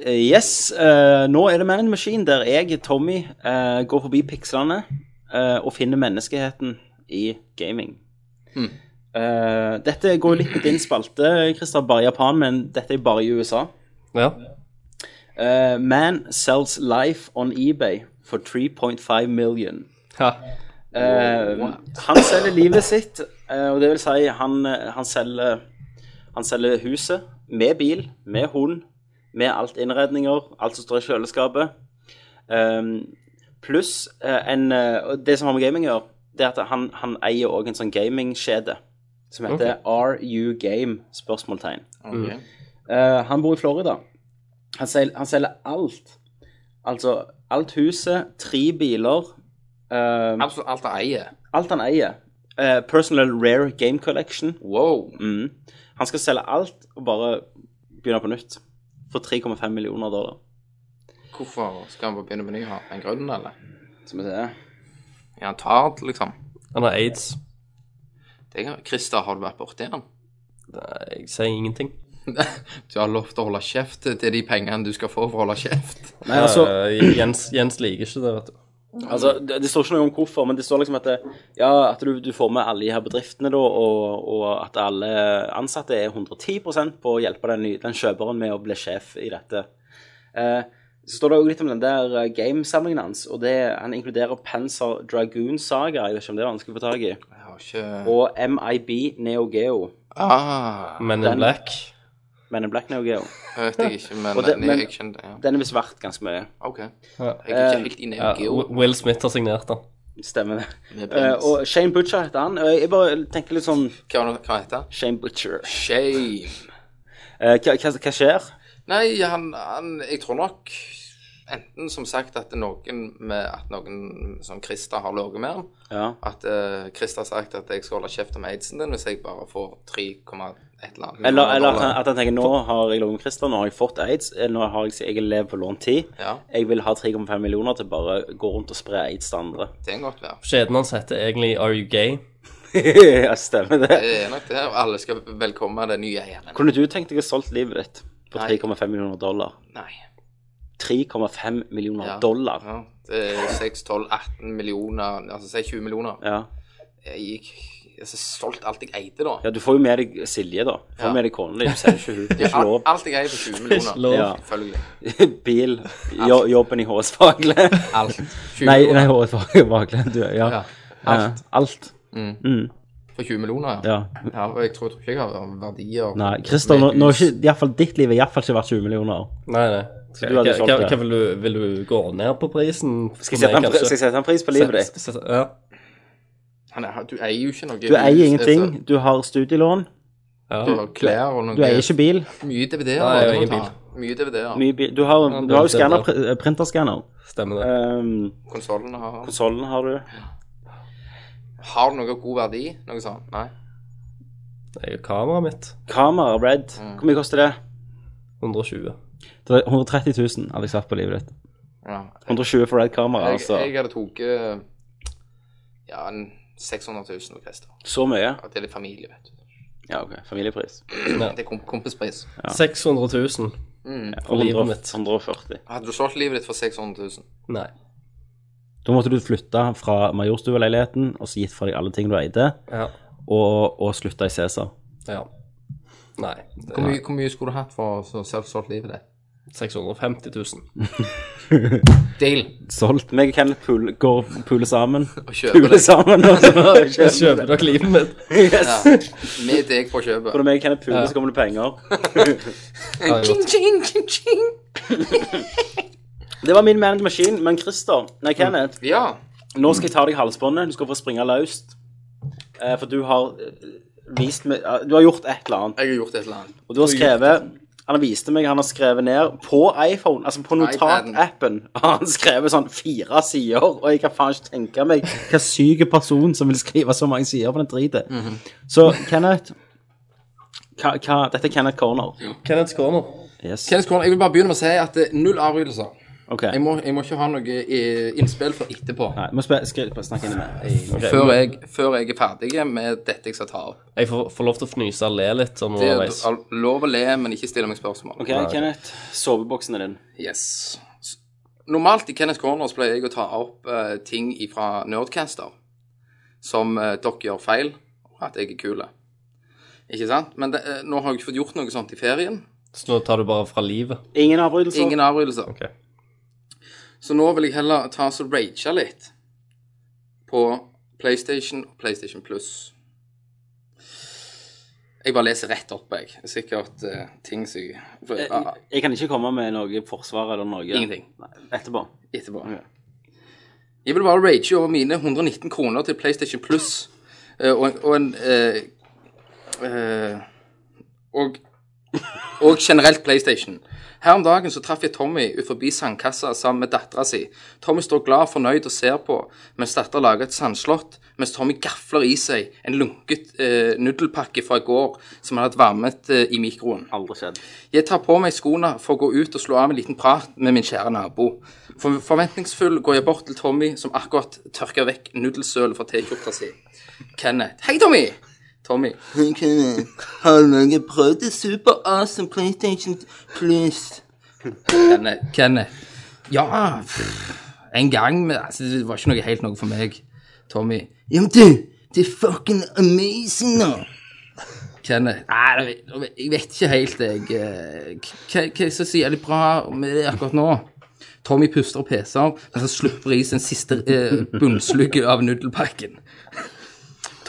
Speaker 5: eh, yes, eh, nå er det Man in the Machine der jeg, Tommy, eh, går forbi pikslene eh, og finner menneskeheten i gaming.
Speaker 6: Hm.
Speaker 5: Eh, dette går jo litt på din spalte, Christer, bare i Japan, men dette er bare i USA.
Speaker 7: ja.
Speaker 5: Eh, man sells life on eBay for 3.5 million.
Speaker 7: Ha.
Speaker 5: Eh, han selger livet sitt, eh, og det vil si han, eh, han, selger, han selger huset med bil, med hund, med alt innredninger, alt som står i kjøleskapet. Ehm, Pluss eh, en eh, og Det som har med gaming å gjøre, det er at han, han eier òg en sånn gamingkjede som heter RU Game? spørsmålstegn.
Speaker 7: Mm.
Speaker 6: Ok.
Speaker 5: Eh, han bor i Florida. Han, sel han selger alt. Altså alt huset, tre biler. ehm,
Speaker 6: Absolutt alt han eier.
Speaker 5: Alt han eier. Eh, personal Rare Game Collection.
Speaker 6: Wow.
Speaker 5: Mm. Han skal selge alt og bare begynne på nytt. For 3,5 millioner dollar.
Speaker 6: Hvorfor skal han bare begynne med ny? Har han grunn, eller?
Speaker 5: Skal vi se.
Speaker 6: Er han tard, liksom?
Speaker 7: Han har aids.
Speaker 6: Det kan... Christer, har du vært borti han?
Speaker 7: Nei, Jeg sier ingenting.
Speaker 6: Du har lovt å holde kjeft til de pengene du skal få for å holde kjeft.
Speaker 5: Nei, altså,
Speaker 7: Eh, Jens, Jens liker ikke det, vet du.
Speaker 5: altså det, det står ikke noe om hvorfor, men det står liksom at, det, ja, at du, du får med alle de her bedriftene, da, og, og at alle ansatte er 110 på å hjelpe den, ny- den kjøperen med å bli sjef i dette. Eh, så står det også litt om den der eh, gamesamlingen hans, og det, han inkluderer Panzer Dragoon Saga. Jeg vet ikke om det er vanskelig å få tak i.
Speaker 6: Jeg har ikke
Speaker 5: og MIB Neo Geo.
Speaker 6: ah,
Speaker 7: Men
Speaker 5: Den-
Speaker 7: in black.
Speaker 5: Men in Black Neo Geo.
Speaker 6: Hørte jeg ikke, men,
Speaker 5: Og det- Eh,
Speaker 6: eh,
Speaker 5: men-
Speaker 6: jeg skjønte ja.
Speaker 5: Den er visst verdt ganske mye.
Speaker 6: OK. Jeg er ikke helt inne i
Speaker 7: Ja,
Speaker 6: Geo.
Speaker 7: Will Smith har signert den.
Speaker 5: Stemmer det.
Speaker 6: Med
Speaker 5: Eh,
Speaker 6: Benz.
Speaker 5: og Shane Butcher heter han. Og jeg bare tenker litt sånn
Speaker 6: Hva var det- hva heter han?
Speaker 5: Shane Butcher.
Speaker 6: Shame.
Speaker 5: Eh, hva, hva, hva skjer?
Speaker 6: Nei, han, han Jeg tror nok enten som sagt at noen med At noen som Christer har ligget med han.
Speaker 5: Ja.
Speaker 6: At eh, Christer har sagt at jeg skal holde kjeft om aidsen din hvis jeg bare får 3,1 eller annet.
Speaker 5: Eller, eller at, han, at han tenker nå har jeg ligget med Christer, nå har jeg fått aids, eh, nå har jeg, jeg lever på lånt tid.
Speaker 6: Ja.
Speaker 5: Jeg vil ha 3,5 millioner til bare å gå rundt og spre aids til andre.
Speaker 6: Det kan godt være.
Speaker 7: Skjeden hans heter egentlig Are You Gay?
Speaker 5: ja, stemmer det.
Speaker 6: Det er nok det. og Alle skal velkomme den nye eieren.
Speaker 5: Kunne du tenkt deg å ha solgt livet ditt for
Speaker 6: Nei.
Speaker 5: 3,5 millioner dollar?
Speaker 6: Nei.
Speaker 5: 3,5 millioner
Speaker 6: Ja.
Speaker 5: dollar?
Speaker 6: Ja, det er 6, 12, 18 millioner Altså si 20 millioner.
Speaker 5: Ja.
Speaker 6: Jeg gikk jeg er så stolt alt jeg eide, da.
Speaker 5: ja, du får jo med deg Silje, da. Du får
Speaker 6: Ja.
Speaker 5: med deg kona di, du selger ikke hun. Det er ikke
Speaker 6: Alt,
Speaker 5: lov.
Speaker 6: alt jeg eier for 20 millioner.
Speaker 7: lov.
Speaker 5: Ja.
Speaker 6: Selvfølgelig.
Speaker 5: Bil, jo, jobben i HS-fagle.
Speaker 6: Alt. 20
Speaker 5: Nei, nei
Speaker 6: millioner
Speaker 5: HS-fagle. Du, ja.
Speaker 6: Ja.
Speaker 5: Alt. Alt.
Speaker 6: for 20 millioner, ja.
Speaker 5: Ja.
Speaker 6: ja og jeg tror, tror ikke jeg har verdier
Speaker 5: Nei, Christer, nå, nå er ikke, i hvert fall ditt liv er iallfall ikke verdt 20 millioner.
Speaker 7: Nei, nei.
Speaker 5: du hadde
Speaker 7: Hva-
Speaker 5: solgt
Speaker 7: hva-
Speaker 5: det?
Speaker 7: hva vil, du, vil du gå ned på prisen?
Speaker 5: Skal jeg sette en,
Speaker 7: altså.
Speaker 5: skal jeg sette en pris på livet ditt?
Speaker 7: Ja.
Speaker 6: Han er, du eier jo ikke noe.
Speaker 5: Du eier ingenting, du har studielån,
Speaker 6: Du
Speaker 5: Mm.
Speaker 6: har klær og noe.
Speaker 5: du eier ikke bil.
Speaker 6: Mye DVD-er.
Speaker 7: Nei, jeg
Speaker 6: du
Speaker 7: eier
Speaker 6: må ta. Mye DVD-er.
Speaker 5: Mye bil. Du har,
Speaker 7: Ja,
Speaker 5: du har jo
Speaker 7: det er Ehm,
Speaker 5: skanner,
Speaker 7: bra.
Speaker 5: pr- eh, printerskanner.
Speaker 7: Stemmer det.
Speaker 5: Um,
Speaker 6: Konsollene har han.
Speaker 5: Konsollen har du.
Speaker 6: Har du noe god verdi? Noe sånt? Nei.
Speaker 7: Det er jo kameraet mitt.
Speaker 5: Kamera, Red.
Speaker 7: Mm.
Speaker 5: Hvor mye koster det?
Speaker 7: 120.
Speaker 5: Det er 130 000 hadde jeg satt på livet ditt.
Speaker 6: Ja.
Speaker 5: 120 for Red kamera,
Speaker 6: Jeg,
Speaker 5: altså.
Speaker 6: jeg hadde tatt eh, ja, en 600 000 og Christer.
Speaker 5: Så mye?
Speaker 6: At det er litt familie, vet du.
Speaker 5: Ja, OK. Familiepris.
Speaker 6: Det er kom kompispris. Mm.
Speaker 7: 600 000.
Speaker 5: Og
Speaker 7: livet
Speaker 5: 100
Speaker 7: mitt.
Speaker 5: 140.
Speaker 6: Hadde du solgt livet ditt for 600 000?
Speaker 7: Nei.
Speaker 5: Da måtte du flytte fra Majorstuen-leiligheten og så gitt fra deg alle ting du eide,
Speaker 7: Ja.
Speaker 5: og, og slutta i Cæsar.
Speaker 7: ja. Nei. Det
Speaker 6: Hvor mye, hvor mye skulle du hatt for å selv solgt livet ditt?
Speaker 7: er 650 000.
Speaker 6: Deal.
Speaker 5: Solgt. Meg og Kenneth pool, går puler sammen.
Speaker 6: Å kjøpe
Speaker 5: Puler
Speaker 6: det.
Speaker 5: sammen, og så
Speaker 7: Kjøper dere livet mitt?
Speaker 5: Yes.
Speaker 6: Ja. Med deg på kjøpet.
Speaker 5: For når meg og Kenneth puler, så kommer det penger. Det var min man in the machine, men Christer Nei, Kenneth.
Speaker 6: Ja.
Speaker 5: Nå skal jeg ta deg i halsbåndet. Du skal få springe løst. Eh, for du har eh, vist meg eh, Du har gjort et eller annet.
Speaker 6: Jeg har gjort et eller annet.
Speaker 5: Og du har skrevet Han viste meg, han har skrevet ned på iPhone, altså på notatappen, har han skrevet sånn fire sider, og jeg kan faen ikke tenke meg hva syk person som vil skrive så mange sider på den driten.
Speaker 6: Mhm.
Speaker 5: Så Kenneth hva, hva, Dette er Kenneth Corner.
Speaker 7: Kenneth Corner.
Speaker 5: Yes.
Speaker 6: Kenneth Korn, jeg vil bare begynne med å si at eh, null avbrytelser.
Speaker 5: OK.
Speaker 6: Jeg må, jeg må ikke ha noe eh, innspill for etterpå.
Speaker 5: Nei, må spe- skri- bare snakke inn i meg.
Speaker 6: Før jeg, før jeg er ferdig med dette jeg skal ta opp.
Speaker 7: Jeg får, får lov til å fnyse og le litt sånn
Speaker 6: Det er
Speaker 7: underveis.
Speaker 6: al- lov å le, men ikke stille meg spørsmål.
Speaker 5: OK, Kenneth. Soveboksen er din.
Speaker 6: Yes. S- Normalt i Kenneth Corners pleier jeg å ta opp eh, ting fra Nerdcaster som eh, dere gjør feil, og at jeg er kule. Ikke sant? Men det, eh, nå har jeg ikke fått gjort noe sånt i ferien.
Speaker 7: Så nå tar du bare fra livet.
Speaker 5: Ingen avbrytelser.
Speaker 6: Ingen avbrytelser.
Speaker 7: Ok.
Speaker 6: Så nå vil jeg heller ta oss og rage litt på PlayStation og PlayStation Plus. Jeg bare leser rett opp, jeg. Det er Sikkert eh, ting som jeg for, ah,
Speaker 5: Jeg- Jeg kan ikke komme med noe forsvar eller noe
Speaker 6: Ingenting.
Speaker 5: Nei, etterpå.
Speaker 6: etterpå. Jeg vil bare rage over mine 119 kroner til PlayStation Plus eh, og, og en eh, eh, og, og generelt PlayStation. Her om dagen så traff jeg Tommy ut forbi sandkassa sammen med dattera si. Tommy står glad og fornøyd og ser på, mens dattera lager et sandslott, mens Tommy gafler i seg en lunket eh, nudelpakke fra i går som han hadde varmet eh, i mikroen.
Speaker 5: Aldri skjedd.
Speaker 6: Jeg tar på meg skoene for å gå ut og slå av en liten prat med min kjære nabo. For forventningsfull går jeg bort til Tommy, som akkurat tørker vekk nudelsølet fra T-skjorta si. Kenneth. Hei, Tommy! Tommy.
Speaker 8: Kenneth, har du noen prøvd det super awesome PlayStation Plus?
Speaker 6: Kenneth. Kenneth. Ja, pff, en gang, men altså, det var ikke noe helt noe for meg. Tommy.
Speaker 8: Ja, men du, det er fucking amazing nå.
Speaker 6: Kenneth. Nei, jeg vet- jeg vet- jeg vet ikke helt, jeg. eh, Hva hva er det som er så jævlig bra med det akkurat nå? Tommy puster og peser, mens han slipper i sin siste eh, bunnslugge av nudelpakken.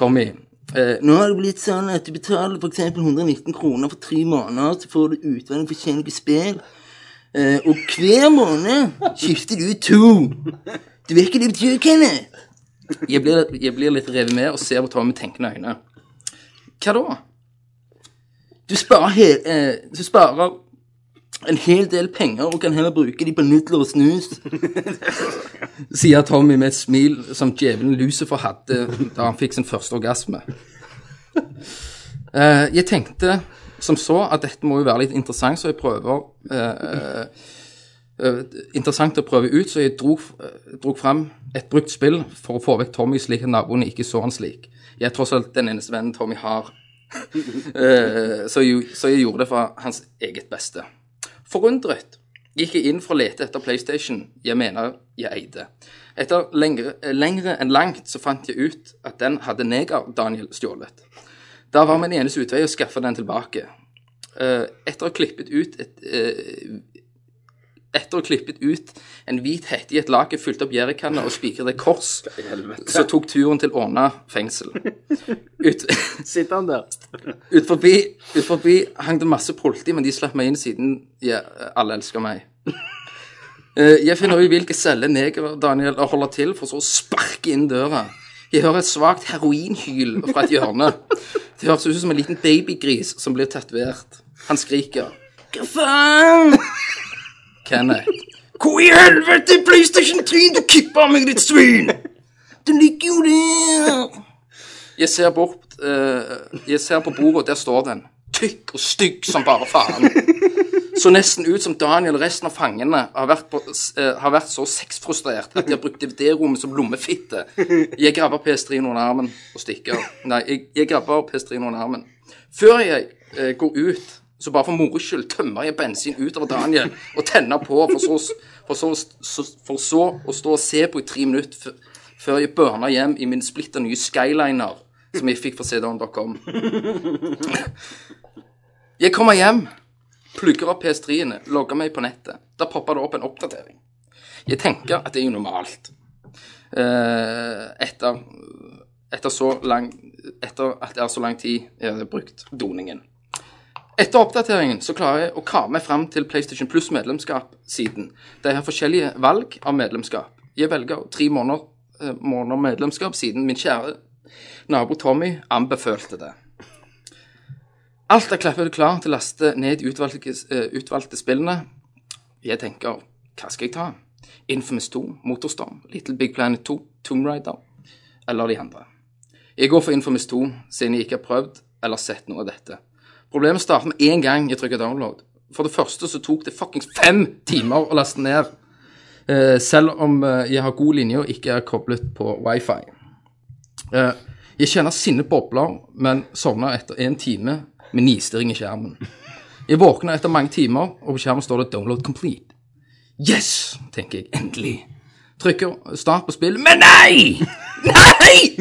Speaker 6: Tommy. Eh,
Speaker 8: Nå har det blitt sånn at du betaler f.eks. 119 kroner for tre måneder, så får du utvalg forskjellige spill. Eh, og hver måned skifter du to. Du vet hva det betyr, Kenneth?
Speaker 6: jeg, blir, jeg blir litt revet med og ser på Tom med tenkende øyne. Hva da?
Speaker 8: Du sparer, he eh, du sparer en hel del penger og kan heller bruke de på nudler og snus.
Speaker 6: Sier Tommy med et smil som djevelen Lucifer hadde da han fikk sin første orgasme. Eh, jeg tenkte som så at dette må jo være litt interessant, så jeg prøver eh, eh, Interessant å prøve ut, så jeg dro, eh, dro fram et brukt spill for å få vekk Tommy, slik at naboene ikke så han slik. Jeg er tross alt den eneste vennen Tommy har. Eh, så, jeg, så jeg gjorde det for hans eget beste. Forundret gikk jeg inn for å lete etter PlayStation jeg mener jeg eide. Etter lengre, eh, lengre enn langt så fant jeg ut at den hadde neger-Daniel stjålet. Da var min eneste utvei å skaffe den tilbake. Eh, Etter å ha klippet ut et eh, etter å ha klippet ut en hvit hette i et laken, fylte opp jerrykanner og spikret et kors, så tok turen til Åna fengsel. Ut,
Speaker 5: Sitter han der?
Speaker 6: ut, forbi, ut forbi hang det masse politi, men de slapp meg inn siden ja, alle elsker meg. Eh, Jeg finner ut hvilke celler negere Daniel holder til, for så å sparke inn døra. Jeg hører et svakt heroinhyl fra et hjørne. Det høres ut som en liten babygris som blir tatovert. Han skriker. Hva faen? Kenneth. Hvor i helvete, PlayStation 3, du kipper meg, ditt svin!
Speaker 8: Den ligger jo der!
Speaker 6: Jeg ser bort eh, Jeg ser på bordet, og der står den. Tykk og stygg som bare faen. Så nesten ut som Daniel og resten av fangene har vært, på, eh, har vært så sexfrustrert at de har brukt DVD-rommet som lommefitte. Jeg grabber PS3-en under armen og stikker. Nei, jeg, jeg grabber PS3-en under armen. Før jeg eh, går ut, så bare for moro skyld tømmer jeg bensin utover Daniel og tenner på, for så, for så, så, for så å stå og se på i tre minutter før- før jeg burna hjem i min splitter nye Skyliner, som jeg fikk fra cdon.com. Jeg kommer hjem, plugger opp PS3-ene, logger meg på nettet. Da popper det opp en oppdatering. Jeg tenker at det er jo normalt. Eh, etter, etter, så lang, etter at det er så lang tid jeg har brukt doningen. Etter oppdateringen så klarer jeg å kare meg frem til PlayStation Plus medlemskap-siden. De har forskjellige valg av medlemskap. Jeg velger tre måneder, eh, måneder medlemskap siden min kjære nabo Tommy anbefalte det. Alt er klappet klar til å laste ned de utvalgte, eh, utvalgte spillene. Jeg tenker, hva skal jeg ta? Infamous 2, Motorstorm, Little Big Planet 2, Tomb Raider eller de andre. Jeg går for Infamous 2, siden jeg ikke har prøvd eller sett noe av dette. Problemet starter med én gang jeg trykker download. For det første så tok det fuckings fem timer å laste ned. eh, selv om eh, jeg har god linje og ikke er koblet på wifi. Eh, jeg kjenner sinne bobler, men sovner etter en time med nistirring i skjermen. Jeg våkner etter mange timer, og på skjermen står det 'download complete'. Yes, tenker jeg endelig. Trykker start på spillet, men nei! Nei!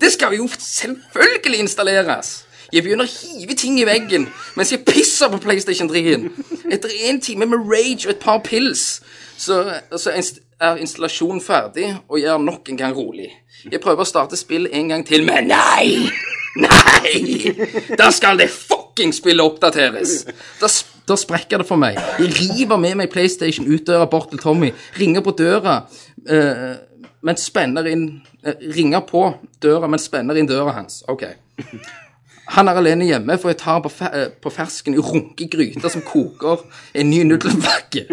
Speaker 6: Det skal jo selvfølgelig installeres. Jeg begynner å hive ting i veggen mens jeg pisser på PlayStation 3-en. Etter en time med rage og et par pils så, så inst- er installasjonen ferdig, og jeg er nok en gang rolig. Jeg prøver å starte spillet en gang til, men nei! Nei! Da skal det fucking spillet oppdateres. Da, s- da sprekker det for meg. Jeg river med meg PlayStation ut døra bort til Tommy, ringer på døra, eh, men spenner inn eh, Ringer på døra, men spenner inn døra hans. OK. Han er alene hjemme, for jeg tar på, fe eh, på fersken i runke gryter som koker en ny nudelbakke.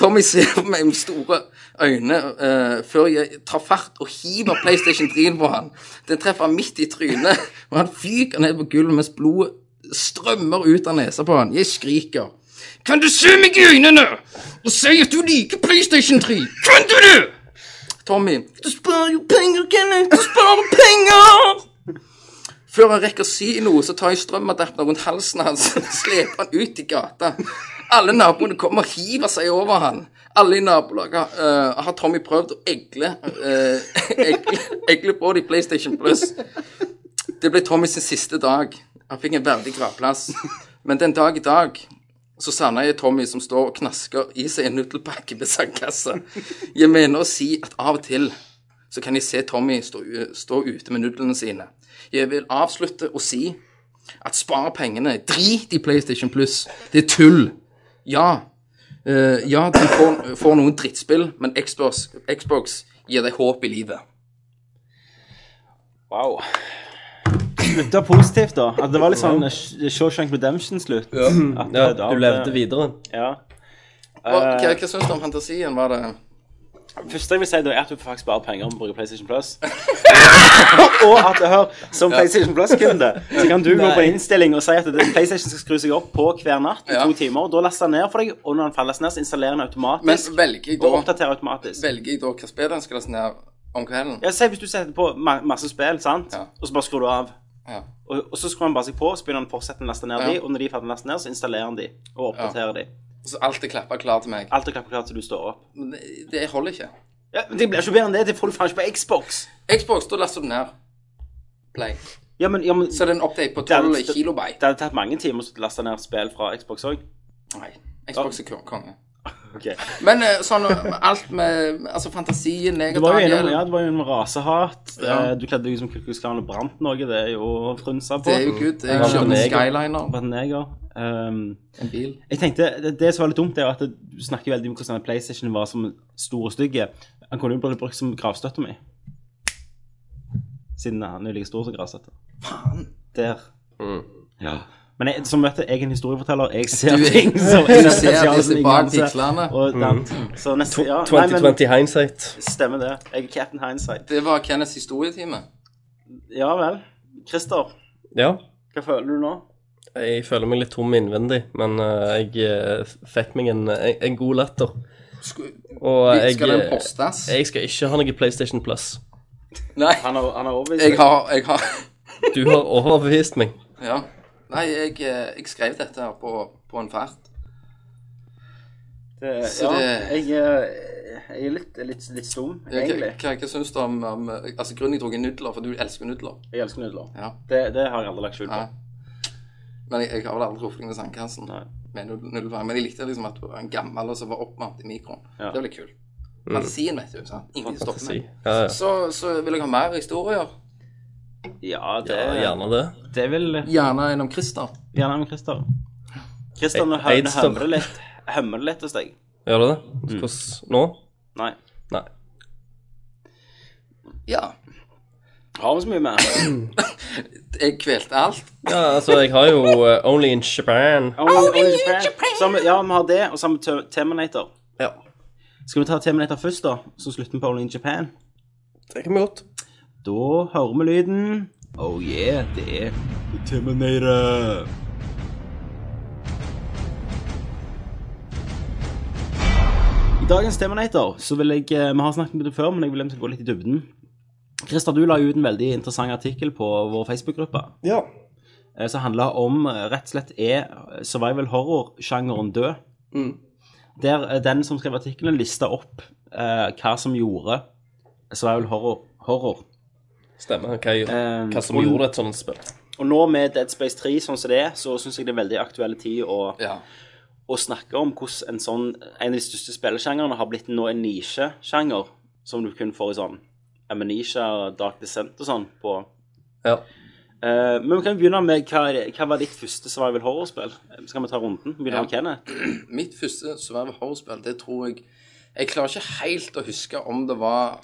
Speaker 6: Tommy ser på meg med store øyne eh, før jeg tar fart og hiver PlayStation 3 på han. Den treffer midt i trynet, og han fyker ned på gulvet mens blodet strømmer ut av nesa på han. Jeg skriker. Kan du se meg i øynene og si at du liker PlayStation 3? Kan du det? Tommy, du sparer jo penger, Kenneth. Du sparer penger! Før han rekker å si noe, så tar jeg strømadapteren rundt halsen hans og sleper han ut i gata. Alle naboene kommer og hiver seg over han. Alle i nabolaget eh, har Tommy prøvd å egle, eh, egle, egle på det i PlayStation Plus. Det ble Tommy sin siste dag. Han fikk en verdig gravplass. Men den dag i dag så savner jeg Tommy som står og knasker i seg en nudelpakke med sandkasse. Jeg mener å si at av og til så kan de se Tommy stå, u- stå ute med nudlene sine. Jeg vil avslutte og si at spar pengene. Drit i PlayStation Plus. Det er tull. Ja, eh, ja du får, får noen drittspill, men Xbox, Xbox gir deg håp i livet.
Speaker 5: Wow. Slutta positivt, da. At det var litt sånn eh, Shawshank Redemption-slutt. At,
Speaker 7: Ja,
Speaker 5: eh, da-
Speaker 7: du levde videre.
Speaker 5: Ja.
Speaker 6: Og, hva, hva syns du om fantasien? Var det
Speaker 5: Første jeg vil si, da, er at du faktisk sparer penger om å bruke PlayStation Plus. og at hør, som PlayStation Plus-kunde, så kan du gå på innstilling og si at det- PlayStation skal skru seg opp på hver natt i
Speaker 6: Ja.
Speaker 5: to timer. og Da laster den ned for deg, og når den faller ned, så installerer den
Speaker 6: Men
Speaker 5: automatisk.
Speaker 6: velger jeg
Speaker 5: og
Speaker 6: da,
Speaker 5: oppdaterer automatisk.
Speaker 6: velger jeg da hva spill den skal laste ned om kvelden?
Speaker 5: Ja, si hvis du setter på ma masse spill, sant,
Speaker 6: Ja.
Speaker 5: og så bare skrur du av.
Speaker 6: Ja.
Speaker 5: Og, og så skrur han bare seg på, så begynner han å fortsette å laste ned
Speaker 6: Ja.
Speaker 5: de, og når de er ferdig å laste ned, så installerer han de, og oppdaterer de.
Speaker 6: Så alt er klappa klar til meg.
Speaker 5: Alt er klart klart til du står opp.
Speaker 6: Men det, det holder ikke.
Speaker 5: Ja, men Det blir ikke bedre enn det, det får du faen ikke på Xbox.
Speaker 6: Xbox, da laster du ned. Play.
Speaker 5: Ja, men, ja, men
Speaker 6: Så er det en update på
Speaker 5: er-
Speaker 6: 12 kilobyte.
Speaker 5: Det hadde tatt mange timer å laste ned spill fra Xbox òg.
Speaker 6: Nei, Xbox er konge.
Speaker 5: Okay.
Speaker 6: Men eh, sånn eh, alt med Altså fantasien jeg
Speaker 5: Du
Speaker 6: og
Speaker 5: var jo innom,
Speaker 6: Daniel
Speaker 5: ja, det var jo innom rasehat.
Speaker 6: Ja.
Speaker 5: Eh, Du kledde deg ut som kukkelskan og brant noe. Det er jo å frynse på.
Speaker 6: Det er jo good. Jeg
Speaker 7: Ja,
Speaker 6: kjører en
Speaker 7: men jeg-
Speaker 6: Skyliner.
Speaker 5: Bare neger. Ehm,
Speaker 6: En bil.
Speaker 5: jeg tenkte, det, det som var litt dumt, det er jo at du snakker veldig om hvordan PlayStation var som stor og stygg. Han kunne jo blitt brukt som gravstøtte mi. Siden han er jo like stor som gravstøtte. Der. Ja. Men jeg, som vet du, jeg er en historieforteller. Jeg ser
Speaker 6: Mm. Du er-
Speaker 5: ting som
Speaker 6: Du ser
Speaker 5: potensial
Speaker 6: disse
Speaker 5: som ingen
Speaker 6: bak
Speaker 5: andre ser.
Speaker 6: pikslene.
Speaker 5: Og, Så neste, ja, nei, men-
Speaker 7: 2020 hindsight.
Speaker 5: Stemmer det. Jeg er Captain Hindsight.
Speaker 6: Det var Kenneths historietime.
Speaker 5: Ja vel. Christer,
Speaker 7: Ja.
Speaker 5: hva føler du nå?
Speaker 7: Jeg føler meg litt tom innvendig, men eh, jeg eh, fikk meg en, en, en god latter.
Speaker 6: Sku-
Speaker 7: Og jeg,
Speaker 6: Skal den
Speaker 7: eh,
Speaker 6: postes?
Speaker 7: jeg skal ikke ha noe PlayStation Plus.
Speaker 6: Nei,
Speaker 5: Han har, han har overbevist
Speaker 6: jeg har, jeg har
Speaker 7: Du har overbevist meg.
Speaker 6: Ja. Nei, jeg, eh, jeg skrev dette her på, på en fart.
Speaker 5: Det,
Speaker 6: så
Speaker 5: ja,
Speaker 6: det-
Speaker 5: jeg, eh, jeg er litt, litt, litt stum,
Speaker 6: Ja, Hva,
Speaker 5: egentlig.
Speaker 6: hva, hva syns du om, om eh, Altså, grunnen jeg dro i nudler, for du elsker jo nudler.
Speaker 5: Jeg elsker nudler.
Speaker 6: Ja.
Speaker 5: Det, det har jeg aldri lagt skjul på.
Speaker 6: Nei. Men jeg, jeg har vel aldri truffet deg med sandkassen
Speaker 5: Nei.
Speaker 6: med nudl- nudelfang. Men jeg likte liksom at du var en gammel og så var oppvarmt i mikroen.
Speaker 5: Ja.
Speaker 6: Det ble kult. Fantasien, vet du. sant? Ingen stopper
Speaker 7: Si.
Speaker 6: meg.
Speaker 7: Ja, ja.
Speaker 6: Så, så vil jeg ha mer historier.
Speaker 5: Ja, det,
Speaker 7: ja, gjerne det.
Speaker 5: det vil
Speaker 6: Gjerne gjennom Christer.
Speaker 5: gjerne med Christer. Christer, nå hø-
Speaker 7: Ei-
Speaker 5: nå
Speaker 7: Eidstad.
Speaker 5: hømmer det litt, hømmer det litt hos deg.
Speaker 7: Gjør det det? Hvordan Nå?
Speaker 5: Nei.
Speaker 7: Nei.
Speaker 6: Ja.
Speaker 5: Har vi så mye mer?
Speaker 6: Jeg kvelte alt.
Speaker 7: Ja, altså, jeg har jo eh, Only in Japan.
Speaker 5: Only, only Japan. Så har vi- ja, vi har det, og så har vi Ter- Terminator.
Speaker 7: Ja,
Speaker 5: Skal vi ta Terminator først, da? Så slutter vi på Only in Japan.
Speaker 7: det kan vi godt.
Speaker 5: Da hører vi lyden. Oh yeah, det er Terminator. I dagens Terminator så vil jeg eh, Vi har snakket om det før, men jeg vil egentlig gå litt i dybden. Christer, du la jo ut en veldig interessant artikkel på vår Facebook-gruppe
Speaker 7: Ja.
Speaker 5: eh, som handla om eh, rett og slett er eh, survival horror-sjangeren død. Der eh, den som skrev artikkelen, lista opp eh, hva som gjorde survival horror. horror.
Speaker 7: Stemmer. Hva, jeg,
Speaker 5: Eh,
Speaker 7: hva som
Speaker 5: og-
Speaker 7: gjorde et sånt spill.
Speaker 5: Og nå med Dead Space 3 sånn som det er, så syns jeg det er veldig aktuell tid å,
Speaker 6: Ja.
Speaker 5: å snakke om hvordan en sånn En av de største spillesjangrene har blitt nå en nisjesjanger, som du kun får i sånn Amnesia, Dark Descent og sånn på.
Speaker 7: Ja.
Speaker 5: Eh, men vi kan begynne med hva, er det- hva var ditt første survival horror-spill? Eh, Skal vi ta runden? Begynner med Kenneth?
Speaker 6: Mitt første survival horror-spill, det tror jeg Jeg klarer ikke helt å huske om det var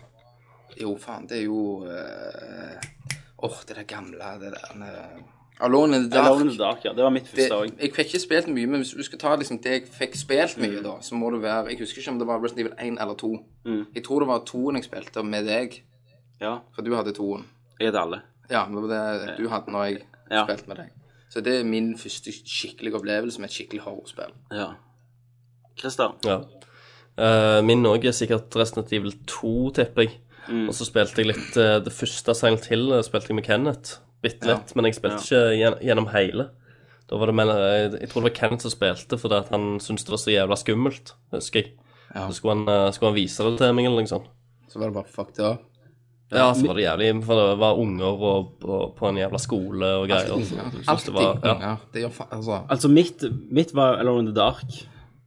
Speaker 6: Jo, faen, det er jo eh, Åh, det der gamle Det der eh, Alone in the Dark.
Speaker 5: Alone in the Dark, ja. Det var mitt
Speaker 6: det,
Speaker 5: første òg.
Speaker 6: jeg fikk ikke spilt mye, men hvis du skal ta liksom det jeg fikk spilt mye, da, så må det være Jeg husker ikke om det var Resident Evil 1 eller 2. Jeg tror det var 2-en jeg spilte med deg,
Speaker 5: Ja.
Speaker 6: for du hadde 2-en.
Speaker 5: Jeg heter alle.
Speaker 6: Ja, det var det du hadde når jeg
Speaker 5: Ja.
Speaker 6: spilte med deg. Så det er min første skikkelige opplevelse med et skikkelig horrorspill.
Speaker 5: Ja. Christer?
Speaker 7: Ja. Eh, min òg er sikkert Resident Evil 2, tipper jeg. Og så spilte jeg litt eh, det første Silent Hill eh, spilte jeg med Kenneth. Bitte litt, men jeg spilte ikke gjen- gjennom hele. Da var det men, jeg, jeg tror det var Kenneth som spilte fordi at han syntes det var så jævla skummelt, husker jeg.
Speaker 6: Ja.
Speaker 7: Så skulle han, eh, skulle han vise det til meg, eller noe sånt.
Speaker 6: Så var det bare fuck det up.
Speaker 7: Ja, så var det jævlig For det var unger og, og, på en jævla skole og greier. Så, Altså, jeg synes
Speaker 6: Alt
Speaker 7: det
Speaker 6: det
Speaker 7: var, ja.
Speaker 6: unger. Det gjør faen Altså.
Speaker 5: Altså, mitt, mitt var Alone in the Dark.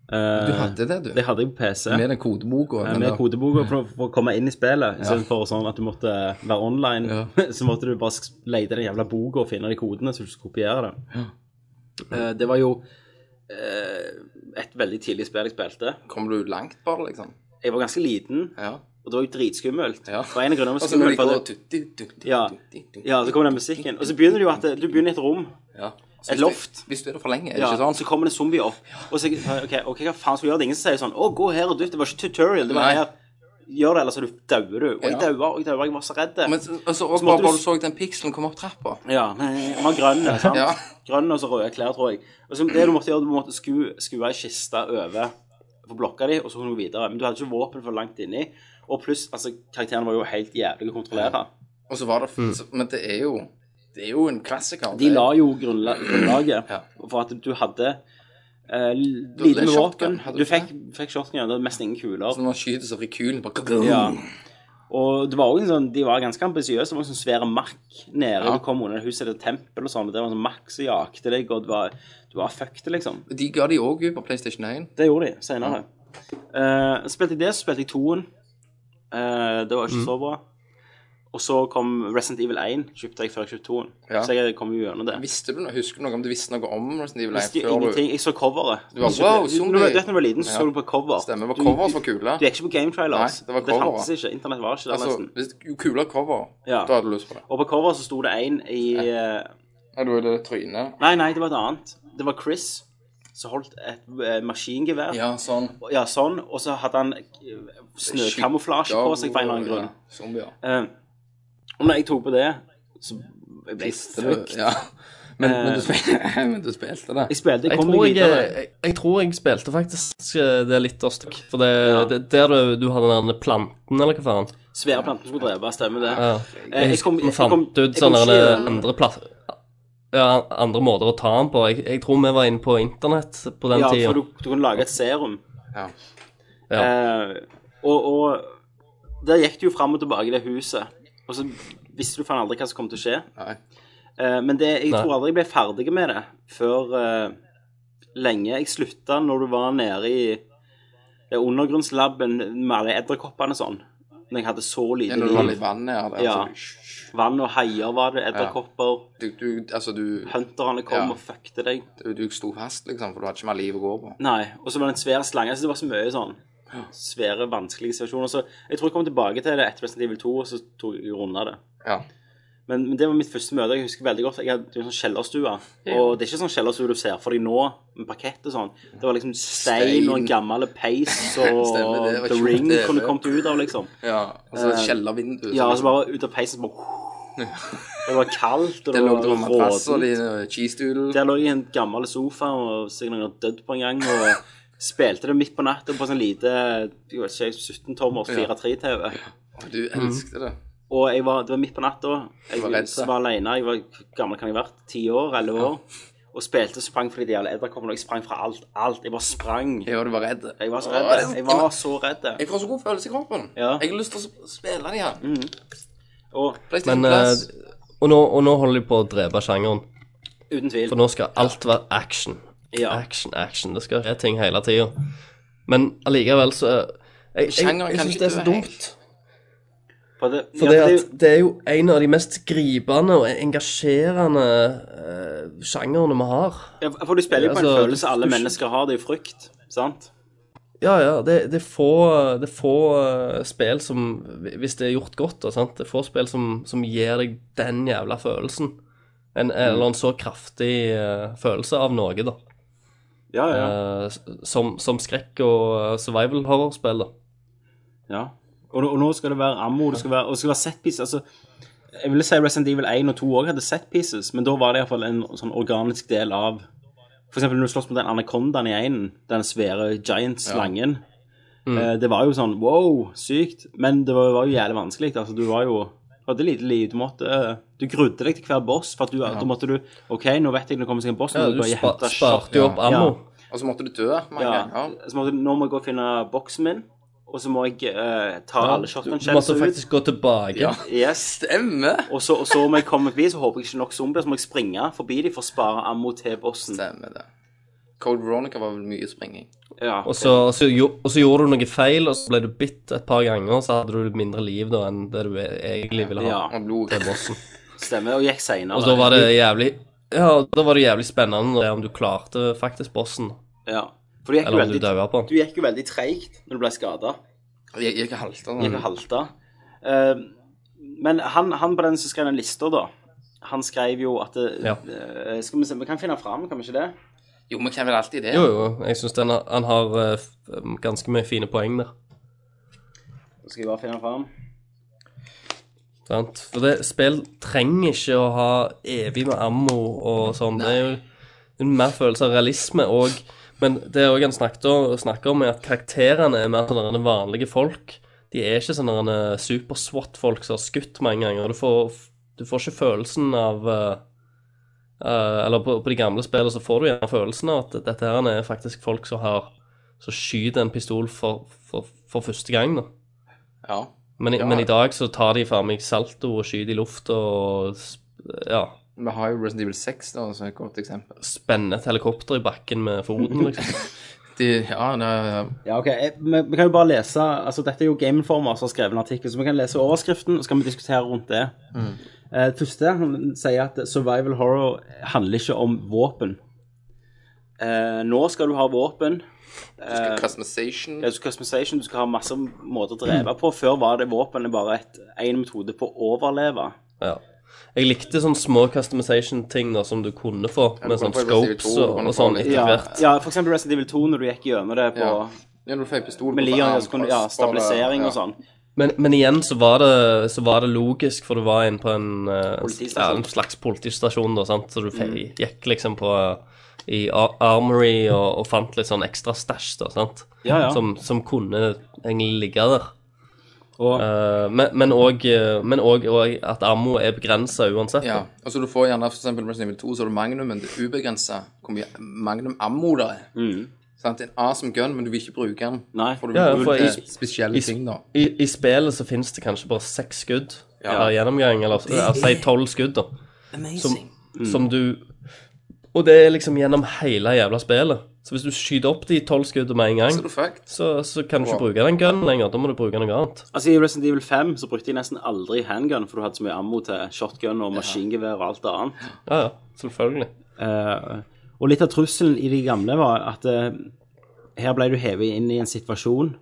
Speaker 5: Eh,
Speaker 6: Du hadde det, du.
Speaker 5: Det hadde jeg på PC.
Speaker 6: Med den kodeboka.
Speaker 5: Eh,
Speaker 6: eller-
Speaker 5: Med kodeboka for, for å komme inn i spillet. Istedenfor sånn at du måtte være online, så måtte du bare sk- lete i den jævla boka og finne de kodene, så du skulle kopiere det. Eh, det var jo eh, et veldig tidlig spill jeg spilte.
Speaker 6: Kom du langt, bare, liksom?
Speaker 5: Jeg var ganske liten,
Speaker 6: Ja.
Speaker 5: og det var jo dritskummelt.
Speaker 6: Ja.
Speaker 5: Det var en av grunnene
Speaker 6: Og
Speaker 5: var
Speaker 6: så når de
Speaker 5: skummelt.
Speaker 6: går
Speaker 5: for
Speaker 6: og
Speaker 5: at-
Speaker 6: tutti, tutti,
Speaker 5: Ja.
Speaker 6: tutti, tutti.
Speaker 5: Ja, så kommer den musikken. Og så begynner det jo at det- du begynner i et rom.
Speaker 6: Ja. Så
Speaker 5: Et
Speaker 6: hvis
Speaker 5: loft.
Speaker 6: du- Hvis du er der for lenge, er det
Speaker 5: Ja,
Speaker 6: ikke sånn?
Speaker 5: Så kommer det zombier opp. Og så ok, ok, hva faen skal vi gjøre? Det er ingen som sier sånn 'Å, gå her og dytt'. Det var ikke tutorial. Det var
Speaker 6: Nei.
Speaker 5: her. Gjør det, eller så du dauer du. Og jeg
Speaker 6: Ja.
Speaker 5: daua, og jeg daua. Jeg var så redd.
Speaker 6: Men så- og så også
Speaker 5: Så måtte
Speaker 6: bare
Speaker 5: du-
Speaker 6: bare du så den pikselen komme opp trappa.
Speaker 5: Ja, vi har grønne, sant?
Speaker 6: Ja.
Speaker 5: Grønne og så røde klær, tror jeg. Og så det du måtte gjøre, du måtte sku, skue ei kiste over på blokka di, og så kunne du videre. Men du hadde ikke våpen for langt inni. Og pluss, altså, karakteren var jo helt jævlig å kontrollere.
Speaker 6: Og så var det så- Men det er jo Det er jo en klassiker.
Speaker 5: Mm. De
Speaker 6: det er-
Speaker 5: la jo grunnla grunnlaget
Speaker 6: Ja.
Speaker 5: for at du hadde eh,
Speaker 6: hadde
Speaker 5: lite med våpen.
Speaker 6: shotgun, hadde du
Speaker 5: Du
Speaker 6: ikke
Speaker 5: fikk, fikk shotgun, det var mest ingen
Speaker 6: Så
Speaker 5: kuler.
Speaker 6: når man skyter, så rekylen bare
Speaker 5: Ja. Og det var også en sånn, de var ganske ambisiøse. Det var en sånn svære makk nede.
Speaker 6: Ja.
Speaker 5: Du kom under huset til et tempel og sånn. og Det var en sånn makk som jakte deg, og du var, du var fucked, liksom.
Speaker 6: De ga de òg ut på PlayStation 1.
Speaker 5: Det gjorde de senere. Eh, spilte jeg det, så spilte jeg toen. Eh, det var ikke
Speaker 6: Mm.
Speaker 5: så bra. Og så kom Resident Evil 1, kjøpte jeg før jeg kjøpte toen.
Speaker 6: Ja.
Speaker 5: Så jeg kom jo gjennom det.
Speaker 6: Visste du noe, Husker du noe om du visste noe om Resident Evil 1
Speaker 5: Visste jo
Speaker 6: før du-
Speaker 5: ingenting. Jeg så coveret.
Speaker 6: Du var, wow,
Speaker 5: du,
Speaker 6: zombie.
Speaker 5: når du, vet du når du var liten, så
Speaker 6: Ja.
Speaker 5: så du på cover.
Speaker 6: Stemmer, det var
Speaker 5: Du-
Speaker 6: coveret som
Speaker 5: du-
Speaker 6: var kule.
Speaker 5: Du er ikke på game trailers.
Speaker 6: Nei, det var
Speaker 5: det
Speaker 6: coveret.
Speaker 5: fantes ikke. Internett var ikke der,
Speaker 6: Altså,
Speaker 5: nesten.
Speaker 6: hvis- Jo kulere cover,
Speaker 5: Ja.
Speaker 6: da hadde du lyst på det.
Speaker 5: Og på coveret så sto det én i eh,
Speaker 6: Ja, du er det trynet.
Speaker 5: Nei, nei, det var et annet. Det var Chris som holdt et eh, maskingevær.
Speaker 6: Ja, sånn.
Speaker 5: Ja, sånn. Og så hadde han eh, snøkamuflasje på seg for en eller annen grunn.
Speaker 6: Ja, Zombier.
Speaker 5: Eh, og når jeg tok på det, så jeg ble
Speaker 6: Visste du?
Speaker 5: frykt.
Speaker 6: Ja. Men, men, du spilte, men du spilte det.
Speaker 5: Eh. Jeg spilte, jeg
Speaker 7: Jeg
Speaker 5: kom
Speaker 7: tror
Speaker 5: meg
Speaker 7: jeg,
Speaker 5: videre.
Speaker 7: jeg, jeg tror jeg spilte faktisk eh, det litt av stykk. For det, det der du, du hadde den der planten, eller hva faen.
Speaker 5: Svære planten skulle drepe, stemmer det.
Speaker 7: Ja.
Speaker 5: Eh, jeg
Speaker 7: Jeg
Speaker 5: kom-
Speaker 7: husker
Speaker 5: jeg
Speaker 7: vi fant
Speaker 5: kom- jeg
Speaker 7: ut
Speaker 5: kom
Speaker 7: sånn sånne
Speaker 5: ikke
Speaker 7: der
Speaker 5: gjennom-
Speaker 7: andre plass... Ja, andre måter å ta den på. Jeg, jeg tror vi var inne på internett på den
Speaker 5: Ja,
Speaker 7: tida.
Speaker 5: for du, du kunne lage et serum.
Speaker 6: Ja.
Speaker 5: Eh, og, og der gikk du jo fram og tilbake i det huset. Og så visste du faen aldri hva som kom til å skje.
Speaker 6: Nei.
Speaker 5: Eh, men det, jeg
Speaker 7: Nei.
Speaker 5: tror aldri jeg ble ferdig med det før eh, lenge. Jeg slutta når du var nede i det undergrunnslaben med alle edderkoppene og sånn. Når jeg hadde så
Speaker 6: Ja,
Speaker 5: lite
Speaker 6: Når du var litt
Speaker 5: liv.
Speaker 6: vann her, det,
Speaker 5: Ja.
Speaker 6: altså,
Speaker 5: Vann og haier var det, edderkopper.
Speaker 6: du, du, altså, du,
Speaker 5: Hunterne kom
Speaker 6: Ja.
Speaker 5: og fuckte deg.
Speaker 6: du, du sto fast, liksom, for du hadde ikke mer liv å gå på.
Speaker 5: Nei. Og så var det en svær slange. Så det var så mye sånn svære, vanskelige situasjoner. Så jeg tror jeg kom tilbake til det etter Resident Evil 2, og så tok jeg runda det.
Speaker 6: Ja.
Speaker 5: Men, men det var mitt første møte. Jeg husker veldig godt. Jeg hadde en sånn kjellerstue. Og det er ikke sånn kjellerstue du ser for deg nå, med parkett og sånn. Det var liksom stein og en gammel peis,
Speaker 6: Stemmer,
Speaker 5: og
Speaker 6: det var
Speaker 5: The
Speaker 6: kult,
Speaker 5: Ring
Speaker 6: det,
Speaker 5: kunne
Speaker 6: det.
Speaker 5: kommet ut av, liksom.
Speaker 6: ja. Altså, kjellervindu.
Speaker 5: Ja, og så
Speaker 6: liksom,
Speaker 5: bare ut av peisen så bare Det var kaldt, og
Speaker 6: det
Speaker 5: det
Speaker 6: lå
Speaker 5: var
Speaker 6: det på madrasser,
Speaker 5: rådent.
Speaker 6: de eh, cheese-doodle.
Speaker 5: Der lå jeg i en gammel sofa og sikkert noen hadde dødd på en gang. Og spilte det midt på natta på sånn lite jeg vet ikke, 17-tommers 4-3-TV.
Speaker 6: Du elsket det.
Speaker 5: Og jeg var, det var midt på natta. Jeg
Speaker 6: var
Speaker 5: var,
Speaker 6: redd, da.
Speaker 5: alene. Jeg var, hvor gammel kan jeg ha vært? Ti år? Elleve år? Og spilte og sprang fordi de gjaldt edderkoppene. Og jeg sprang fra alt. Alt. Jeg bare sprang.
Speaker 6: Ja, du var redd.
Speaker 5: Jeg var så
Speaker 6: Å, det
Speaker 5: redd.
Speaker 6: er-
Speaker 5: Jeg var så redd.
Speaker 6: Jeg får så god følelse i kroppen.
Speaker 5: Ja. Mm.
Speaker 6: Jeg har lyst til å spille de her.
Speaker 5: Og
Speaker 6: PlayStation
Speaker 7: Men,
Speaker 6: Plus.
Speaker 7: eh, og, nå, og nå holder de på å drepe sjangeren.
Speaker 5: uten tvil.
Speaker 7: For nå skal alt være action.
Speaker 5: Ja.
Speaker 7: Action, action. Det skal skje ting hele tida. Men allikevel så eh, Jeg, jeg,
Speaker 6: Sjangeren
Speaker 7: jeg
Speaker 6: kan
Speaker 7: syns
Speaker 6: ikke
Speaker 7: det er så
Speaker 6: dø
Speaker 7: dumt.
Speaker 5: For det,
Speaker 7: For
Speaker 5: ja,
Speaker 7: det,
Speaker 5: for det,
Speaker 7: at det er jo en av de mest gripende og engasjerende eh, sjangerene vi har.
Speaker 5: ja, for du spiller jo på en
Speaker 7: Altså,
Speaker 5: følelse alle
Speaker 7: du-
Speaker 5: mennesker har. Det er jo frykt. Sant?
Speaker 7: Ja, ja, det, det er få, det er få eh, spill som Hvis det er gjort godt, da, sant? det er få spill som, som gir deg den jævla følelsen. En, Eller en så kraftig eh, følelse av noe, da.
Speaker 5: Ja, ja.
Speaker 7: Eh, s- som, som skrekk- og eh, survival horror-spill, da.
Speaker 5: Ja. Og, nå- og nå skal det være ammo, det skal være, og det skal være set pieces. Altså, jeg ville si Resident Evil 1 og 2 også hadde set pieces, men da var det iallfall en sånn organisk del av For eksempel når du slåss mot den anakondaen i einen, den svære giant-slangen.
Speaker 7: Mm.
Speaker 5: Eh, det var jo sånn wow, sykt, men det var, var jo jævlig vanskelig. Altså, du var jo du hadde lite liv. Du måtte eh, Du grudde deg til hver boss, for at du, da måtte du OK, nå vet jeg det kommer seg en boss, nå
Speaker 7: Ja,
Speaker 5: må jeg
Speaker 7: du
Speaker 5: gå og
Speaker 7: spa,
Speaker 5: hente shot.
Speaker 7: sparte jo opp ammo.
Speaker 6: Og så måtte du dø mange
Speaker 5: Ja.
Speaker 6: ganger.
Speaker 5: Så måtte, nå må jeg gå og finne boksen min, og så må jeg eh, ta alle
Speaker 7: du,
Speaker 5: shotgun
Speaker 7: du måtte
Speaker 5: shells ut.
Speaker 7: faktisk gå tilbake.
Speaker 6: Ja.
Speaker 5: Yes.
Speaker 6: Stemmer.
Speaker 5: Og så, og så om jeg kommer forbi, så håper jeg ikke nok zombier, så må jeg springe forbi de for å spare ammo til bossen.
Speaker 6: Stemmer det. Code Veronica var vel mye springing.
Speaker 5: Ja.
Speaker 7: Og så, og, så, gjo- og så gjorde du noe feil, og så ble du bitt et par ganger, og så hadde du mindre liv da enn det du e- egentlig ville ha.
Speaker 5: ja.
Speaker 6: Og blod.
Speaker 7: til bossen.
Speaker 5: Stemmer. Og gikk seinere.
Speaker 7: Og da var det jævlig Ja, da var det jævlig spennende det om du klarte faktisk bossen,
Speaker 5: ja. For du gikk, jo
Speaker 7: eller om du
Speaker 5: veldig,
Speaker 7: daua på
Speaker 5: du
Speaker 7: den.
Speaker 5: gikk jo veldig treigt når du ble skada.
Speaker 6: Jeg jeg gikk og sånn. halta.
Speaker 5: Gikk og
Speaker 7: Mm.
Speaker 5: halta. Eh, men han, han på den som skrev den lista, da, han skrev jo at det,
Speaker 7: Ja.
Speaker 5: eh, Skal vi se, vi kan finne fram, kan vi ikke det?
Speaker 6: Jo, men hvem vil alltid det?
Speaker 7: Jo, jo, jeg syns han har eh, f- ganske mye fine poeng der.
Speaker 5: Så skal jeg bare finne fram.
Speaker 7: Sant? For det, spill trenger ikke å ha evig med ammo og sånn. Det er jo en mer følelse av realisme og Men det er òg han snakket om, snakker om, er at karakterene er mer sånne vanlige folk. De er ikke sånne super-SWAT-folk som har skutt mange ganger. Du får, du får ikke følelsen av eh, eh, Eller på, på de gamle spillene så får du gjerne følelsen av at dette her er faktisk folk som har Som skyter en pistol for, for, for første gang, da.
Speaker 6: Ja.
Speaker 7: Men, i- men i dag så tar de faen meg salto og skyter i lufta og sp- ja,
Speaker 6: Vi har jo Resident Evil 6 da, som er et godt eksempel.
Speaker 7: spenner et helikopter i bakken med foten, liksom.
Speaker 6: De, ja, det er-
Speaker 5: Ja, ok. Eh, Vi, vi kan jo bare lese altså Dette er jo Game Informer som har skrevet en artikkel, så vi kan lese overskriften, og så kan vi diskutere rundt det. Eh, Det første han sier at survival horror handler ikke om våpen. Eh, nå skal du ha våpen. Eh,
Speaker 6: skal customization.
Speaker 5: Ja, du skal ha customization, du skal ha masse måter å dreve på. Før var det våpenet bare et- en metode på å overleve.
Speaker 7: Ja. Jeg likte sånne små customization-ting da som du kunne få, med
Speaker 6: kunne
Speaker 7: sånne
Speaker 6: få Resident Evil 2,
Speaker 7: scopes
Speaker 6: du
Speaker 7: og,
Speaker 6: kunne
Speaker 7: og
Speaker 6: få
Speaker 7: sånn
Speaker 6: litt-
Speaker 7: etter
Speaker 5: Ja,
Speaker 7: hvert.
Speaker 5: ja for eksempel Resident Evil 2, når du gikk gjennom det på
Speaker 6: Ja. Ja, når du får pistol
Speaker 5: med
Speaker 6: på
Speaker 5: Leon,
Speaker 6: armen,
Speaker 5: så kunne du, sånn- ja,
Speaker 6: crossbar,
Speaker 5: stabilisering
Speaker 6: ja.
Speaker 5: og sånn.
Speaker 7: Men, men igjen så var, det, så var det logisk, for du var inne på en, eh, ja,
Speaker 5: Politistasjon.
Speaker 7: en slags politistasjon, da, sant? så du fe-
Speaker 6: Mm.
Speaker 7: gikk liksom på eh, i Ar- Armory og, og fant litt sånn ekstra stæsj, da, sant?
Speaker 5: Ja, ja.
Speaker 7: Som, som kunne egentlig ligge der.
Speaker 5: Og,
Speaker 7: Eh, men- men òg men og, og at ammo er begrensa uansett.
Speaker 6: Ja, og så du får gjerne for eksempel Resident Evil 2, så har du magnumen, det er ubegrenset hvor mye magnum ammo der er. Sant? En awesome gun, men du vil ikke bruke den.
Speaker 5: Mm. Nei.
Speaker 6: For du vil
Speaker 7: Ja, ja, for
Speaker 6: bruke
Speaker 7: i-
Speaker 6: spesielle
Speaker 7: i-
Speaker 6: ting da.
Speaker 7: I, I spillet så finnes det kanskje bare seks skudd per gjennomgang, eller eller si tolv skudd, da. Som,
Speaker 6: Mm.
Speaker 7: som du Og det er liksom gjennom hele jævla spillet. Så hvis du skyter opp de tolv skuddene med en
Speaker 6: Så er du
Speaker 7: gang,
Speaker 6: fucked.
Speaker 7: så, så kan du ikke bruke den gunnen lenger. Da må du bruke noe annet.
Speaker 5: altså I Resident Evil 5 så brukte jeg nesten aldri handgun, for du hadde så mye ammo til shotgun og maskingevær og alt annet.
Speaker 7: Ja, ja, selvfølgelig.
Speaker 5: Eh, og litt av trusselen i de gamle var at eh, her ble du hevet inn i en situasjon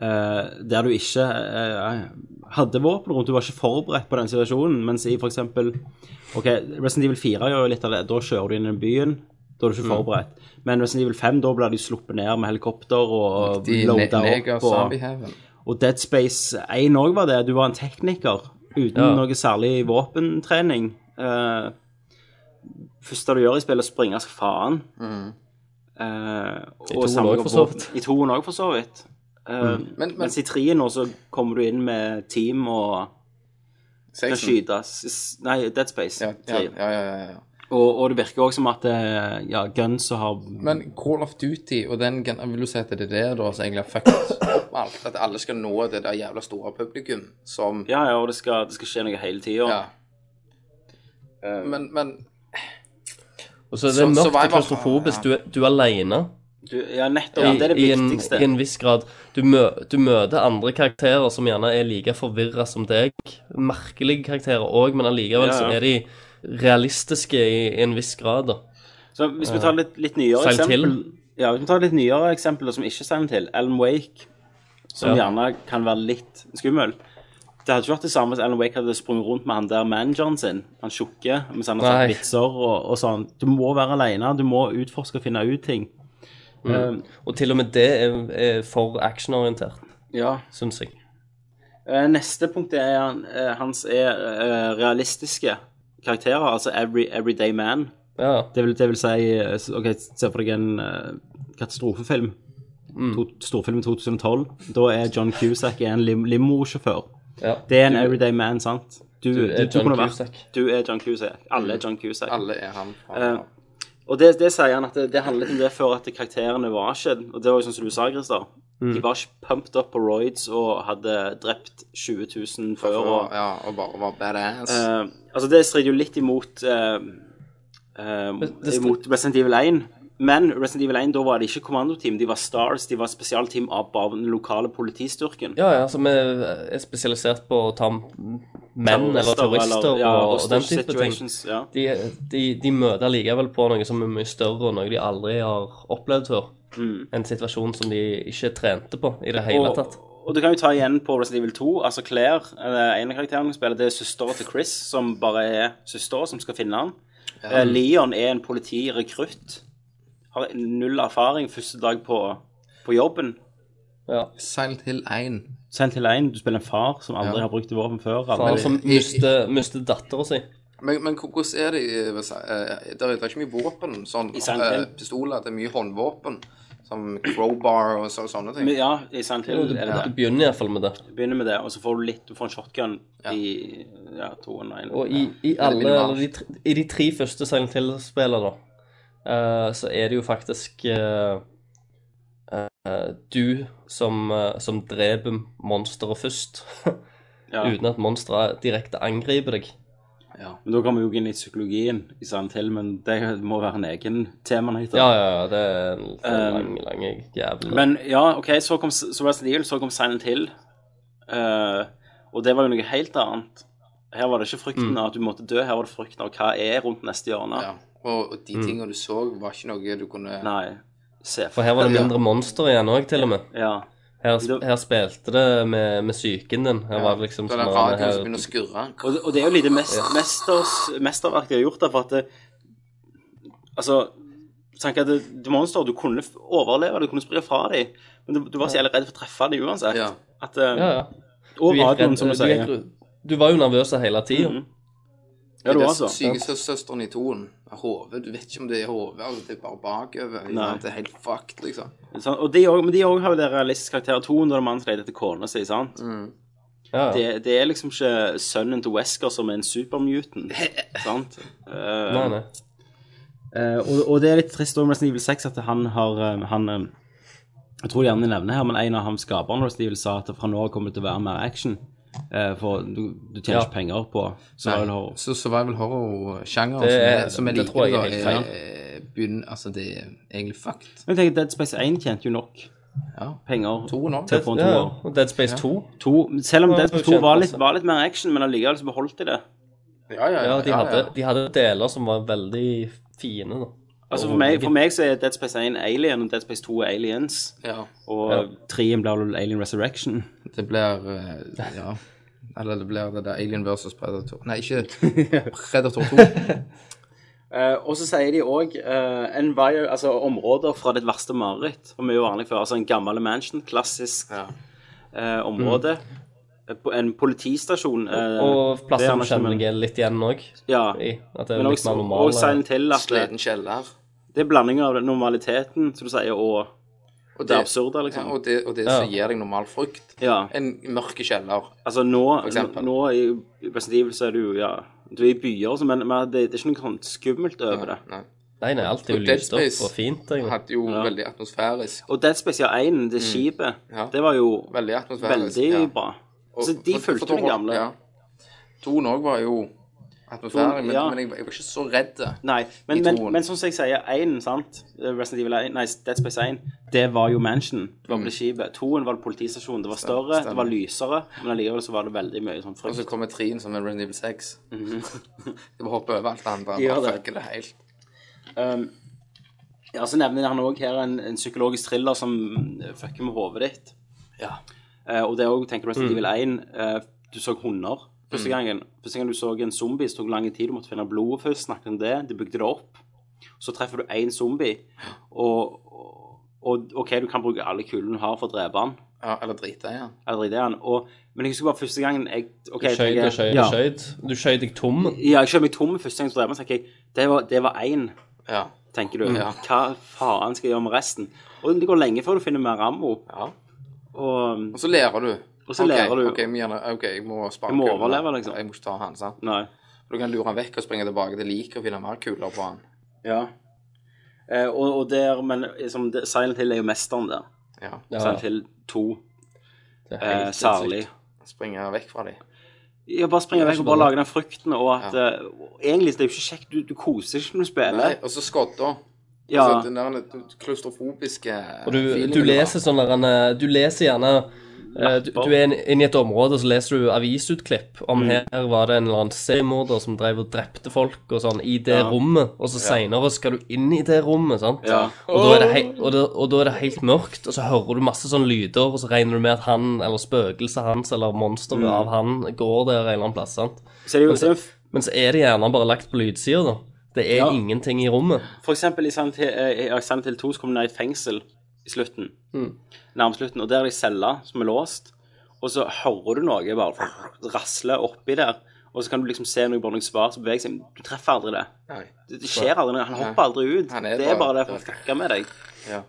Speaker 5: eh, der du ikke eh, hadde våpen rundt. Du var ikke forberedt på den situasjonen. Mens i f.eks. Ok, Resident Evil 4 gjør jo litt av det. Da kjører du inn i byen. Da er du ikke
Speaker 6: Mm.
Speaker 5: forberedt. Men Resident Evil 5, da blir du sluppet ned med helikopter og
Speaker 6: De ne
Speaker 5: loada
Speaker 6: neger
Speaker 5: opp.
Speaker 6: zombie
Speaker 5: Og,
Speaker 6: heaven.
Speaker 5: og Dead Space 1 òg var det. Du var en tekniker uten
Speaker 7: Ja.
Speaker 5: noe særlig våpentrening. Eh, første du gjør i spillet, er å springe som faen.
Speaker 6: Mm.
Speaker 5: Eh, og
Speaker 7: toen
Speaker 5: samle
Speaker 7: også,
Speaker 5: opp
Speaker 7: for så
Speaker 5: våpen.
Speaker 7: vidt. Mm.
Speaker 5: I toen òg, for så vidt. Eh,
Speaker 6: Men- men-
Speaker 5: mens i treen nå så kommer du inn med team og kan
Speaker 6: Sexen.
Speaker 5: skyte s- Nei, Dead Space.
Speaker 6: Ja, ja,
Speaker 5: treen.
Speaker 6: ja, ja, ja, ja.
Speaker 5: Og, og det virker òg som at eh, ja, guns og har
Speaker 6: Men Call of Duty og den gen- vil du si at det er det da som egentlig har fucket opp med alt? At alle skal nå det der jævla store publikum som
Speaker 5: Ja, ja, og det skal, det skal skje noe hele tida.
Speaker 6: Ja. Eh, Men, men
Speaker 7: Og så er
Speaker 6: Så-
Speaker 7: det mørkt
Speaker 6: survival-
Speaker 7: og klaustrofobisk. Du, er- du er aleine.
Speaker 5: Du, ja, nettopp.
Speaker 7: i,
Speaker 5: det er det
Speaker 7: i, en,
Speaker 5: viktigste.
Speaker 7: i en viss grad. Du, mø, du møter andre karakterer som gjerne er like forvirra som deg. Merkelige karakterer òg, men
Speaker 5: Ja,
Speaker 7: allikevel
Speaker 5: ja.
Speaker 7: så er de realistiske i, i en viss grad. da.
Speaker 5: Så hvis vi tar litt, litt nyere
Speaker 7: Silent
Speaker 5: eksempel
Speaker 7: Hill.
Speaker 5: Ja, hvis vi tar litt nyere eksempler som ikke er Silent Hill, Alan Wake, som
Speaker 7: Ja.
Speaker 5: gjerne kan være litt skummel. Det hadde ikke vært det samme hvis Alan Wake hadde sprunget rundt med han der manageren sin. Han tjukke, mens han har
Speaker 7: Nei.
Speaker 5: sagt vitser og, og sånn. Du må være alene, du må utforske og finne ut ting. Eh,
Speaker 7: Og til og med det er, er for actionorientert,
Speaker 5: Ja.
Speaker 7: syns jeg.
Speaker 5: Eh, Neste punkt er han, eh, hans er eh, realistiske karakterer, altså every, everyday man.
Speaker 7: Ja,
Speaker 5: Det vil, det vil si eh, s- OK, se for deg en eh, katastrofefilm. To, storfilm 2012. Da er John Cusack en lim limo-sjåfør.
Speaker 7: ja.
Speaker 5: Det er en everyday man, sant? Du, du,
Speaker 7: er John
Speaker 5: kunne vært-
Speaker 7: Cusack.
Speaker 5: Du er John Cusack. Alle er John Cusack.
Speaker 6: alle er han.
Speaker 5: Eh, og det, det sier han at det, det handlet om det før at karakterene var ikke Og det var jo sånn som du sa, Christer. De var ikke pumped up på roids og hadde drept 20 000 før. Og,
Speaker 6: og, ja, og bare var badass.
Speaker 5: Eh, altså, det strider jo litt imot eh, eh,
Speaker 7: det str-
Speaker 5: Imot Resident Evil 1. Men Resident Evil 1, da var det ikke kommandoteam, de var Stars. De var spesialteam av av den lokale politistyrken.
Speaker 7: Ja, ja, som er, er spesialisert på å ta menn eller terrorister
Speaker 5: ja,
Speaker 7: og, og den
Speaker 5: hostage
Speaker 7: type ting.
Speaker 5: situations, Ja.
Speaker 7: De, de, de møter likevel på noe som er mye større, og noe de aldri har opplevd før. En situasjon som de ikke trente på i det hele tatt.
Speaker 5: Mm. Og du kan jo ta igjen på Resident Evil 2. Altså Claire, eh, en av karakterene som spiller, det er søstera til Chris, som bare er søstera som skal finne han. Eh, Leon er en politirekrutt. Har null erfaring første dag på, på jobben.
Speaker 7: Ja.
Speaker 6: Silent Hill 1.
Speaker 5: Sendt til en, du spiller en far som aldri har brukt våpen før.
Speaker 7: Far
Speaker 5: aldri-
Speaker 7: som mister, mister dattera si.
Speaker 6: Men, men hvor- hvordan er det i USA? Eh, Det er, det er ikke mye våpen, sånn
Speaker 5: I Silent Hill?
Speaker 6: eh, pistoler. Det er mye håndvåpen, som crowbar og så, sånne ting.
Speaker 5: Men Ja, i Silent Hill er det
Speaker 7: Du
Speaker 5: det.
Speaker 7: begynner iallfall med det.
Speaker 5: Du begynner med det, og så får du litt, du får en shotgun i ja, 2 og 1.
Speaker 7: Og i, i alle eller de, tre- I de tre første Silent Hill-spillene, eh, så er det jo faktisk eh, eh, du som, eh, som dreper monsteret først.
Speaker 5: ja.
Speaker 7: Uten at monsteret direkte angriper deg.
Speaker 5: Men da kommer vi jo inn i psykologien i Silent Hill, men det må være en egen tema. nå, heter det.
Speaker 7: Ja, ja, ja. Det er en lang, lang jævel.
Speaker 5: Um, Men ja, ok, så kom så Resident Evil, så kom Silent Hill. Eh, og det var jo noe helt annet. Her var det ikke frykten
Speaker 7: Mm.
Speaker 5: av at du måtte dø, her var det frykten av hva er rundt neste hjørne.
Speaker 6: Ja. Og og de tingene du så, var ikke noe du kunne
Speaker 5: Nei, se
Speaker 7: For her var det mindre monstre igjen òg, til og med.
Speaker 5: Ja.
Speaker 7: Her, sp- her spilte det med, med psyken din. Her var det liksom
Speaker 6: Så er det
Speaker 7: sånn
Speaker 6: radioen
Speaker 7: her-
Speaker 6: som begynner å skurre.
Speaker 5: Og, det- og det er jo lite mest, mesters, mesterverk de har gjort der, for at det, Altså, tenk at det, det monster, du kunne f- overleve, du kunne springe fra dem, men du, du var så jævlig redd for å treffe dem uansett.
Speaker 6: Ja.
Speaker 5: At, eh,
Speaker 7: Ja, ja.
Speaker 5: Og radioen,
Speaker 7: redd-
Speaker 5: som du
Speaker 7: gikk
Speaker 5: sier. Mm.
Speaker 7: ru- du var jo nervøs hele tida.
Speaker 5: Mhm. Ja, du
Speaker 6: det
Speaker 5: var
Speaker 6: er
Speaker 5: så.
Speaker 6: sykesøsteren i toen. Hodet. Du vet ikke om det er hodet, altså, det er bare bakover.
Speaker 5: Nei.
Speaker 6: Det er helt fucked, liksom.
Speaker 5: Sant? Og de også, men de òg har jo det realistiske karakterer. 200 mann som leter etter kona si, sant.
Speaker 7: Ja, ja.
Speaker 5: Det, det er liksom ikke sønnen til Wesker som er en supermutant, sant. Eh,
Speaker 7: Nei, nei.
Speaker 5: eh, og, og det er litt trist òg med Resident Evil 6 at han har eh, han, eh, Jeg tror de gjerne nevner her, men en av ham skaperne av Resident Evil sa at fra nå av kommer det til å være mer action. eh, for du, du tjener
Speaker 7: Ja.
Speaker 5: ikke penger på survival horror.
Speaker 6: Så survival horror-sjangeren
Speaker 7: Det er-
Speaker 6: som, er- som er
Speaker 7: det
Speaker 6: liten,
Speaker 7: tror jeg er
Speaker 6: da,
Speaker 7: helt
Speaker 6: er, begynn- altså, det er egentlig fucked.
Speaker 5: Men jeg tenker Dead Space 1 tjente jo nok
Speaker 6: Ja.
Speaker 5: penger
Speaker 6: To nå.
Speaker 5: til å få en
Speaker 7: Ja,
Speaker 5: toer.
Speaker 7: ja. Og Dead Space 2.
Speaker 5: To, selv om
Speaker 7: Ja,
Speaker 5: Dead
Speaker 7: det
Speaker 5: Space 2 var
Speaker 7: tjente
Speaker 5: litt,
Speaker 7: masse.
Speaker 5: var litt mer action, men allikevel så beholdt de det.
Speaker 6: Ja, ja,
Speaker 7: Ja, de hadde, de hadde deler som var veldig fine, da.
Speaker 5: Altså for meg, for meg så er Dead Space 1 Alien, og Dead Space 2 er Aliens.
Speaker 6: Ja.
Speaker 5: Og
Speaker 7: Ja.
Speaker 5: 3 blir vel Alien Resurrection.
Speaker 6: Det blir eh, Ja. Eller det blir det der Alien versus Predator Nei, ikke Predator 2.
Speaker 5: Eh, og så sier de òg altså områder fra ditt verste mareritt. Og vi er jo vanlig før. Altså en gammel mansion, klassisk eh, område. Eh, på- En politistasjon. eh,
Speaker 7: Og
Speaker 5: det
Speaker 7: plasser
Speaker 5: er
Speaker 7: som
Speaker 5: nesten-
Speaker 7: kjenner jeg er litt igjen òg.
Speaker 5: Ja.
Speaker 7: At det er
Speaker 5: Men
Speaker 7: litt
Speaker 5: også,
Speaker 7: mer eh.
Speaker 5: og
Speaker 7: normale
Speaker 5: Silent Hill. At det,
Speaker 6: Sliten kjeller.
Speaker 5: det er blanding av normaliteten, som du sier, og
Speaker 6: Og
Speaker 5: det absurde,
Speaker 6: Ja,
Speaker 5: liksom.
Speaker 6: og det, og det
Speaker 7: Ja.
Speaker 6: som gir deg normal frukt.
Speaker 5: Ja.
Speaker 6: En mørke kjeller.
Speaker 5: Altså nå,
Speaker 6: eksempel.
Speaker 5: nå i Resident Evil så er du jo, ja Du er i byer og sånn, men, men det, det er ikke noe sånn skummelt over det.
Speaker 6: Nei.
Speaker 7: Nei, nei, alt er jo
Speaker 6: Og Dead
Speaker 7: lyst opp
Speaker 6: Space
Speaker 7: og fint. egentlig.
Speaker 6: Hadde jo veldig atmosfærisk.
Speaker 5: Og Dead Space, ja, 1, det skipet,
Speaker 6: Mm. Ja.
Speaker 5: det var jo
Speaker 6: Veldig atmosfærisk.
Speaker 5: veldig
Speaker 6: ja.
Speaker 5: bra.
Speaker 6: Og-
Speaker 5: Så Altså, de
Speaker 6: for- for
Speaker 5: fulgte
Speaker 6: Tom
Speaker 5: den gamle.
Speaker 6: Ja. Toen òg var jo atmosfærisk,
Speaker 5: Toen,
Speaker 6: men,
Speaker 5: ja.
Speaker 6: men jeg, var- jeg var ikke så redd.
Speaker 5: Nei, men,
Speaker 6: I
Speaker 5: men,
Speaker 6: toen.
Speaker 5: men sånn som jeg sier, 1, sant Eh, Resident Evil 1, nei, Dead Space 1, det var jo Mansion. Det var på det skipet. 2 var det politistasjonen. Det var større, det var lysere, men allikevel så var det veldig mye sånn
Speaker 6: Og
Speaker 5: frykt.
Speaker 6: så kommer trien som en Resident Evil 6. De bare hopper over alt det
Speaker 5: Ja,
Speaker 6: andre. Ja,
Speaker 5: Mhm. det.
Speaker 6: det. Fucker det helt.
Speaker 5: Um, ja, så nevner han òg her en, en psykologisk thriller som eh, fucker med hodet ditt.
Speaker 6: Ja.
Speaker 5: Eh, og det er òg, tenker Resident Evil 1, eh, du så hunder første gangen. Første gang du så en zombie, så tok det lang tid, du måtte finne blodet først, snakket om det, de bygde det opp. Så treffer du én zombie, og, og, og OK, du kan bruke alle kulene du har for å drepe han.
Speaker 6: Ja, eller drite i ja.
Speaker 5: Jeg driter i han. Og, men jeg husker bare første gangen jeg ok,
Speaker 7: Du
Speaker 5: jeg
Speaker 7: skjøt
Speaker 5: tenker-
Speaker 7: og skjøt
Speaker 5: ja.
Speaker 7: og skjøt. Du skjøt deg tom.
Speaker 5: Ja, jeg skjøt meg tom første gang jeg drepte han, så tenker jeg det var- det var én,
Speaker 6: ja.
Speaker 5: tenker du. Hva faen skal jeg gjøre med resten? Og det går lenge før du finner mer ammo.
Speaker 6: ja.
Speaker 5: Og
Speaker 6: Og så lærer du.
Speaker 5: Og så
Speaker 6: Ok,
Speaker 5: lærer du.
Speaker 6: Ok, vi gjerne, ok, jeg må spare
Speaker 5: Jeg må
Speaker 6: kulene.
Speaker 5: overleve, liksom.
Speaker 6: Jeg må ikke ta han, sant?
Speaker 5: Nei.
Speaker 6: Du kan lure han vekk og springe tilbake til liket og finne mer kuler på han.
Speaker 5: Ja. Eh, og, og der, men liksom, det- Silent Hill er jo mesteren der.
Speaker 6: Ja.
Speaker 7: Ja,
Speaker 5: Silent Hill 2,
Speaker 7: det er
Speaker 5: eh,
Speaker 7: helt
Speaker 5: særlig.
Speaker 6: Springe vekk fra dem.
Speaker 5: Ja, bare springe vekk og bare lage den frykten, og at
Speaker 6: Ja.
Speaker 5: eh, og Egentlig det er jo ikke kjekt, du, du koser ikke når du spiller.
Speaker 6: Nei, og så skodda.
Speaker 5: Ja.
Speaker 6: Altså, den der den klaustrofobiske
Speaker 7: Og du,
Speaker 6: feelingen
Speaker 7: du
Speaker 6: har.
Speaker 7: leser sånn der en, eh, Du leser gjerne eh, du, du er inn- inne i et område, så leser du avisutklipp om
Speaker 5: Mm.
Speaker 7: her var det en eller annen seriemorder som drev og drepte folk og sånn, i det rommet, og så seinere skal du inn i det rommet, sant?
Speaker 5: Ja.
Speaker 7: Og, da er det hei- og, da, og da er det helt mørkt, og så hører du masse sånn lyder, og så regner du med at han, eller spøkelset hans, eller monsteret
Speaker 5: Mm.
Speaker 7: av han, går der en eller annen plass, sant?
Speaker 5: Så er det jo
Speaker 7: Men så,
Speaker 5: det er jo-
Speaker 7: men så er det gjerne bare lagt på lydsida, da. Det
Speaker 5: Ja.
Speaker 7: er ingenting i rommet.
Speaker 5: For eksempel i Silent Hill, eh, i Silent Hill 2 så kom det ned i et fengsel i slutten.
Speaker 6: Mm.
Speaker 5: Nærmest slutten. Og der er det ei celle som er låst. Og så hører du noe bare for- rasle oppi der. Og så kan du liksom se noe bare noe svar som beveger seg. men Du treffer aldri det.
Speaker 6: Nei.
Speaker 5: Det, det skjer aldri. noe. Han hopper aldri ut.
Speaker 6: Han er
Speaker 5: det er
Speaker 6: bare-
Speaker 5: bare det for å snakke med deg.
Speaker 6: Ja.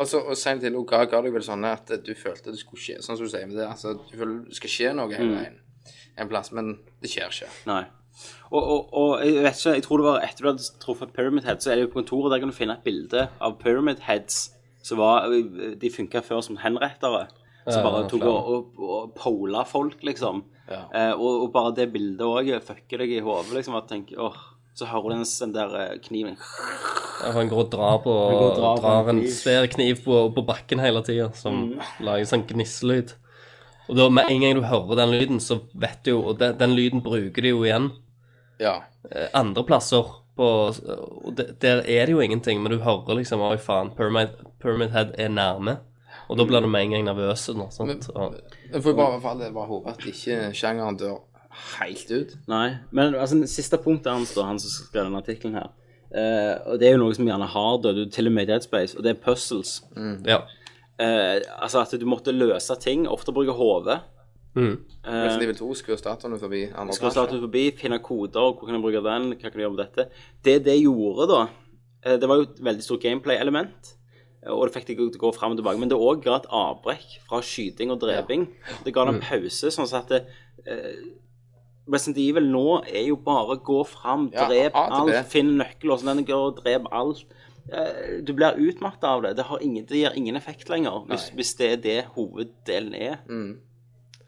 Speaker 6: Altså, og sent til Oga ga deg vel sånn at du følte det skulle skje, sånn som du sier med det. Altså, du føler det skal skje noe
Speaker 5: Mm.
Speaker 6: hele veien. En plass, men det skjer ikke.
Speaker 5: Nei. Og, og, og jeg vet ikke, jeg tror det var etter du hadde truffet Pyramid Head, så er det jo på kontoret der kan du finne et bilde av Pyramid Heads som var De funka før som henrettere. Som bare tok og, og, og pola folk, liksom. Eh, og, og bare det bildet òg fucker deg i hodet, liksom. At du tenker åh Så hører du den, den der eh, kniven
Speaker 7: Ja, for han går og drar på
Speaker 5: går og drar på
Speaker 7: drar
Speaker 5: en
Speaker 7: en
Speaker 5: kniv. Mm.
Speaker 7: svær kniv på, på bakken hele tida, som lager sånn gnisselyd. Og da med en gang du hører den lyden, så vet du jo Og den, den lyden bruker de jo igjen
Speaker 6: Ja.
Speaker 7: eh, andre plasser. På, og de, der er det jo ingenting, men du hører liksom Oi, faen, Pyramid, Pyramid Head er nærme. Og da blir du med en gang nervøs. og noe sånt, og,
Speaker 6: Jeg får bare, for all del bare håpe at ikke sjangeren dør helt ut.
Speaker 5: Nei, men altså, det siste punktet hans, da, han som skrev denne artikkelen her, eh, og det er jo noe som gjerne har dødd, til og med i Dead Space, og det er puzzles.
Speaker 7: ja.
Speaker 5: Eh, altså at du måtte løse ting, ofte bruke hodet.
Speaker 7: Mm.
Speaker 5: Eh,
Speaker 6: Resident Evil 2 skrur statuen forbi andre
Speaker 5: Skal starte ut forbi, finne koder, hvor kan jeg bruke den, hva kan jeg gjøre med dette. Det det gjorde da, eh, det var jo et veldig stort gameplay-element, eh, og det fikk deg til å gå frem og tilbake, men det også ga et avbrekk fra skyting og dreving. Det ga
Speaker 6: Mm.
Speaker 5: en pause, sånn at det, eh, Resident Evil nå er jo bare gå frem,
Speaker 6: Ja,
Speaker 5: drep
Speaker 6: A til B.
Speaker 5: alt, finn nøkkelåsen, den går og drep alt. Eh, Du blir utmattet av det. Det, har ingen, det gir ingen effekt lenger, hvis, hvis det er det hoveddelen er.
Speaker 6: Mm.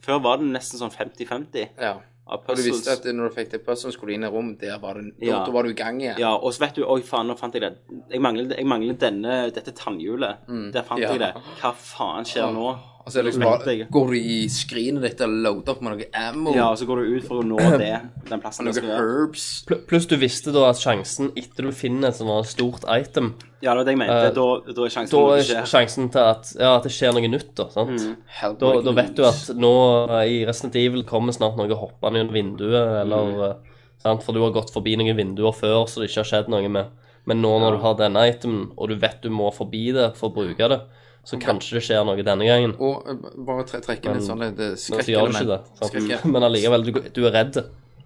Speaker 5: Før var det nesten sånn 50-50
Speaker 6: Ja.
Speaker 5: av
Speaker 6: Og du
Speaker 5: puzzles.
Speaker 6: visste at eh, når du fikk det puzzlen, skulle du inn i rom, der var du, da,
Speaker 5: Ja.
Speaker 6: da var du i gang igjen.
Speaker 5: Ja, og så vet du Oi, faen, nå fant jeg det. Jeg mangler, jeg mangler denne, dette tannhjulet. Der fant
Speaker 6: ja.
Speaker 5: jeg det. Hva faen skjer nå?
Speaker 6: Og så er det liksom
Speaker 5: Mente
Speaker 6: bare,
Speaker 5: jeg.
Speaker 6: går du i skrinet ditt og loader opp med noe ammo
Speaker 5: Ja, og så går du ut for å nå det. Den
Speaker 6: og
Speaker 5: plassen du
Speaker 6: noe
Speaker 5: skal gjøre.
Speaker 6: herbs.
Speaker 7: Pl- Pluss du visste da at sjansen etter du finner et sånt stort item,
Speaker 5: Ja, det var det jeg mente.
Speaker 7: Eh,
Speaker 5: Da, da er sjansen
Speaker 7: da
Speaker 5: for at det
Speaker 7: er
Speaker 5: skjer. Mm.
Speaker 7: sjansen til at, ja, at det skjer noe nytt, da. sant? Da, da vet du at nå eh, i Resident Evil kommer snart noe hoppende gjennom vinduet, eller eh, sant? For du har gått forbi noen vinduer før, så det ikke har skjedd noe med. Men nå når du har denne itemen, og du vet du må forbi det for å bruke det, så kanskje det skjer noe denne gangen.
Speaker 6: Og eh, bare tre, trekke inn et sånt et eh,
Speaker 7: Men så gjør du ikke det.
Speaker 6: skrekkelement.
Speaker 7: Sant?
Speaker 6: Skrekke-
Speaker 7: Men allikevel, du, du er redd.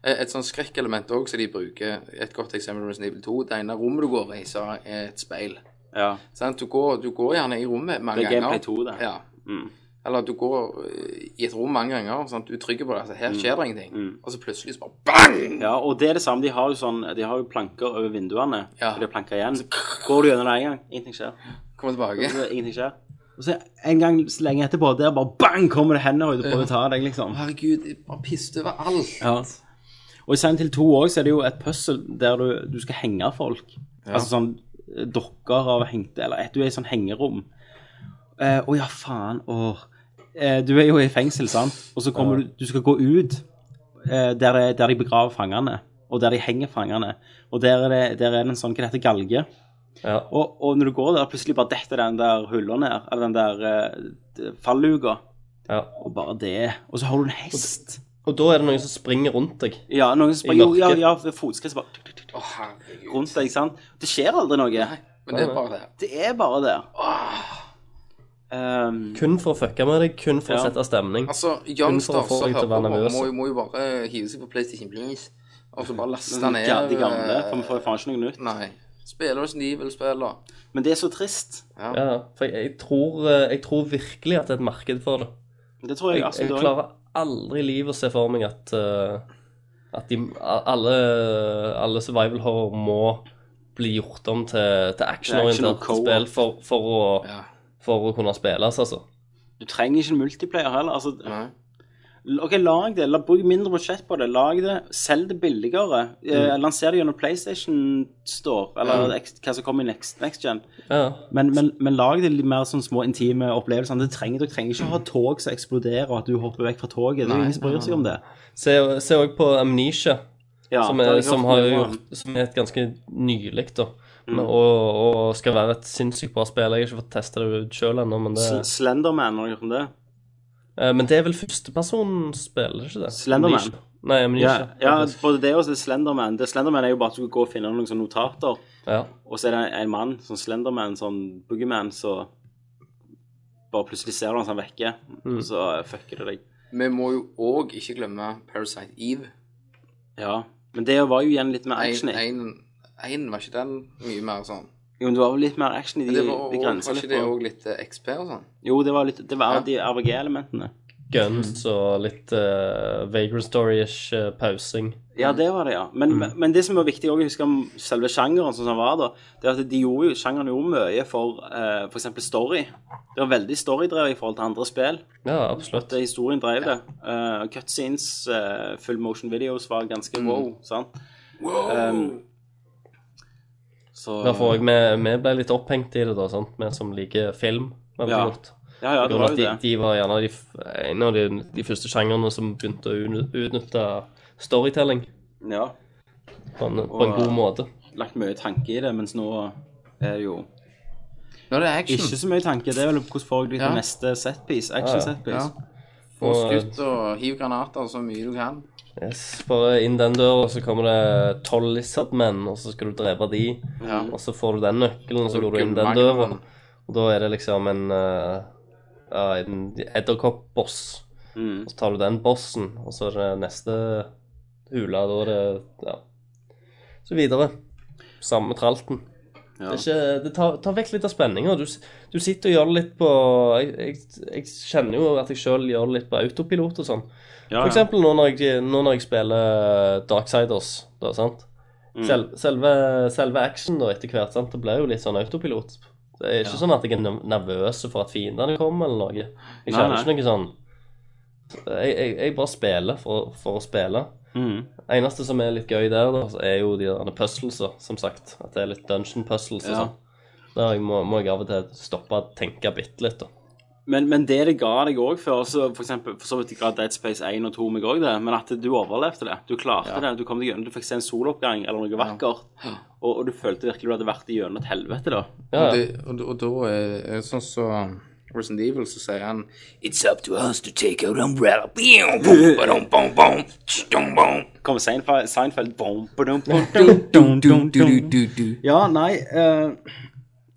Speaker 6: Et et sånn skrekkelement òg som de bruker. Et godt eksempel er Resident Evil 2. Det ene rommet du går i, så er et speil.
Speaker 5: Ja.
Speaker 6: Sant? du, går, du går gjerne i rommet mange
Speaker 5: Det er
Speaker 6: ganger.
Speaker 5: gameplay 2 det. Mm.
Speaker 6: Ja. Eller du går eh, i et rom mange ganger. Sant? Du trykker på det. Altså,
Speaker 5: Mm.
Speaker 6: her skjer det ingenting. Og så plutselig så bare bang!
Speaker 5: ja, og det er det samme. De har jo sånn De har jo planker over vinduene.
Speaker 6: Ja.
Speaker 5: Og det er planker igjen. Går du gjennom det en gang, ingenting skjer.
Speaker 6: Kommer tilbake.
Speaker 5: Så Ingenting skjer. Og så en gang så lenge etterpå, der bare bang, kommer det hender ut og prøver å ta deg, liksom.
Speaker 6: Herregud, jeg bare pisset over alt.
Speaker 5: Ja. Og i Silent Hill 2 også, så er det jo et puzzle der du, du skal henge folk. Altså sånn eh, dokker av hengte, eller et, du er i sånn hengerom. Eh, Å ja, faen. Åh. Eh, du er jo i fengsel, sant? Og så kommer du, du skal gå ut eh, der, det- der de begraver fangene, og der de henger fangene. Og der er det, der er det en sånn, hva det heter, galge.
Speaker 7: Ja.
Speaker 5: Og, og når du går der, plutselig bare detter den der hullet ned, eller den der eh, falluga.
Speaker 7: Ja.
Speaker 5: Og bare det. Og så har du en hest.
Speaker 7: Og da er det noen som springer rundt deg.
Speaker 5: Ja, noen som
Speaker 7: I
Speaker 5: bare, jo, ja,
Speaker 7: mørket.
Speaker 5: ja, ved fotskritt så bare tuk, tuk, tuk,
Speaker 6: Å, herregud.
Speaker 5: rundt deg, ikke sant? Det skjer aldri noe.
Speaker 6: Men det er bare det.
Speaker 5: Det er bare der. Ehm,
Speaker 7: Kun for å fucke med deg, kun for å
Speaker 5: Ja.
Speaker 7: sette stemning.
Speaker 6: Altså,
Speaker 7: Kun for å
Speaker 6: youngsters
Speaker 7: få
Speaker 6: som
Speaker 7: deg til å
Speaker 6: hører på,
Speaker 7: være nervøs.
Speaker 6: må, jo- må jo bare eh, hive seg på PlayStation Please, og så bare laste
Speaker 5: de
Speaker 6: ned
Speaker 5: ga- Mm, de gamle,
Speaker 6: eh,
Speaker 5: for vi får jo faen ikke noe nytt.
Speaker 6: Nei. Spiller som de vil spille.
Speaker 5: Men det er så trist.
Speaker 7: Ja, for jeg, jeg, tror, eh, jeg tror virkelig at det er et marked for det.
Speaker 5: Det tror jeg
Speaker 7: Jeg,
Speaker 5: altså,
Speaker 7: jeg
Speaker 5: det er-
Speaker 7: klarer aldri i livet å se for meg at, eh, at de, a- alle, alle survival horror må bli gjort om til, til
Speaker 5: Til action og
Speaker 7: actionorienterte
Speaker 5: co-op.
Speaker 7: spill for, for, å,
Speaker 6: Ja.
Speaker 7: for å kunne spilles, altså.
Speaker 5: Du trenger ikke en multiplayer heller. Altså,
Speaker 6: Nei.
Speaker 5: Ok, lag det. La, bruk mindre budsjett på det. Lag det. Selg det billigere. Eh,
Speaker 6: Mm.
Speaker 5: lanser det gjennom PlayStation Store, eller ex- hva som kommer i next, next gen.
Speaker 7: Ja.
Speaker 5: Men, men, men lag det litt mer sånn små intime opplevelser. Det trenger, dere trenger ikke ha tog som eksploderer, og at du hopper vekk fra toget. Det er jo ingen som bryr seg om det.
Speaker 7: Se se også på Amnesia.
Speaker 5: Ja,
Speaker 7: som,
Speaker 5: det
Speaker 7: er,
Speaker 5: jeg
Speaker 7: som,
Speaker 5: hørt
Speaker 7: har
Speaker 5: noe om. Mm.
Speaker 7: gjort, som er et ganske nylig, da. Men, og, og skal være et sinnssykt bra spill. Jeg har ikke fått testa det ut sjøl ennå, men det,
Speaker 5: Sl- Slenderman, har dere hørt om det?
Speaker 7: eh, men det er vel førstepersonspill, er det ikke det?
Speaker 5: Slenderman.
Speaker 7: Amnesia. Nei,
Speaker 5: Ja,
Speaker 7: Amnesia.
Speaker 5: ja både det og så er det Slenderman. Det Slenderman er jo bare at du skal gå og finne noen sånne notater,
Speaker 7: ja.
Speaker 5: og så er det en mann, sånn Slenderman, sånn boogeyman, så bare plutselig ser du han så han vekker,
Speaker 7: Mm.
Speaker 5: og så eh, fucker det deg.
Speaker 6: Vi må jo òg ikke glemme Parasite Eve.
Speaker 5: Ja, men det var jo igjen litt mer action i.
Speaker 6: Én var ikke den mye mer sånn.
Speaker 5: Jo, men det var jo litt mer action i de,
Speaker 6: Det var,
Speaker 5: de
Speaker 6: også- var
Speaker 5: grensene.
Speaker 6: ikke det
Speaker 5: for-
Speaker 6: òg litt eh, XP og sånn?
Speaker 5: Jo, det var litt, det var
Speaker 6: Ja.
Speaker 5: de RVG-elementene.
Speaker 7: Guns og litt uh, Vagrant Story-ish eh, pausing.
Speaker 5: Ja, det var det, ja. Men,
Speaker 7: Mm.
Speaker 5: men- men det som er viktig også å huske om selve sjangeren som den var da, det er at de gjorde jo, sjangeren gjorde mye for eh, for eksempel story. Det var veldig storydrevet i forhold til andre spill.
Speaker 7: Ja, absolutt.
Speaker 5: Det historien drev det. Eh, cutscenes, eh, full motion videos var ganske
Speaker 7: Mm.
Speaker 5: wow, sant? Um, så
Speaker 7: Derfor òg vi, vi ble litt opphengt i det, da, sant? vi som liker film. veldig
Speaker 5: Ja.
Speaker 7: godt.
Speaker 5: Ja, ja, det
Speaker 7: På grunn av
Speaker 5: var
Speaker 7: at
Speaker 5: jo
Speaker 7: de,
Speaker 5: det.
Speaker 7: de var gjerne de, f- en av de, de første sjangrene som begynte å utny- utnytte storytelling
Speaker 5: Ja,
Speaker 7: på en, på en
Speaker 5: Og-
Speaker 7: god måte.
Speaker 5: lagt mye tanke i det, mens nå er det jo
Speaker 6: Nå er det action.
Speaker 5: ikke så mye tanke. Det er vel hvordan får du til
Speaker 6: Ja.
Speaker 5: neste setpiece, action
Speaker 7: Ja, ja.
Speaker 5: setpiece.
Speaker 6: Få
Speaker 7: Og-
Speaker 6: skutt og hiv granater så mye du kan.
Speaker 7: Yes, Bare inn den døra, så kommer det tolv lizardmenn, og så skal du drepe de.
Speaker 6: Ja.
Speaker 7: Og så får du den nøkkelen, og så
Speaker 6: Og
Speaker 7: går du inn den
Speaker 6: gullmagneren.
Speaker 7: døra. Og da er det liksom en eh, ja, en edderkopp-boss.
Speaker 5: Mm.
Speaker 7: Og så tar du den bossen, og så er det neste hula. Da er det Ja. Så videre. Samme tralten.
Speaker 5: Ja.
Speaker 7: Det, er ikke, det tar, tar vekk litt av spenninga. Du, s- du sitter og gjør det litt på jeg, jeg, jeg kjenner jo at jeg sjøl gjør det litt på autopilot og sånn.
Speaker 5: Ja,
Speaker 7: For
Speaker 5: ja.
Speaker 7: eksempel nå når jeg, nå når jeg spiller eh, Darksiders, da, sant?
Speaker 5: Mm.
Speaker 7: Sel, selve, selve action da etter hvert, sant? Det blir jo litt sånn autopilot. Det er ikke sånn at jeg er nerv- nervøs for at fiendene kommer eller noe. Jeg
Speaker 5: Nei,
Speaker 7: kjenner
Speaker 5: nei.
Speaker 7: ikke noe sånn jeg, jeg, jeg bare spiller for, for å spille.
Speaker 5: Mm.
Speaker 7: Eneste som er litt gøy der, da, så er jo de der puzzleser, som sagt. At det er litt dungeon puzzles og
Speaker 5: Ja.
Speaker 7: sånn. Der jeg må, må jeg av og til stoppe og tenke bitte litt, da.
Speaker 5: Men, men det det ga deg òg før, så for, eksempel, for så vidt ga Dead Space 1 og 2 meg òg det, men at du overlevde det. Du klarte det, du kom deg gjennom, du fikk se en soloppgang eller noe vakkert. Og, og du følte virkelig du hadde vært igjennom et helvete, da.
Speaker 7: Ja,
Speaker 6: Og,
Speaker 7: ja.
Speaker 6: det, og, og da er er sånn som Resident Evil, så sier han
Speaker 8: It's up to us to take out umbrella. Boom, boom, ba-dum, boom, boom, ch-dum, boom.
Speaker 5: Kom Seinfeld, Seinfeld bom, ba-dum, bom, dum, dum, dum, dum. Ja, nei eh,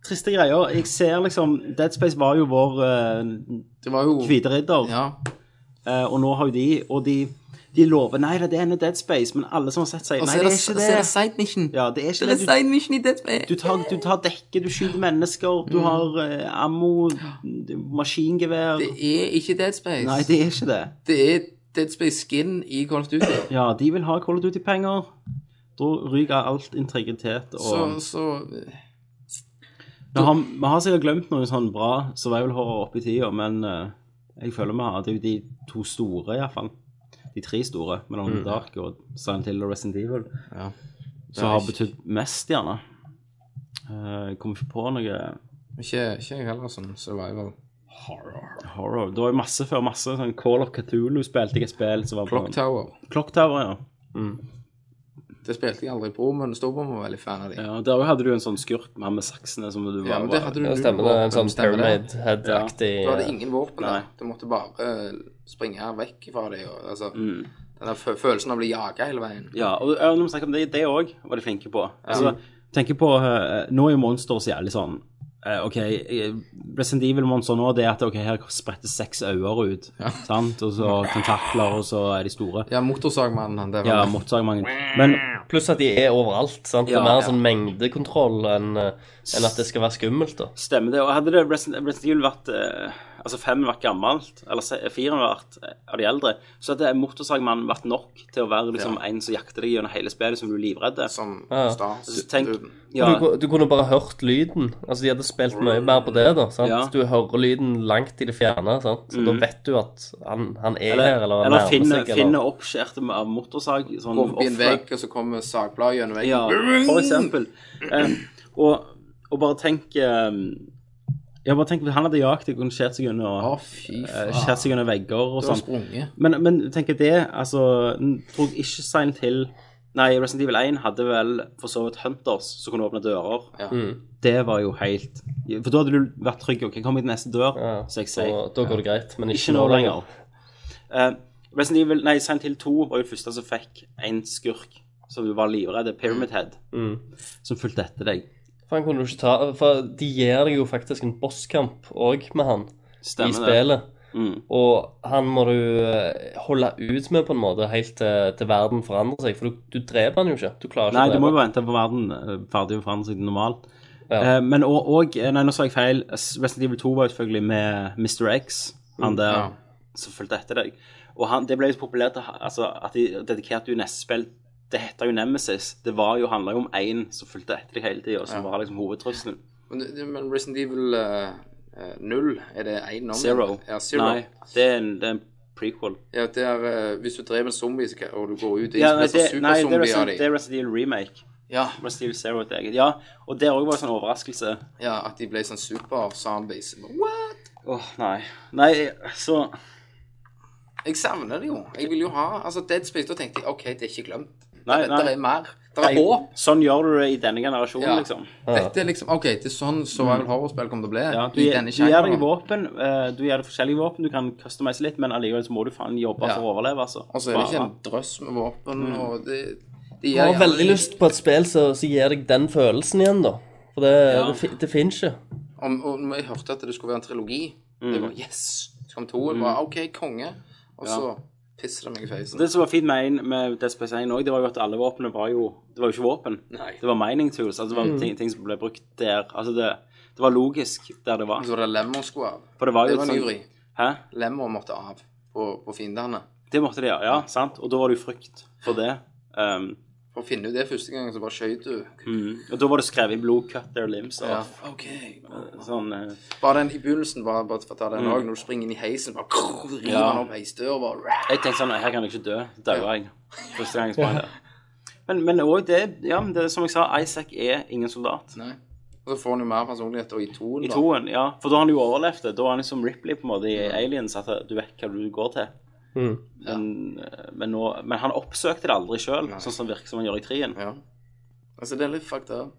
Speaker 5: Triste greier. Jeg ser liksom Dead Space var jo vår eh,
Speaker 6: Det var jo
Speaker 5: hvite ridder,
Speaker 6: Ja.
Speaker 5: eh, og nå har jo de Og de, de lover Nei, det er en Dead Space, men alle som har sett seg
Speaker 6: Og
Speaker 5: Nei,
Speaker 6: så er
Speaker 5: det er
Speaker 6: det, så
Speaker 5: ikke
Speaker 6: er det
Speaker 5: det.
Speaker 6: side mission.
Speaker 5: Ja, det er
Speaker 6: Så
Speaker 5: ikke
Speaker 6: det
Speaker 5: det.
Speaker 6: er
Speaker 5: Du
Speaker 6: side mission i Dead Space.
Speaker 5: Du tar, du tar dekke, du skyter mennesker,
Speaker 6: Mm.
Speaker 5: du har eh, ammo, d- maskingevær
Speaker 6: Det er ikke Dead Space.
Speaker 5: Nei, det er ikke det.
Speaker 6: det er Dead Space Skin i Call of Duty.
Speaker 5: Ja, de vil ha Call of Duty-penger. Da ryker alt integritet og
Speaker 6: Så, så
Speaker 5: vi, har, vi har sikkert glemt noe sånn bra survival-horror oppi tida, men eh, jeg føler vi har Det er jo de to store, iallfall. De tre store, mellom Dark og Silent Hill og Resident Evil,
Speaker 6: Mm. Ja.
Speaker 5: som har betydd mest, gjerne. Eh, Jeg kommer ikke på noe
Speaker 6: Ikke, ikke jeg heller som survival. Horror.
Speaker 5: horror. Det var jo masse før masse. sånn Call of Cthulhu spilte jeg et spill som var på-
Speaker 6: Clock Tower.
Speaker 5: Clock Tower, ja.
Speaker 7: Mm.
Speaker 6: Mm. Det spilte jeg aldri på, men storebror var veldig fan av det.
Speaker 5: ja. Der òg hadde du en sånn skurk med han med saksene som du
Speaker 6: Ja,
Speaker 5: var
Speaker 6: men det hadde du
Speaker 7: Det stemmer. Det er en sånn
Speaker 6: Stemmer det?
Speaker 7: Pyramid eh, Head-aktig
Speaker 6: Du hadde ingen våpen
Speaker 5: Nei.
Speaker 6: der. Du måtte bare eh, springe vekk fra dem. og, Altså, Den der fø- følelsen av å bli jaga hele veien.
Speaker 5: Mm. Ja, og ja, når vi snakker om det, det òg var de flinke på. Altså, tenker på eh, Nå er jo Monster så jævlig sånn eh, OK, eh, Resident Evil-monster nå, det er at OK, her spretter seks øyne ut, sant, og så tentakler, og så er de store.
Speaker 6: Ja, motorsagmannen, han der. var-
Speaker 5: Ja, motorsagmangen. Men
Speaker 7: Pluss at de er overalt. sant? Det
Speaker 5: Ja,
Speaker 7: er mer
Speaker 5: ja.
Speaker 7: sånn mengdekontroll enn eh, enn at det skal være skummelt. da.
Speaker 5: stemmer det. Og hadde det Resident, Resident Evil vært eh, altså fem vært gammelt, eller se- fire vært eh, av de eldre, så hadde Motorsagmannen vært nok til å være liksom, en som jakter deg gjennom hele spillet som du er livredd.
Speaker 6: Som
Speaker 7: Ja.
Speaker 6: Star.
Speaker 5: Så tenk, ja,
Speaker 7: Du, ku- du kunne bare hørt lyden. Altså, De hadde spilt mye mer på det. da, sant?
Speaker 5: Ja. Mm.
Speaker 7: Du hører lyden langt i det fjerne, sant? så da vet du at han, han er
Speaker 5: eller,
Speaker 7: her, eller han
Speaker 5: eller
Speaker 7: nærmer
Speaker 5: finne,
Speaker 7: seg.
Speaker 5: finne oppskjærte med- av motorsag. Sånn,
Speaker 6: Går forbi en
Speaker 5: ofre.
Speaker 6: vegg, og så kommer sagbladet gjennom veggen.
Speaker 5: Ja, for eksempel. Eh, og, og bare tenk eh, Ja, bare tenk hvis han hadde jakt og kunne skjært seg
Speaker 6: Å,
Speaker 5: under,
Speaker 6: fy
Speaker 5: eh,
Speaker 6: faen.
Speaker 5: skjært seg under vegger og
Speaker 6: Du har
Speaker 5: sånn.
Speaker 6: sprunget.
Speaker 5: Men, men tenk at det, altså n- Tror jeg ikke Silent Hill Nei, Resident Evil 1 hadde vel for så vidt Hunters som kunne åpne dører.
Speaker 6: Ja.
Speaker 7: Mm,
Speaker 5: Det var jo helt For da hadde du vært trygg. OK, kom i neste dør,
Speaker 7: Ja,
Speaker 5: så jeg
Speaker 7: da,
Speaker 5: sier.
Speaker 7: da går det greit, men ikke,
Speaker 5: Ikke nå lenger. Eh, Resident Evil, nei, Silent Hill 2 var jo første som fikk en skurk som du var livredd. Pyramid Head. Som fulgte etter deg.
Speaker 7: For han Mm. kunne du ikke ta, for De gir deg jo faktisk en bosskamp òg med han i spillet.
Speaker 5: Mm.
Speaker 7: Og han må du eh, holde ut med på en måte helt til, til verden forandrer seg. For du, du dreper han jo ikke. Du klarer
Speaker 5: Nei,
Speaker 7: ikke
Speaker 5: du må
Speaker 7: å
Speaker 5: jo
Speaker 7: drepe
Speaker 5: vente på verden eh, ferdig å forandre seg til normal.
Speaker 7: Ja.
Speaker 5: Eh, men og, og eh, Nei, nå sa jeg feil. S- Resident Evil 2 var jo selvfølgelig med Mr. X, han der
Speaker 6: Mm, ja.
Speaker 5: som fulgte etter deg. Og han, det ble jo så populært at- altså, at de dedikerte jo neste spill Det heter jo Nemesis. Det var jo, handla jo om én som fulgte etter deg hele tida, og som var liksom hovedtrusselen.
Speaker 6: Men, det- men Resident Evil eh, eh, 0, er det én nummer?
Speaker 5: Zero.
Speaker 6: Ja, Zero.
Speaker 5: Nei, det er en, det er en prequel.
Speaker 6: Ja, det er, eh, hvis du dreper en zombie så kan- og du går ut og
Speaker 5: Ja, nei, det,
Speaker 6: inspiserer
Speaker 5: nei, det, er
Speaker 6: superzombier av
Speaker 5: Resident, det
Speaker 6: dem
Speaker 5: er Resident Evil Remake.
Speaker 6: ja,
Speaker 5: Resident Evil Zero er et eget. Ja, og der òg var det sånn overraskelse.
Speaker 6: ja, at de ble sånn super-zombies. What?
Speaker 5: Åh, nei. Nei, så
Speaker 6: Jeg savner det jo. Jeg vil jo ha altså Dead Space. Da tenkte jeg OK, det er ikke glemt.
Speaker 5: Nei,
Speaker 6: Det
Speaker 5: nei.
Speaker 6: er mer. Det
Speaker 5: Nei,
Speaker 6: er håp.
Speaker 5: Sånn gjør du det i denne generasjonen,
Speaker 6: Ja.
Speaker 5: liksom. Mm.
Speaker 6: Dette er liksom OK, det er sånn survival horror-spill kommer til å bli.
Speaker 5: Ja, du,
Speaker 6: i
Speaker 5: gir- du
Speaker 6: denne
Speaker 5: gir deg
Speaker 6: sjangeren.
Speaker 5: våpen, eh, du gir deg forskjellige våpen, du kan customize litt, men allikevel så må du faen jobbe
Speaker 6: Ja.
Speaker 5: for å overleve, altså.
Speaker 6: Og så er det ikke en
Speaker 5: Bare-
Speaker 6: drøss med våpen,
Speaker 5: Mm.
Speaker 6: og det, det
Speaker 7: Jeg har
Speaker 6: jævlig-
Speaker 7: veldig lyst på et spill som som gir deg den følelsen igjen, da. For det,
Speaker 5: Ja.
Speaker 7: det, fin- det finnes ikke.
Speaker 6: Om, og når jeg hørte at det skulle være en trilogi, det
Speaker 5: Mm.
Speaker 6: var yes! Så kom toen, bare OK, konge. Og så pisser det meg i feisen.
Speaker 5: Det som var fint med, en- med Dead Space 1 òg, det var jo at alle våpnene var jo Det var jo ikke våpen.
Speaker 6: Nei.
Speaker 5: Det var mining tools. Altså det var ting, ting som ble brukt der. Altså det, det var logisk der det var.
Speaker 6: Så var det lemmer skulle av.
Speaker 5: For det var jo
Speaker 6: Det var en
Speaker 5: sånn-
Speaker 6: ivrig.
Speaker 5: Hæ?
Speaker 6: Lemmer måtte av på, på fiendene.
Speaker 5: Det måtte de gjøre, ja. sant? Og da var det jo frykt for det. Um,
Speaker 6: For å finne ut det første gangen, så bare skjøt du.
Speaker 5: og da var det skrevet i blod 'cut their limbs' og
Speaker 6: Ja. OK.
Speaker 5: sånn eh,
Speaker 6: Bare den i begynnelsen, bare, bare for å ta den òg, når du springer inn i heisen, bare krrr, river
Speaker 5: Mm. Ja.
Speaker 6: han opp heisdøra, bare
Speaker 5: Jeg tenkte sånn Her kan jeg ikke dø. Så dauer jeg. Første gang jeg sprang der. Men, men også det, ja, men det er som jeg sa, Isaac er ingen soldat.
Speaker 6: Nei. Og så får han jo mer personlighet, og i toen,
Speaker 5: I
Speaker 6: da.
Speaker 5: toen, ja. For da har han jo overlevd det. Da er han liksom Ripley på en måte i Aliens, at du vet hva du går til.
Speaker 6: Mm.
Speaker 5: Men, eh, men, nå, men han oppsøkte det aldri sjøl, sånn som det virker som han gjør i trien.
Speaker 6: Ja. Altså, det er litt fucked up.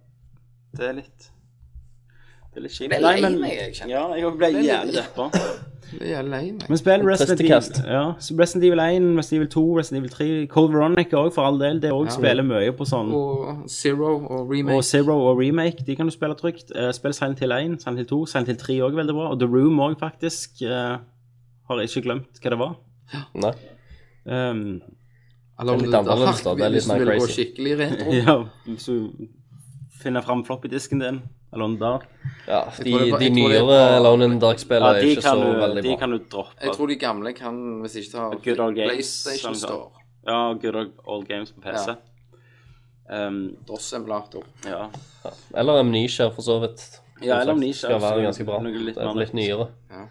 Speaker 5: Det er litt Det er litt kjipt.
Speaker 6: Jeg ble
Speaker 5: Nei,
Speaker 6: lei
Speaker 5: men-
Speaker 6: meg, jeg kjenner.
Speaker 5: Ja, jeg ble
Speaker 6: litt-
Speaker 5: jævlig deppa.
Speaker 6: Jeg er lei meg.
Speaker 5: Men spill Resident
Speaker 7: Triste
Speaker 5: Evil,
Speaker 7: kast.
Speaker 5: ja, så Resident Evil 1, Resident Evil 2, Resident Evil 3, Cold Veronica òg, for all del. Det òg spiller mye på sånn.
Speaker 6: Og Zero og remake.
Speaker 5: Og Zero og Remake, de kan du spille trygt. Eh, spill Silent Hill 1, Silent Hill 2, Silent Hill 3 òg veldig bra. Og The Room òg, faktisk. eh, har jeg ikke glemt hva det var.
Speaker 7: Nei.
Speaker 5: Um,
Speaker 6: Eller om
Speaker 7: Det er litt
Speaker 6: det-
Speaker 7: annerledes,
Speaker 6: hardt,
Speaker 7: da. Det er litt
Speaker 6: hvis du
Speaker 7: mer
Speaker 6: vil gå
Speaker 7: crazy.
Speaker 6: skikkelig retro.
Speaker 7: Oh.
Speaker 5: ja, hvis du finner fram floppy-disken din, eller den der
Speaker 7: Ja,
Speaker 6: Jeg tror det
Speaker 7: de,
Speaker 6: var-
Speaker 7: de
Speaker 6: jeg tror det
Speaker 7: nyere
Speaker 6: var-
Speaker 7: Alone in the Dark-spillene
Speaker 5: Ja,
Speaker 7: er
Speaker 5: de,
Speaker 7: ikke så
Speaker 5: kan du,
Speaker 7: veldig
Speaker 5: de
Speaker 7: bra.
Speaker 5: kan du droppe.
Speaker 6: Jeg tror de gamle kan, hvis ikke tar
Speaker 5: Good old games,
Speaker 6: PlayStation
Speaker 5: sånn da.
Speaker 6: Store.
Speaker 5: Ja, Good Old- Old Games på PC. Um,
Speaker 6: DOS-emulator.
Speaker 5: ja.
Speaker 7: Eller Amnesia, for så vidt. Som
Speaker 5: eller
Speaker 7: sagt,
Speaker 5: Amnesia,
Speaker 7: Skal være
Speaker 5: absolutt.
Speaker 7: ganske bra.
Speaker 5: Noe litt
Speaker 7: Det er
Speaker 5: mer
Speaker 7: litt
Speaker 5: nytt.
Speaker 7: nyere.
Speaker 6: Ja.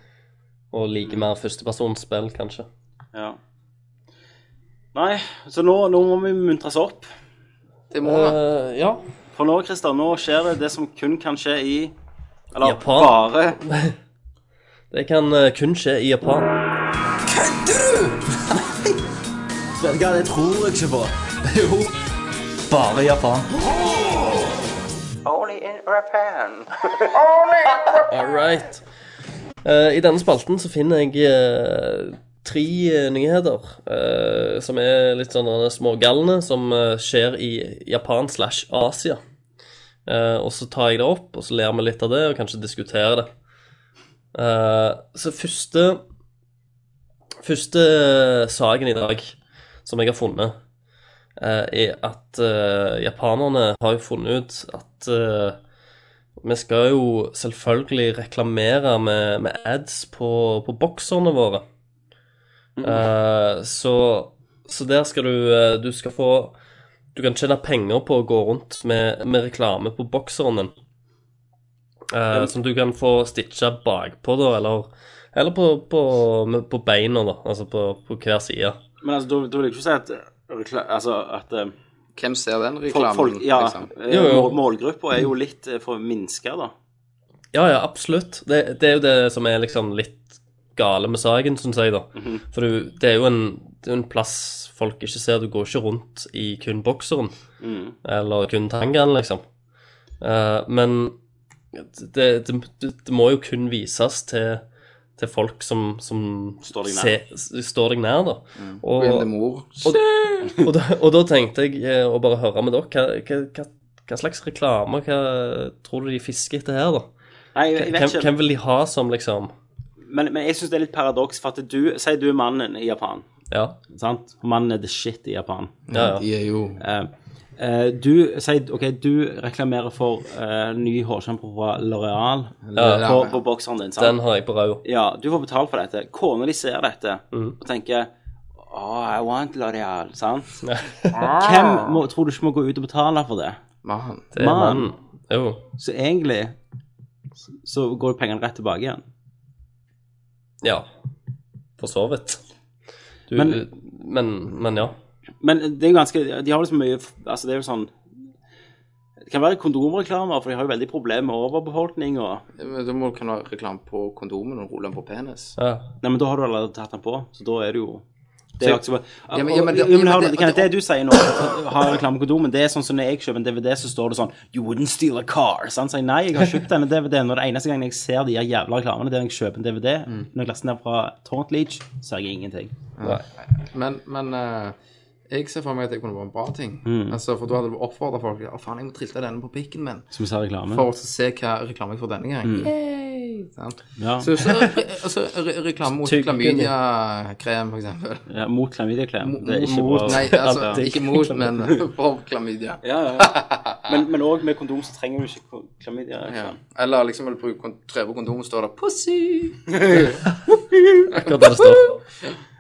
Speaker 7: Og like mer førstepersonsspill, kanskje.
Speaker 5: ja. Nei, så nå, nå må vi muntres opp.
Speaker 6: Det må det.
Speaker 7: Eh, ja.
Speaker 5: For nå, Christer, nå skjer det det som kun kan skje i Eller
Speaker 7: Japan.
Speaker 5: bare
Speaker 7: Det kan eh, kun skje i Japan.
Speaker 10: Vet du hva, det tror jeg ikke på.
Speaker 7: Bare i Japan.
Speaker 5: Only in Japan.
Speaker 7: All right. Eh, I denne spalten så finner jeg eh, tre eh, nyheter eh, som er litt sånn eh, smågalne, som eh, skjer i Japan slash Asia. Eh, og så tar jeg det opp, og så ler vi litt av det, og kanskje diskuterer det. Eh, så første Første saken i dag som jeg har funnet, eh, er at eh, japanerne har jo funnet ut at eh, Vi skal jo selvfølgelig reklamere med, med ads på, på bokserne våre. Eh, så, så der skal du eh, Du skal få Du kan tjene penger på å gå rundt med, med reklame på bokseren din. Eh, som du kan få stitcha bakpå, da, eller, eller på, på, med- på beina, da. Altså på, på hver side.
Speaker 5: Men altså, da da vil jeg ikke si at eh, rekla- Altså at eh,
Speaker 6: Hvem ser den
Speaker 5: folk,
Speaker 6: reklamen?
Speaker 5: folk Ja,
Speaker 6: liksom?
Speaker 5: eh,
Speaker 7: Jo, jo.
Speaker 5: mål- målgruppa er jo litt eh, for minska, da.
Speaker 7: Ja, ja, absolutt. Det, det er jo det som er liksom litt gale med saken, syns jeg, da. For du, det er jo en, det er jo en plass folk ikke ser. Du går ikke rundt i kun bokseren,
Speaker 5: Mm.
Speaker 7: eller kun tangaen, liksom. Eh, men det, det, det må jo kun vises til, til folk som, som
Speaker 5: Står deg nær.
Speaker 7: se- står deg nær, Mm. da.
Speaker 6: Gå hjem til mor.
Speaker 7: Og, og, da, og da tenkte jeg eh, å bare høre med dere. Hva, hva, hva, hva slags reklame hva tror du de fisker etter her, da?
Speaker 5: Nei, jeg, jeg vet
Speaker 7: Hvem,
Speaker 5: ikke.
Speaker 7: hvem vil de ha som liksom
Speaker 5: Men, men jeg syns det er litt paradoks, for at du Si du er mannen i Japan.
Speaker 7: Ja.
Speaker 5: Sant? Mannen er the shit i Japan.
Speaker 7: ja, ja.
Speaker 6: De er jo
Speaker 5: Eh, eh, du sier OK, du reklamerer for eh, ny hårsjampo fra Loreal
Speaker 7: Ja.
Speaker 5: på, på bokseren din, sant?
Speaker 7: Den har jeg på rau.
Speaker 5: Ja, du får betalt for dette. Kona di ser dette
Speaker 7: Mm.
Speaker 5: og tenker Oh, I want L'Oreal, sant? Hvem må, tror du ikke må gå ut og betale for det?
Speaker 6: Mann.
Speaker 7: Det er
Speaker 5: Man.
Speaker 7: mannen. Jo.
Speaker 5: Så egentlig så- så går pengene rett tilbake igjen.
Speaker 7: Ja. For så vidt. Du, men,
Speaker 5: Men-
Speaker 7: men, ja.
Speaker 5: Men det er jo ganske De har liksom mye Altså, det er jo sånn Det kan være kondomreklamer, for de har jo veldig problemer med overbefolkning og
Speaker 6: Men Da må du kunne ha reklame på kondomen og rulle den på penis.
Speaker 7: ja.
Speaker 5: Nei, men da har du allerede tatt den på, så da er det jo det er jo ikke så bra.
Speaker 6: Ja, men-
Speaker 5: Og-
Speaker 6: ja, men det-
Speaker 5: jo, men
Speaker 6: ja,
Speaker 5: har
Speaker 6: men
Speaker 5: du-
Speaker 6: det-
Speaker 5: Kenneth, det du sier nå, at har reklame på kondomen, det er sånn som når jeg kjøper en DVD, så står det sånn You wouldn't steal a car. Så han sier nei, jeg har kjøpt denne DVD-en, og det eneste gangen jeg ser de her jævla reklamene, det er når jeg kjøper en DVD.
Speaker 6: Mm.
Speaker 5: Når jeg laster ned fra Taunt Leach, ser jeg ingenting.
Speaker 6: Men, men eh, jeg ser for meg at det kunne vært en bra ting.
Speaker 5: Mm.
Speaker 6: Altså, for da hadde du oppfordra folk til faen, jeg må trille denne på pikken min
Speaker 5: Som ser reklame.
Speaker 6: for å se hva reklame jeg får denne gangen. Yay! Sant?
Speaker 5: Mm. Ja.
Speaker 6: Så, så re, altså, re, reklame mot
Speaker 7: Tygg,
Speaker 6: klamydia-krem, for eksempel.
Speaker 5: Ja, mot klamydiaklem. Det er ikke
Speaker 6: Mot,
Speaker 5: bra.
Speaker 6: nei, altså, ikke mot, men for klamydia.
Speaker 5: Ja, ja. Men, men også med kondom så trenger du ikke
Speaker 6: Ja.
Speaker 5: klamydia.
Speaker 6: Eller liksom når du bruker kon- trer på kondomet, står det 'pussy'.
Speaker 7: Akkurat der det står.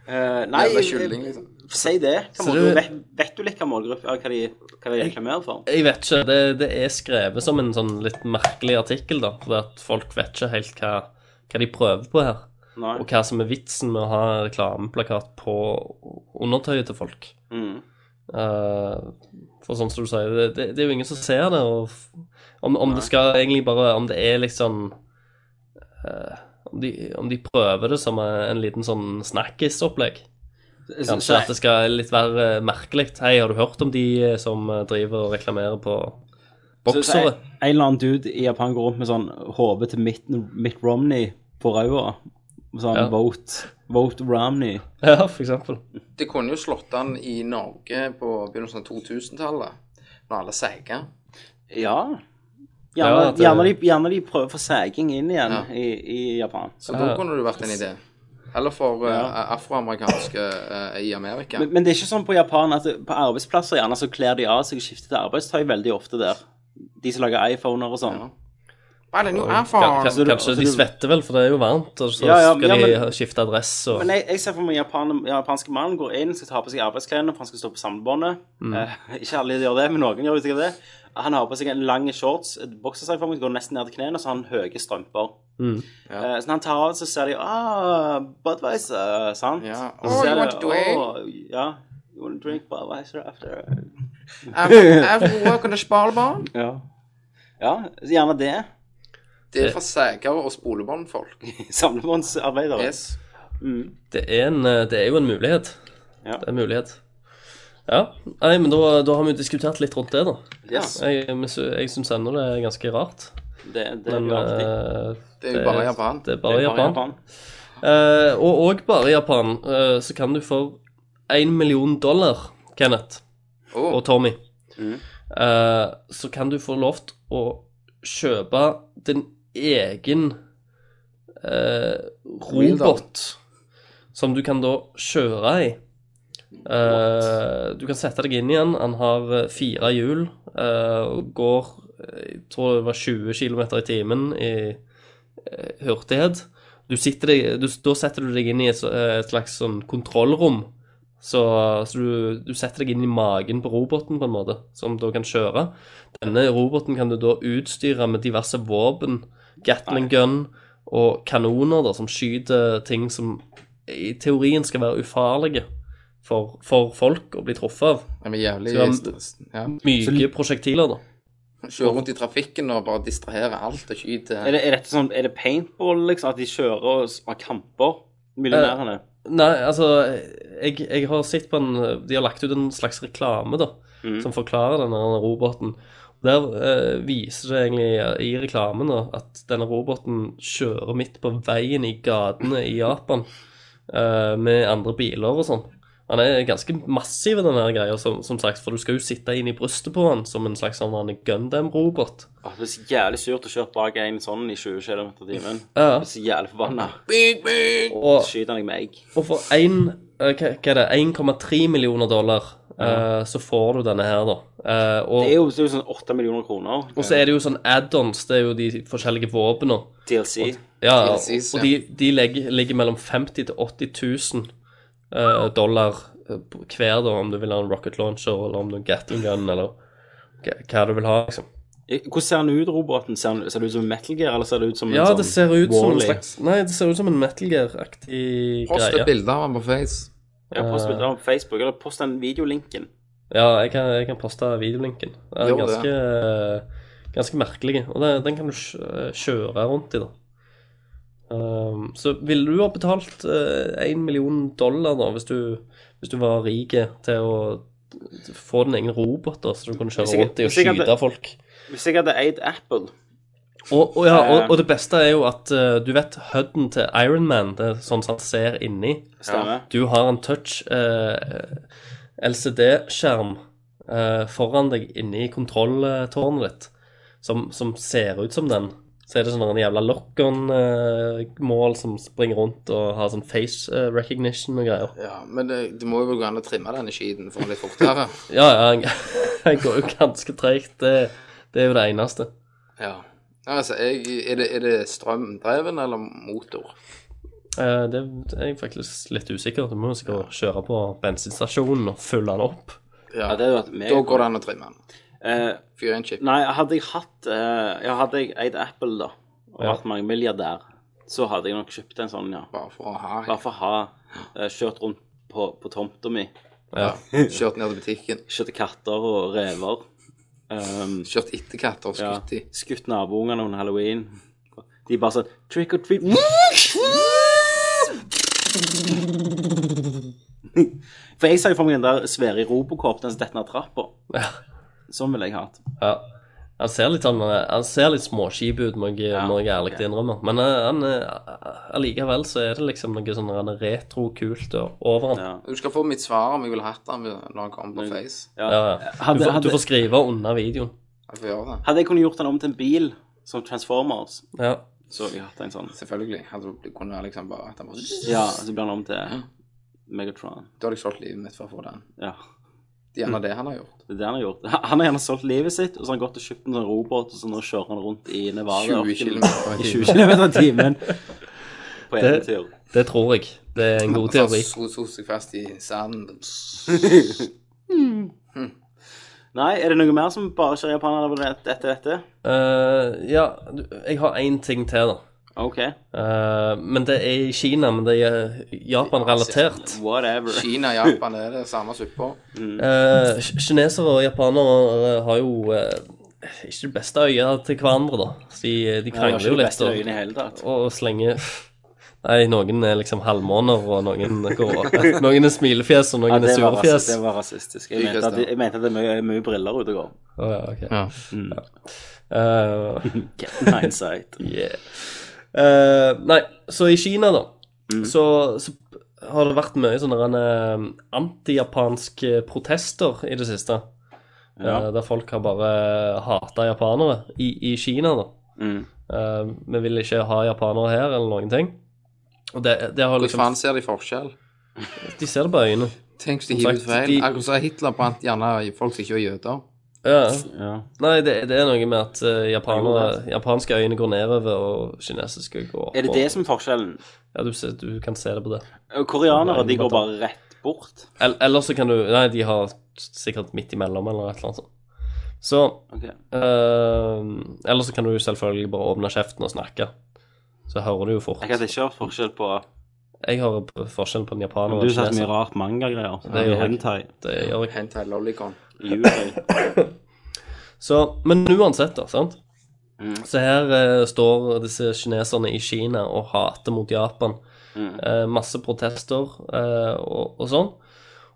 Speaker 5: Uh, nei,
Speaker 6: Jævla kylling, liksom.
Speaker 5: si det. Hva
Speaker 7: Så
Speaker 5: må du-
Speaker 7: det-
Speaker 5: vet, vet du litt hva målgruppe hva de, hva de reklamerer for?
Speaker 7: Jeg vet ikke. Det, det er skrevet som en sånn litt merkelig artikkel, da. For at folk vet ikke helt hva, hva de prøver på her.
Speaker 5: Nei.
Speaker 7: Og hva som er vitsen med å ha en reklameplakat på undertøyet til folk.
Speaker 5: Mm.
Speaker 7: Eh, for sånn som du sier, det, det, det er jo ingen som ser det. Og f- om, om det skal egentlig bare Om det er liksom eh, om, de, om de prøver det som eh, en liten sånn snakkisopplegg. Kanskje at det skal litt være eh, merkelig. Hei, har du hørt om de eh, som eh, driver og reklamerer på boksere?
Speaker 5: En eller annen dude i Japan går rundt med sånn hode til Mitt, Mitt Romney på ræva. Sånn
Speaker 7: Ja.
Speaker 5: vote, vote Romney.
Speaker 7: Ja, for eksempel.
Speaker 6: Det kunne jo slått an i Norge på begynnelsen av 2000-tallet, når alle seiga.
Speaker 5: Ja. Gjerne,
Speaker 7: Ja, at det-
Speaker 5: gjerne, de, gjerne de prøver å få seging inn igjen
Speaker 6: Ja.
Speaker 5: i, i Japan.
Speaker 6: Så da kunne det vært en idé. Eller for eh, afroamerikanske eh, i Amerika.
Speaker 5: Men, men det er ikke sånn på Japan at det- på arbeidsplasser gjerne så kler de av seg og skifter til arbeidstøy veldig ofte der. De som lager iPhoner og sånn.
Speaker 6: Ja. Bare new
Speaker 7: Ka-
Speaker 6: iPhone.
Speaker 7: ka- Kanskje de svetter vel, for det er jo varmt, og så
Speaker 5: Ja, ja,
Speaker 7: skal
Speaker 5: ja,
Speaker 7: de
Speaker 5: men-
Speaker 7: ha- skifte adresse og
Speaker 5: Men jeg, jeg ser for meg japaner, japanske mannen går inn, skal ta på seg arbeidsklærne, for han skal stå på samlebåndet.
Speaker 7: Mm.
Speaker 5: Eh, ikke alle gjør det, men noen gjør sikkert det. Han har på seg en lang shorts, et bokserstreng for meg, går nesten ned til knærne, og så har han høye strømper.
Speaker 7: Mm.
Speaker 5: Eh, så når han tar av, så ser de Ah, Budweiser, sant?
Speaker 6: Ja.
Speaker 5: Og så
Speaker 6: Oh,
Speaker 5: ser
Speaker 6: you
Speaker 5: de,
Speaker 6: want to drink?
Speaker 5: «Oh, Ja. You want to drink Budweiser after
Speaker 6: Afro work on the spalebånd.
Speaker 5: Ja. Ja, så gjerne det.
Speaker 6: Det er for seigere og spolebåndfolk.
Speaker 5: Samlebåndsarbeidere.
Speaker 6: Yes.
Speaker 7: Det er, en, eh, det er jo en mulighet.
Speaker 5: Ja.
Speaker 7: Det er en mulighet. Ja. Nei, men da, da har vi jo diskutert litt rundt det, da.
Speaker 5: Yes.
Speaker 7: Jeg, men sy- jeg syns ennå det er ganske rart.
Speaker 5: Det, det
Speaker 7: Men,
Speaker 5: blir alltid.
Speaker 7: eh,
Speaker 6: Det er jo bare Japan.
Speaker 7: Det er bare
Speaker 5: Det er bare
Speaker 7: Japan. Eh, og og bare i Japan eh, så kan du for én million dollar, Kenneth
Speaker 6: Oh.
Speaker 7: og Tommy, eh, så kan du få lov til å kjøpe din egen eh,
Speaker 6: Real doll.
Speaker 7: robot som du kan da kjøre i. Eh, du kan sette deg inn i den. Han har eh, fire hjul eh, og går jeg tror det var 20 km i timen i eh, hurtighet. Du sitter deg, du, da setter du deg inn i et, så- eh, et slags sånn kontrollrom. Så, så du, du setter deg inn i magen på roboten, på en måte, som da kan kjøre. Denne roboten kan du da utstyre med diverse våpen, gatling gun og kanoner da, som skyter ting som i teorien skal være ufarlige for, for folk å bli truffet av.
Speaker 6: Ja, men jævlig
Speaker 7: Så det
Speaker 6: er ja.
Speaker 7: Myke prosjektiler, da.
Speaker 6: Kjøre rundt i trafikken og bare distrahere alt og skyte
Speaker 5: Er det, er dette sånn, er det paintball, liksom? At de kjører og s- har kamper? Millionærene?
Speaker 7: Eh, Nei, altså jeg, jeg har sett på en De har lagt ut en slags reklame, da,
Speaker 5: Mhm.
Speaker 7: som forklarer denne roboten. Der eh, viser det egentlig eh, i reklamen da, at denne roboten kjører midt på veien i gatene i Japan eh, med andre biler og sånn. Han er ganske massiv, den her greia, som, som sagt, for du skal jo sitte inn i brystet på han som en slags sånn Gundam-robot.
Speaker 5: Åh, det er så jævlig surt å kjøre bak en sånn i 20 km i timen.
Speaker 7: Ja.
Speaker 5: Det er så jævlig forbanna.
Speaker 7: Og
Speaker 5: Skyter han deg med egg?
Speaker 7: Og for en, eh, hva hva er det, 1,3 millioner dollar, eh, så får du denne her, da. Eh, og,
Speaker 5: Det er jo, det er jo sånn 8 millioner kroner.
Speaker 7: og så er det jo sånn add-ons, det er jo de forskjellige våpnene.
Speaker 5: DLC.
Speaker 7: Ja, og,
Speaker 6: Precis,
Speaker 7: og de, de legger, ligger mellom 50 til 80 000 eh, dollar eh, på hver, da, om du vil ha en rocket launcher, eller om du har en Gatling gun, eller hva, hva du vil ha, liksom.
Speaker 5: Eh, Hvordan ser han ut, roboten? Ser, han, ser det ut som en Metal Gear, eller ser det ut som en
Speaker 7: Ja,
Speaker 5: sånn
Speaker 7: det ser ut som en
Speaker 5: Wall-E?
Speaker 7: slags Nei, det ser ut som en Metal Gear-aktig
Speaker 6: Post et
Speaker 7: greie.
Speaker 6: bilde av han på Face.
Speaker 5: Ja, post
Speaker 7: Eh.
Speaker 5: bilder på Facebook, eller post den videolinken.
Speaker 7: Ja, jeg kan, jeg kan poste videolinken. Den er
Speaker 6: Gjør det.
Speaker 7: ganske, eh, ganske merkelig. Og den, den kan du kjø- eh, kjøre rundt i, da. Um, så ville du ha betalt én million dollar, da, hvis du, hvis du var rik til å få din egen robot, da, så du kunne
Speaker 5: Hvis
Speaker 7: kjøre
Speaker 5: jeg-
Speaker 7: rundt i og
Speaker 5: hvis jeg hadde-
Speaker 7: skyte folk?
Speaker 5: Hvis jeg hadde eid Apple
Speaker 7: Og, og, ja,
Speaker 5: Eh.
Speaker 7: og, og det beste er jo at eh, du vet huden til Ironman, det er sånn som han ser inni.
Speaker 5: Stemmer.
Speaker 7: Du har en touch eh, LCD-skjerm eh, foran deg inni kontrolltårnet ditt, som, som ser ut som den. Så er det sånn en jævla lock-on-mål som springer rundt og har sånn face eh, recognition og greier.
Speaker 6: Ja, men det, det må jo gå an å trimme denne skiten for han litt fortere.
Speaker 7: Ja, ja, han- han går jo ganske tregt. Det, det er jo det eneste.
Speaker 6: ja. Altså, jeg, er, det, er det strømdreven eller motor?
Speaker 7: Eh, det er jeg faktisk litt usikker. Du må jo sikkert kjøre på bensinstasjonen og fylle den opp.
Speaker 6: Ja,
Speaker 5: Ja, det hadde vært
Speaker 6: Da
Speaker 5: meg.
Speaker 6: går det an å trimme den.
Speaker 5: Eh,
Speaker 6: Fyre en chip.
Speaker 5: nei, hadde jeg hatt eh, Ja, hadde jeg eid Apple, da, og
Speaker 7: Ja.
Speaker 5: vært mangemilliardær, så hadde jeg nok kjøpt en sånn, ja.
Speaker 6: Bare for å ha
Speaker 5: Bare for å ha eh, kjørt rundt på, på tomta mi.
Speaker 6: ja. Kjørt ned til butikken.
Speaker 5: Kjørt katter og rever. Um,
Speaker 6: Kjørt etter katter og
Speaker 5: ja.
Speaker 6: skutt i.
Speaker 5: Skutt naboungene under halloween. De bare sånn Trick or treat For jeg ser jo for meg den der svære Robocop, den som detter ned trappa.
Speaker 7: Ja.
Speaker 5: Sånn ville jeg hatt.
Speaker 7: Ja. Han ser litt, sånn, eh, han ser litt småskip ut, må jeg, må jeg ærlig innrømme. Men eh, han, eh, allikevel så er det liksom noe sånn han er retro-kult og over han.
Speaker 5: Ja.
Speaker 6: Du skal få mitt svar om jeg ville hatt den når han kommer på Face.
Speaker 5: Ja.
Speaker 7: Ja, ja. Du,
Speaker 5: Hadde,
Speaker 7: får, du
Speaker 5: hadde,
Speaker 7: får skrive under videoen.
Speaker 6: Jeg får gjøre det.
Speaker 5: hadde jeg kunnet gjort den om til en bil, som Transformers,
Speaker 7: Ja.
Speaker 5: så ville jeg hatt en sånn.
Speaker 6: Selvfølgelig. Hadde du kunne jeg liksom bare at han bare
Speaker 5: Ja, så blir den om til Megatron.
Speaker 6: Da hadde jeg solgt livet mitt for å få den.
Speaker 5: Ja.
Speaker 6: Det er gjerne det han har gjort.
Speaker 5: Det er det han har gjort. Han har gjerne solgt livet sitt, og så har han gått og kjøpt en sånn robot, og så nå kjører han rundt i Nevada
Speaker 6: 20 kilometer
Speaker 5: i 20 km i timen på
Speaker 7: Det-
Speaker 5: eventyr.
Speaker 7: Det tror jeg. Det er en god
Speaker 5: Sånn-
Speaker 7: teori.
Speaker 6: Så så seg fast i sanden.
Speaker 5: Nei, er det noe mer som bare skjer i Japan eller er det etter dette?
Speaker 7: Eh, ja, du- jeg har én ting til, da.
Speaker 5: OK,
Speaker 7: Eh, men det er i Kina, men det er Japan-relatert.
Speaker 5: whatever.
Speaker 6: Kina, Japan det er det samme suppa.
Speaker 5: Mm.
Speaker 7: Eh, k- kinesere og japanere har jo eh, ikke det beste øyet til hverandre, da. Så de, de
Speaker 5: Jeg har
Speaker 7: krangler
Speaker 5: ikke
Speaker 7: jo
Speaker 5: de
Speaker 7: litt.
Speaker 5: beste
Speaker 7: og-
Speaker 5: øyene i hele tatt.
Speaker 7: og slenger Nei, noen er liksom halvmåner, og noen går Noen er smilefjes, og noen
Speaker 5: Ja,
Speaker 7: er
Speaker 5: det, var
Speaker 7: sure
Speaker 5: rasistisk,
Speaker 7: fjes.
Speaker 5: det var rasistisk. Jeg mente at, jeg mente at det er mye, mye briller ute og går.
Speaker 7: Å, ja, ok.
Speaker 6: Ja.
Speaker 7: Eh,
Speaker 5: Get in hindsight.
Speaker 7: yeah. Eh, nei, så i Kina, da,
Speaker 5: Mm.
Speaker 7: så, så har det vært mye sånne eh, antijapanske eh, protester i det siste.
Speaker 5: Ja.
Speaker 7: Eh, der folk har bare hata japanere i, i Kina, da.
Speaker 5: Mm.
Speaker 7: Eh, vi vil ikke ha japanere her, eller noen ting. Og det, det har
Speaker 6: Hvordan
Speaker 7: liksom
Speaker 6: faen ser de forskjell?
Speaker 7: De ser det på øynene.
Speaker 6: Tenk hvis de
Speaker 7: Som
Speaker 6: hiver ut
Speaker 7: sagt,
Speaker 6: feil.
Speaker 7: de-
Speaker 6: Akkurat som Hitler brant gjerne folk som ikke var jøder.
Speaker 7: Ja.
Speaker 5: Ja.
Speaker 7: Nei, det, det er noe med at eh, japanere, japanske øyne går nedover, og kinesiske går oppover.
Speaker 5: Er det det som er forskjellen?
Speaker 7: Ja, du, ser, du kan se det på det.
Speaker 5: Koreanere de går bare rett bort.
Speaker 7: Eller, eller så kan du Nei, de har sikkert midt imellom, eller et eller annet sånt. Så
Speaker 5: Ok.
Speaker 7: eh, Eller så kan du selvfølgelig bare åpne kjeften og snakke. Så hører du jo fort.
Speaker 5: Jeg hadde ikke hørt forskjell på
Speaker 7: Jeg hører p- forskjell på en japaner og
Speaker 5: Du
Speaker 7: en
Speaker 5: sa så mye
Speaker 7: kineser.
Speaker 5: rart manga-greier.
Speaker 7: Det
Speaker 5: Det
Speaker 7: gjør jeg.
Speaker 5: hentai.
Speaker 7: Det gjør jeg.
Speaker 6: Hentai Lollicon.
Speaker 5: Yuri.
Speaker 7: Så, men uansett, da, sant. Så her eh, står disse kineserne i Kina og hater mot Japan. Eh, masse protester eh, og, og sånn.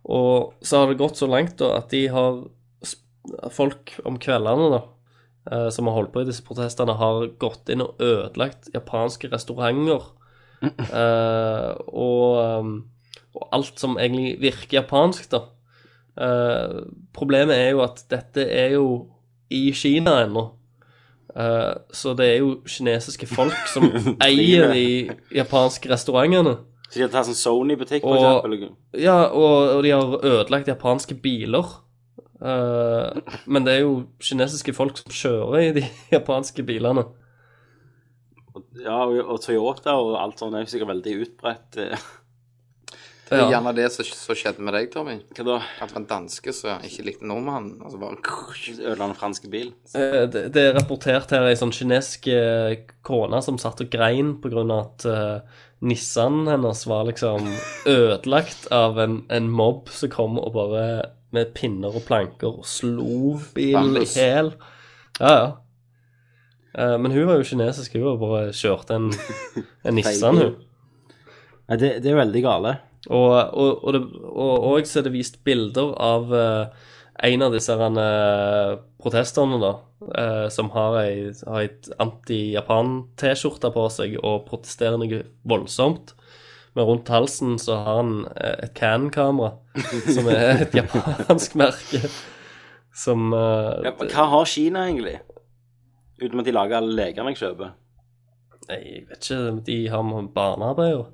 Speaker 7: Og så har det gått så langt da at de har sp- folk om kveldene da, eh, som har holdt på i disse protestene, har gått inn og ødelagt japanske restauranter. Eh, og, um, og alt som egentlig virker japansk, da. Eh, problemet er jo at dette er jo i Kina ennå. Eh, så det er jo kinesiske folk som eier de japanske restaurantene.
Speaker 5: Så de hadde tatt sånn Sony-butikk, for
Speaker 7: Og-
Speaker 5: eksempel.
Speaker 7: Ja, og, og de har ødelagt japanske biler. Eh, men det er jo kinesiske folk som kjører i de japanske bilene.
Speaker 5: Ja, og, og Toyota og alt sånt er jo sikkert veldig utbredt. eh,
Speaker 6: Det er
Speaker 7: Ja.
Speaker 6: gjerne det som som skjedde med deg, Tommy.
Speaker 5: Hva da?
Speaker 6: At det var en danske som ikke likte nordmannen. Og så bare
Speaker 5: Ødela en fransk bil.
Speaker 7: Eh, Det, det er rapportert her ei sånn kinesisk eh, kone som satt og grein pga. at uh, Nissan hennes var liksom ødelagt av en, en mobb som kom og bare med pinner og planker og slo bilen i
Speaker 6: Bambus.
Speaker 7: hæl. Ja, ja. Eh, men hun var jo kinesisk, hun og bare kjørte en, en Nissan, hun.
Speaker 5: Nei, det, det er veldig gale.
Speaker 7: Og, og, og, det, og, og så er det vist bilder av eh, en av disse her, eh, protesterne, da, eh, som har ei, har et anti-Japan-T-skjorte på seg og protesterer noe voldsomt. Men rundt halsen så har han eh, et Can-kamera, som er et japansk merke, som eh,
Speaker 5: Ja, men hva har Kina egentlig? Uten at de lager alle lekene jeg kjøper.
Speaker 7: Nei, Jeg vet ikke, de har med barnearbeid og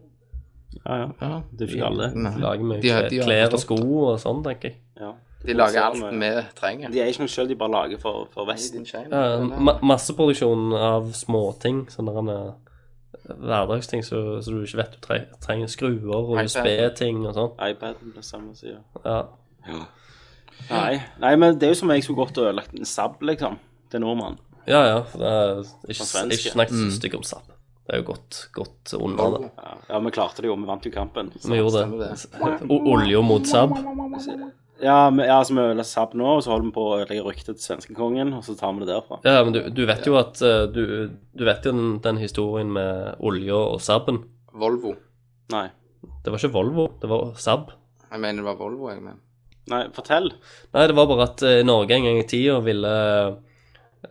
Speaker 5: Ja, ja.
Speaker 6: Ja.
Speaker 5: Det er jo ikke alle.
Speaker 6: Nei.
Speaker 7: lager mye
Speaker 6: De har- de har
Speaker 7: klær og
Speaker 6: forstått
Speaker 7: sko og sånn, tenker jeg.
Speaker 5: Ja. Sånn, eh,
Speaker 6: De lager alt vi trenger.
Speaker 5: De er ikke noe sjøl, de bare lager for, for
Speaker 6: Made
Speaker 5: Vesten.
Speaker 6: in China.
Speaker 7: Ja, ma masseproduksjon av småting. Sånne der, eh, hverdagsting så, så du ikke vet du tre trenger skruer og
Speaker 6: iPad.
Speaker 7: USB-ting og sånn.
Speaker 5: iPaden på samme side.
Speaker 7: Ja.
Speaker 5: Nei. Nei, men det er jo som om jeg skulle gått og ødelagt en Saab, liksom. Til nordmann.
Speaker 7: ja, ja. for Det er ikke,
Speaker 5: svensk,
Speaker 7: ikke snakk så stygt om SAP. Det er jo godt, godt under det.
Speaker 5: Ja, ja, vi klarte det jo, vi vant jo kampen.
Speaker 7: Vi gjorde
Speaker 6: stemmer
Speaker 7: det.
Speaker 6: det.
Speaker 7: O- Olje mot SAP.
Speaker 5: Ja, men, ja så vi ødelegger Saab nå, og så holder vi på å ødelegge ryktet til svenskekongen, og så tar vi det derfra.
Speaker 7: Ja, men du, du vet jo at eh, Du, du vet jo den, den historien med olja og Saab-en.
Speaker 6: Volvo.
Speaker 5: Nei.
Speaker 7: Det var ikke Volvo, det var Saab.
Speaker 6: Jeg mener det var Volvo, jeg mener.
Speaker 5: Nei, fortell.
Speaker 7: Nei, det var bare at eh, Norge en gang i tida ville eh,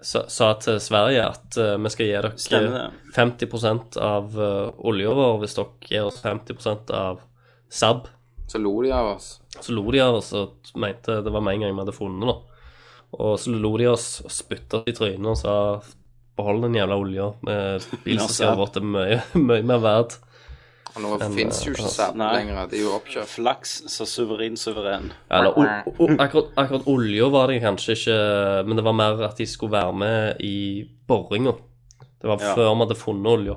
Speaker 7: sa, sa til Sverige at eh, vi skal gi
Speaker 5: Stemmer
Speaker 7: dere
Speaker 5: det.
Speaker 7: 50 av uh, olja vår hvis dere gir oss 50 av SAB.
Speaker 6: Så lo de av oss.
Speaker 7: Så lo de av oss og mente det var med en gang vi hadde funnet det. Og så lo de oss og spytta oss i trynet og sa behold den jævla olja. eh, Bilselskapet vårt er mye, mye mer verdt.
Speaker 6: Og nå fins jo
Speaker 7: eh,
Speaker 6: ikke Saab
Speaker 5: Nei.
Speaker 6: lenger. De er jo oppkjøpt.
Speaker 5: Flaks så suveren suveren.
Speaker 7: Eller, o, o, akkurat, akkurat olja var det kanskje ikke, men det var mer at de skulle være med i boringa. Det var
Speaker 5: Ja.
Speaker 7: før vi hadde funnet olja.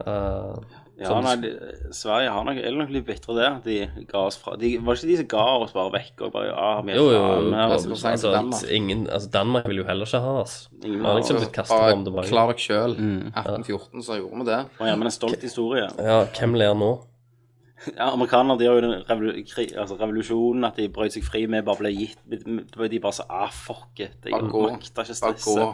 Speaker 7: Eh,
Speaker 5: Ja,
Speaker 7: Sånn-
Speaker 5: nei, de, Sverige har nok, er nok litt bitre der. De ga oss fra de, Var det ikke de som ga oss bare vekk og bare ja, vi er
Speaker 7: jo, jo,
Speaker 5: faen her,
Speaker 7: altså,
Speaker 5: og så-
Speaker 7: altså,
Speaker 6: Danmark.
Speaker 7: ingen, altså Danmark vil jo heller ikke ha oss. Vi
Speaker 5: Ingen
Speaker 7: har
Speaker 5: har
Speaker 7: liksom blitt kastet om det
Speaker 6: Bare
Speaker 7: bare.
Speaker 6: klar dere sjøl. 1814, så gjorde vi det.
Speaker 5: Å, ja, men en stolt historie.
Speaker 7: Ja, hvem ler nå?
Speaker 5: Ja, Amerikanere de har jo den revolu kri, altså, revolusjonen at de brøt seg fri med bare ble gitt De bare sa ah, fuck it, jeg
Speaker 6: Bare gå.
Speaker 5: makter ikke
Speaker 6: Bare gå.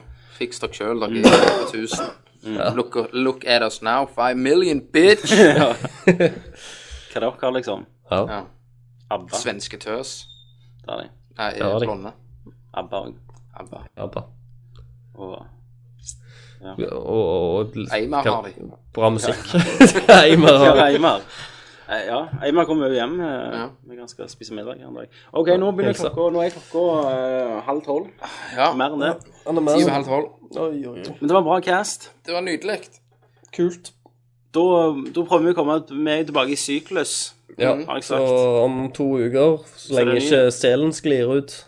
Speaker 5: stresset.
Speaker 6: Fiks dere sjøl, dere er over 1000. Look, look at us now, five million, bitch!
Speaker 5: Hva dere har, liksom?
Speaker 7: Ja.
Speaker 6: Ja.
Speaker 5: ABBA.
Speaker 6: Svenske tøs.
Speaker 5: Der er de.
Speaker 6: Nei,
Speaker 7: Ja, det-
Speaker 6: blonde.
Speaker 5: ABBA og-
Speaker 6: Abba.
Speaker 7: ja bare.
Speaker 5: og
Speaker 7: Og, og, og
Speaker 6: Eimar har
Speaker 7: hva-
Speaker 6: de.
Speaker 7: Bra musikk. Eimar
Speaker 5: Ja,
Speaker 7: har de.
Speaker 5: Eimar. Eh, Ja, Eimar kommer jo hjem. eh,
Speaker 6: Ja.
Speaker 5: Vi kan skal spise middag her en dag. OK, nå begynner
Speaker 7: Hilsa.
Speaker 5: klokka Nå er klokka eh, halv tolv.
Speaker 6: Ja.
Speaker 5: Mer enn det.
Speaker 6: Ti og halv tolv.
Speaker 5: Men det var en bra cast.
Speaker 6: Det var nydelig.
Speaker 7: Kult.
Speaker 5: Da, da prøver vi å komme med tilbake i syklus.
Speaker 7: Ja,
Speaker 5: Har jeg
Speaker 7: så
Speaker 5: sagt.
Speaker 7: om to uker, så lenge
Speaker 5: det ny.
Speaker 7: ikke selen sklir ut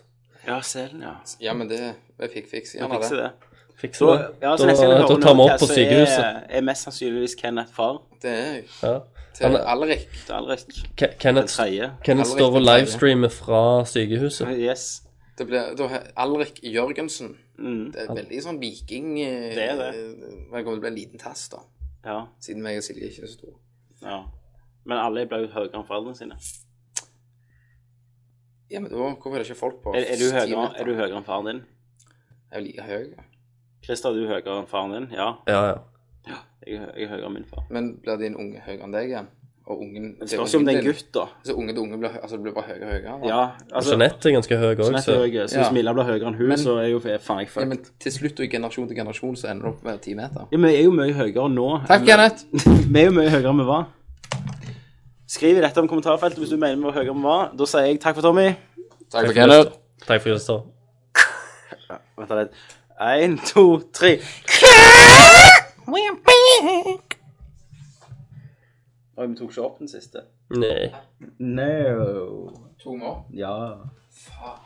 Speaker 5: Ja, selen, ja.
Speaker 6: Ja, men det Jeg fikk fikse
Speaker 5: Vi fikser det.
Speaker 7: Fikser
Speaker 5: Da-
Speaker 7: det.
Speaker 5: Ja, altså, så
Speaker 7: Da-
Speaker 5: neste gang du
Speaker 7: da
Speaker 5: hører
Speaker 7: tar vi opp
Speaker 5: Nerdcast,
Speaker 7: på
Speaker 5: så
Speaker 7: sykehuset.
Speaker 5: Er, er mest sannsynligvis Kenneth far
Speaker 6: Det er jo
Speaker 7: Ja.
Speaker 6: til
Speaker 7: Han-
Speaker 6: Alrik.
Speaker 5: til Alrik.
Speaker 7: Ke-
Speaker 5: Den
Speaker 7: Kenneth,
Speaker 5: tredje.
Speaker 7: Kenneth
Speaker 6: Alrik
Speaker 7: står og
Speaker 6: den tredje.
Speaker 7: livestreamer fra sykehuset.
Speaker 5: Yes.
Speaker 6: Det blir da he- Alrik Jørgensen.
Speaker 5: Mm.
Speaker 6: Det er veldig sånn viking eh,
Speaker 5: Det er det.
Speaker 6: eh, Men det kommer til å bli en liten tass, da.
Speaker 5: Ja.
Speaker 6: Siden meg og Silje ikke er så store.
Speaker 5: ja. Men alle ble jo høyere enn foreldrene sine.
Speaker 6: Ja, men da Hvorfor er det ikke folk på
Speaker 5: Er, er, du
Speaker 6: 10
Speaker 5: høyere,
Speaker 6: meter?
Speaker 5: er du høyere enn faren din?
Speaker 6: Jeg er jo like høy. ja.
Speaker 5: Christer, er du høyere enn faren din? Ja.
Speaker 7: Ja, ja.
Speaker 5: Jeg, er høy- jeg er høyere enn min far.
Speaker 6: Men blir din unge høyere enn deg igjen? Og ungen
Speaker 5: Det spørs jo om det er en gutt, da.
Speaker 6: Så unge til unge blir høy- altså, det blir bare høyere og høyere? da.
Speaker 5: Ja,
Speaker 7: Og
Speaker 5: altså
Speaker 7: Jeanette er ganske høy òg,
Speaker 5: Jeanette
Speaker 7: så
Speaker 5: er høyere, så
Speaker 6: Ja.
Speaker 5: hvis Milla blir høyere enn hun,
Speaker 6: Men-
Speaker 5: så er jo er faen jeg
Speaker 6: Ja,
Speaker 5: fucked.
Speaker 6: men til slutt og i generasjon til generasjon så ender det opp med ti meter.
Speaker 5: Ja, men jeg er jo mye høyere nå.
Speaker 6: Takk,
Speaker 5: enn-
Speaker 6: Kenneth.
Speaker 5: Vi er jo mye høyere enn vi var. Skriv i dette om kommentarfeltet hvis du mener vi var høyere enn vi var. Da sier jeg takk for Tommy.
Speaker 6: Takk
Speaker 7: for Kenneth. Takk for Christer.
Speaker 5: Vent da litt. Én, to, tre. Oi, vi tok ikke opp den siste.
Speaker 7: Nei.
Speaker 5: No.
Speaker 6: To mål.
Speaker 5: Ja.
Speaker 6: Faen.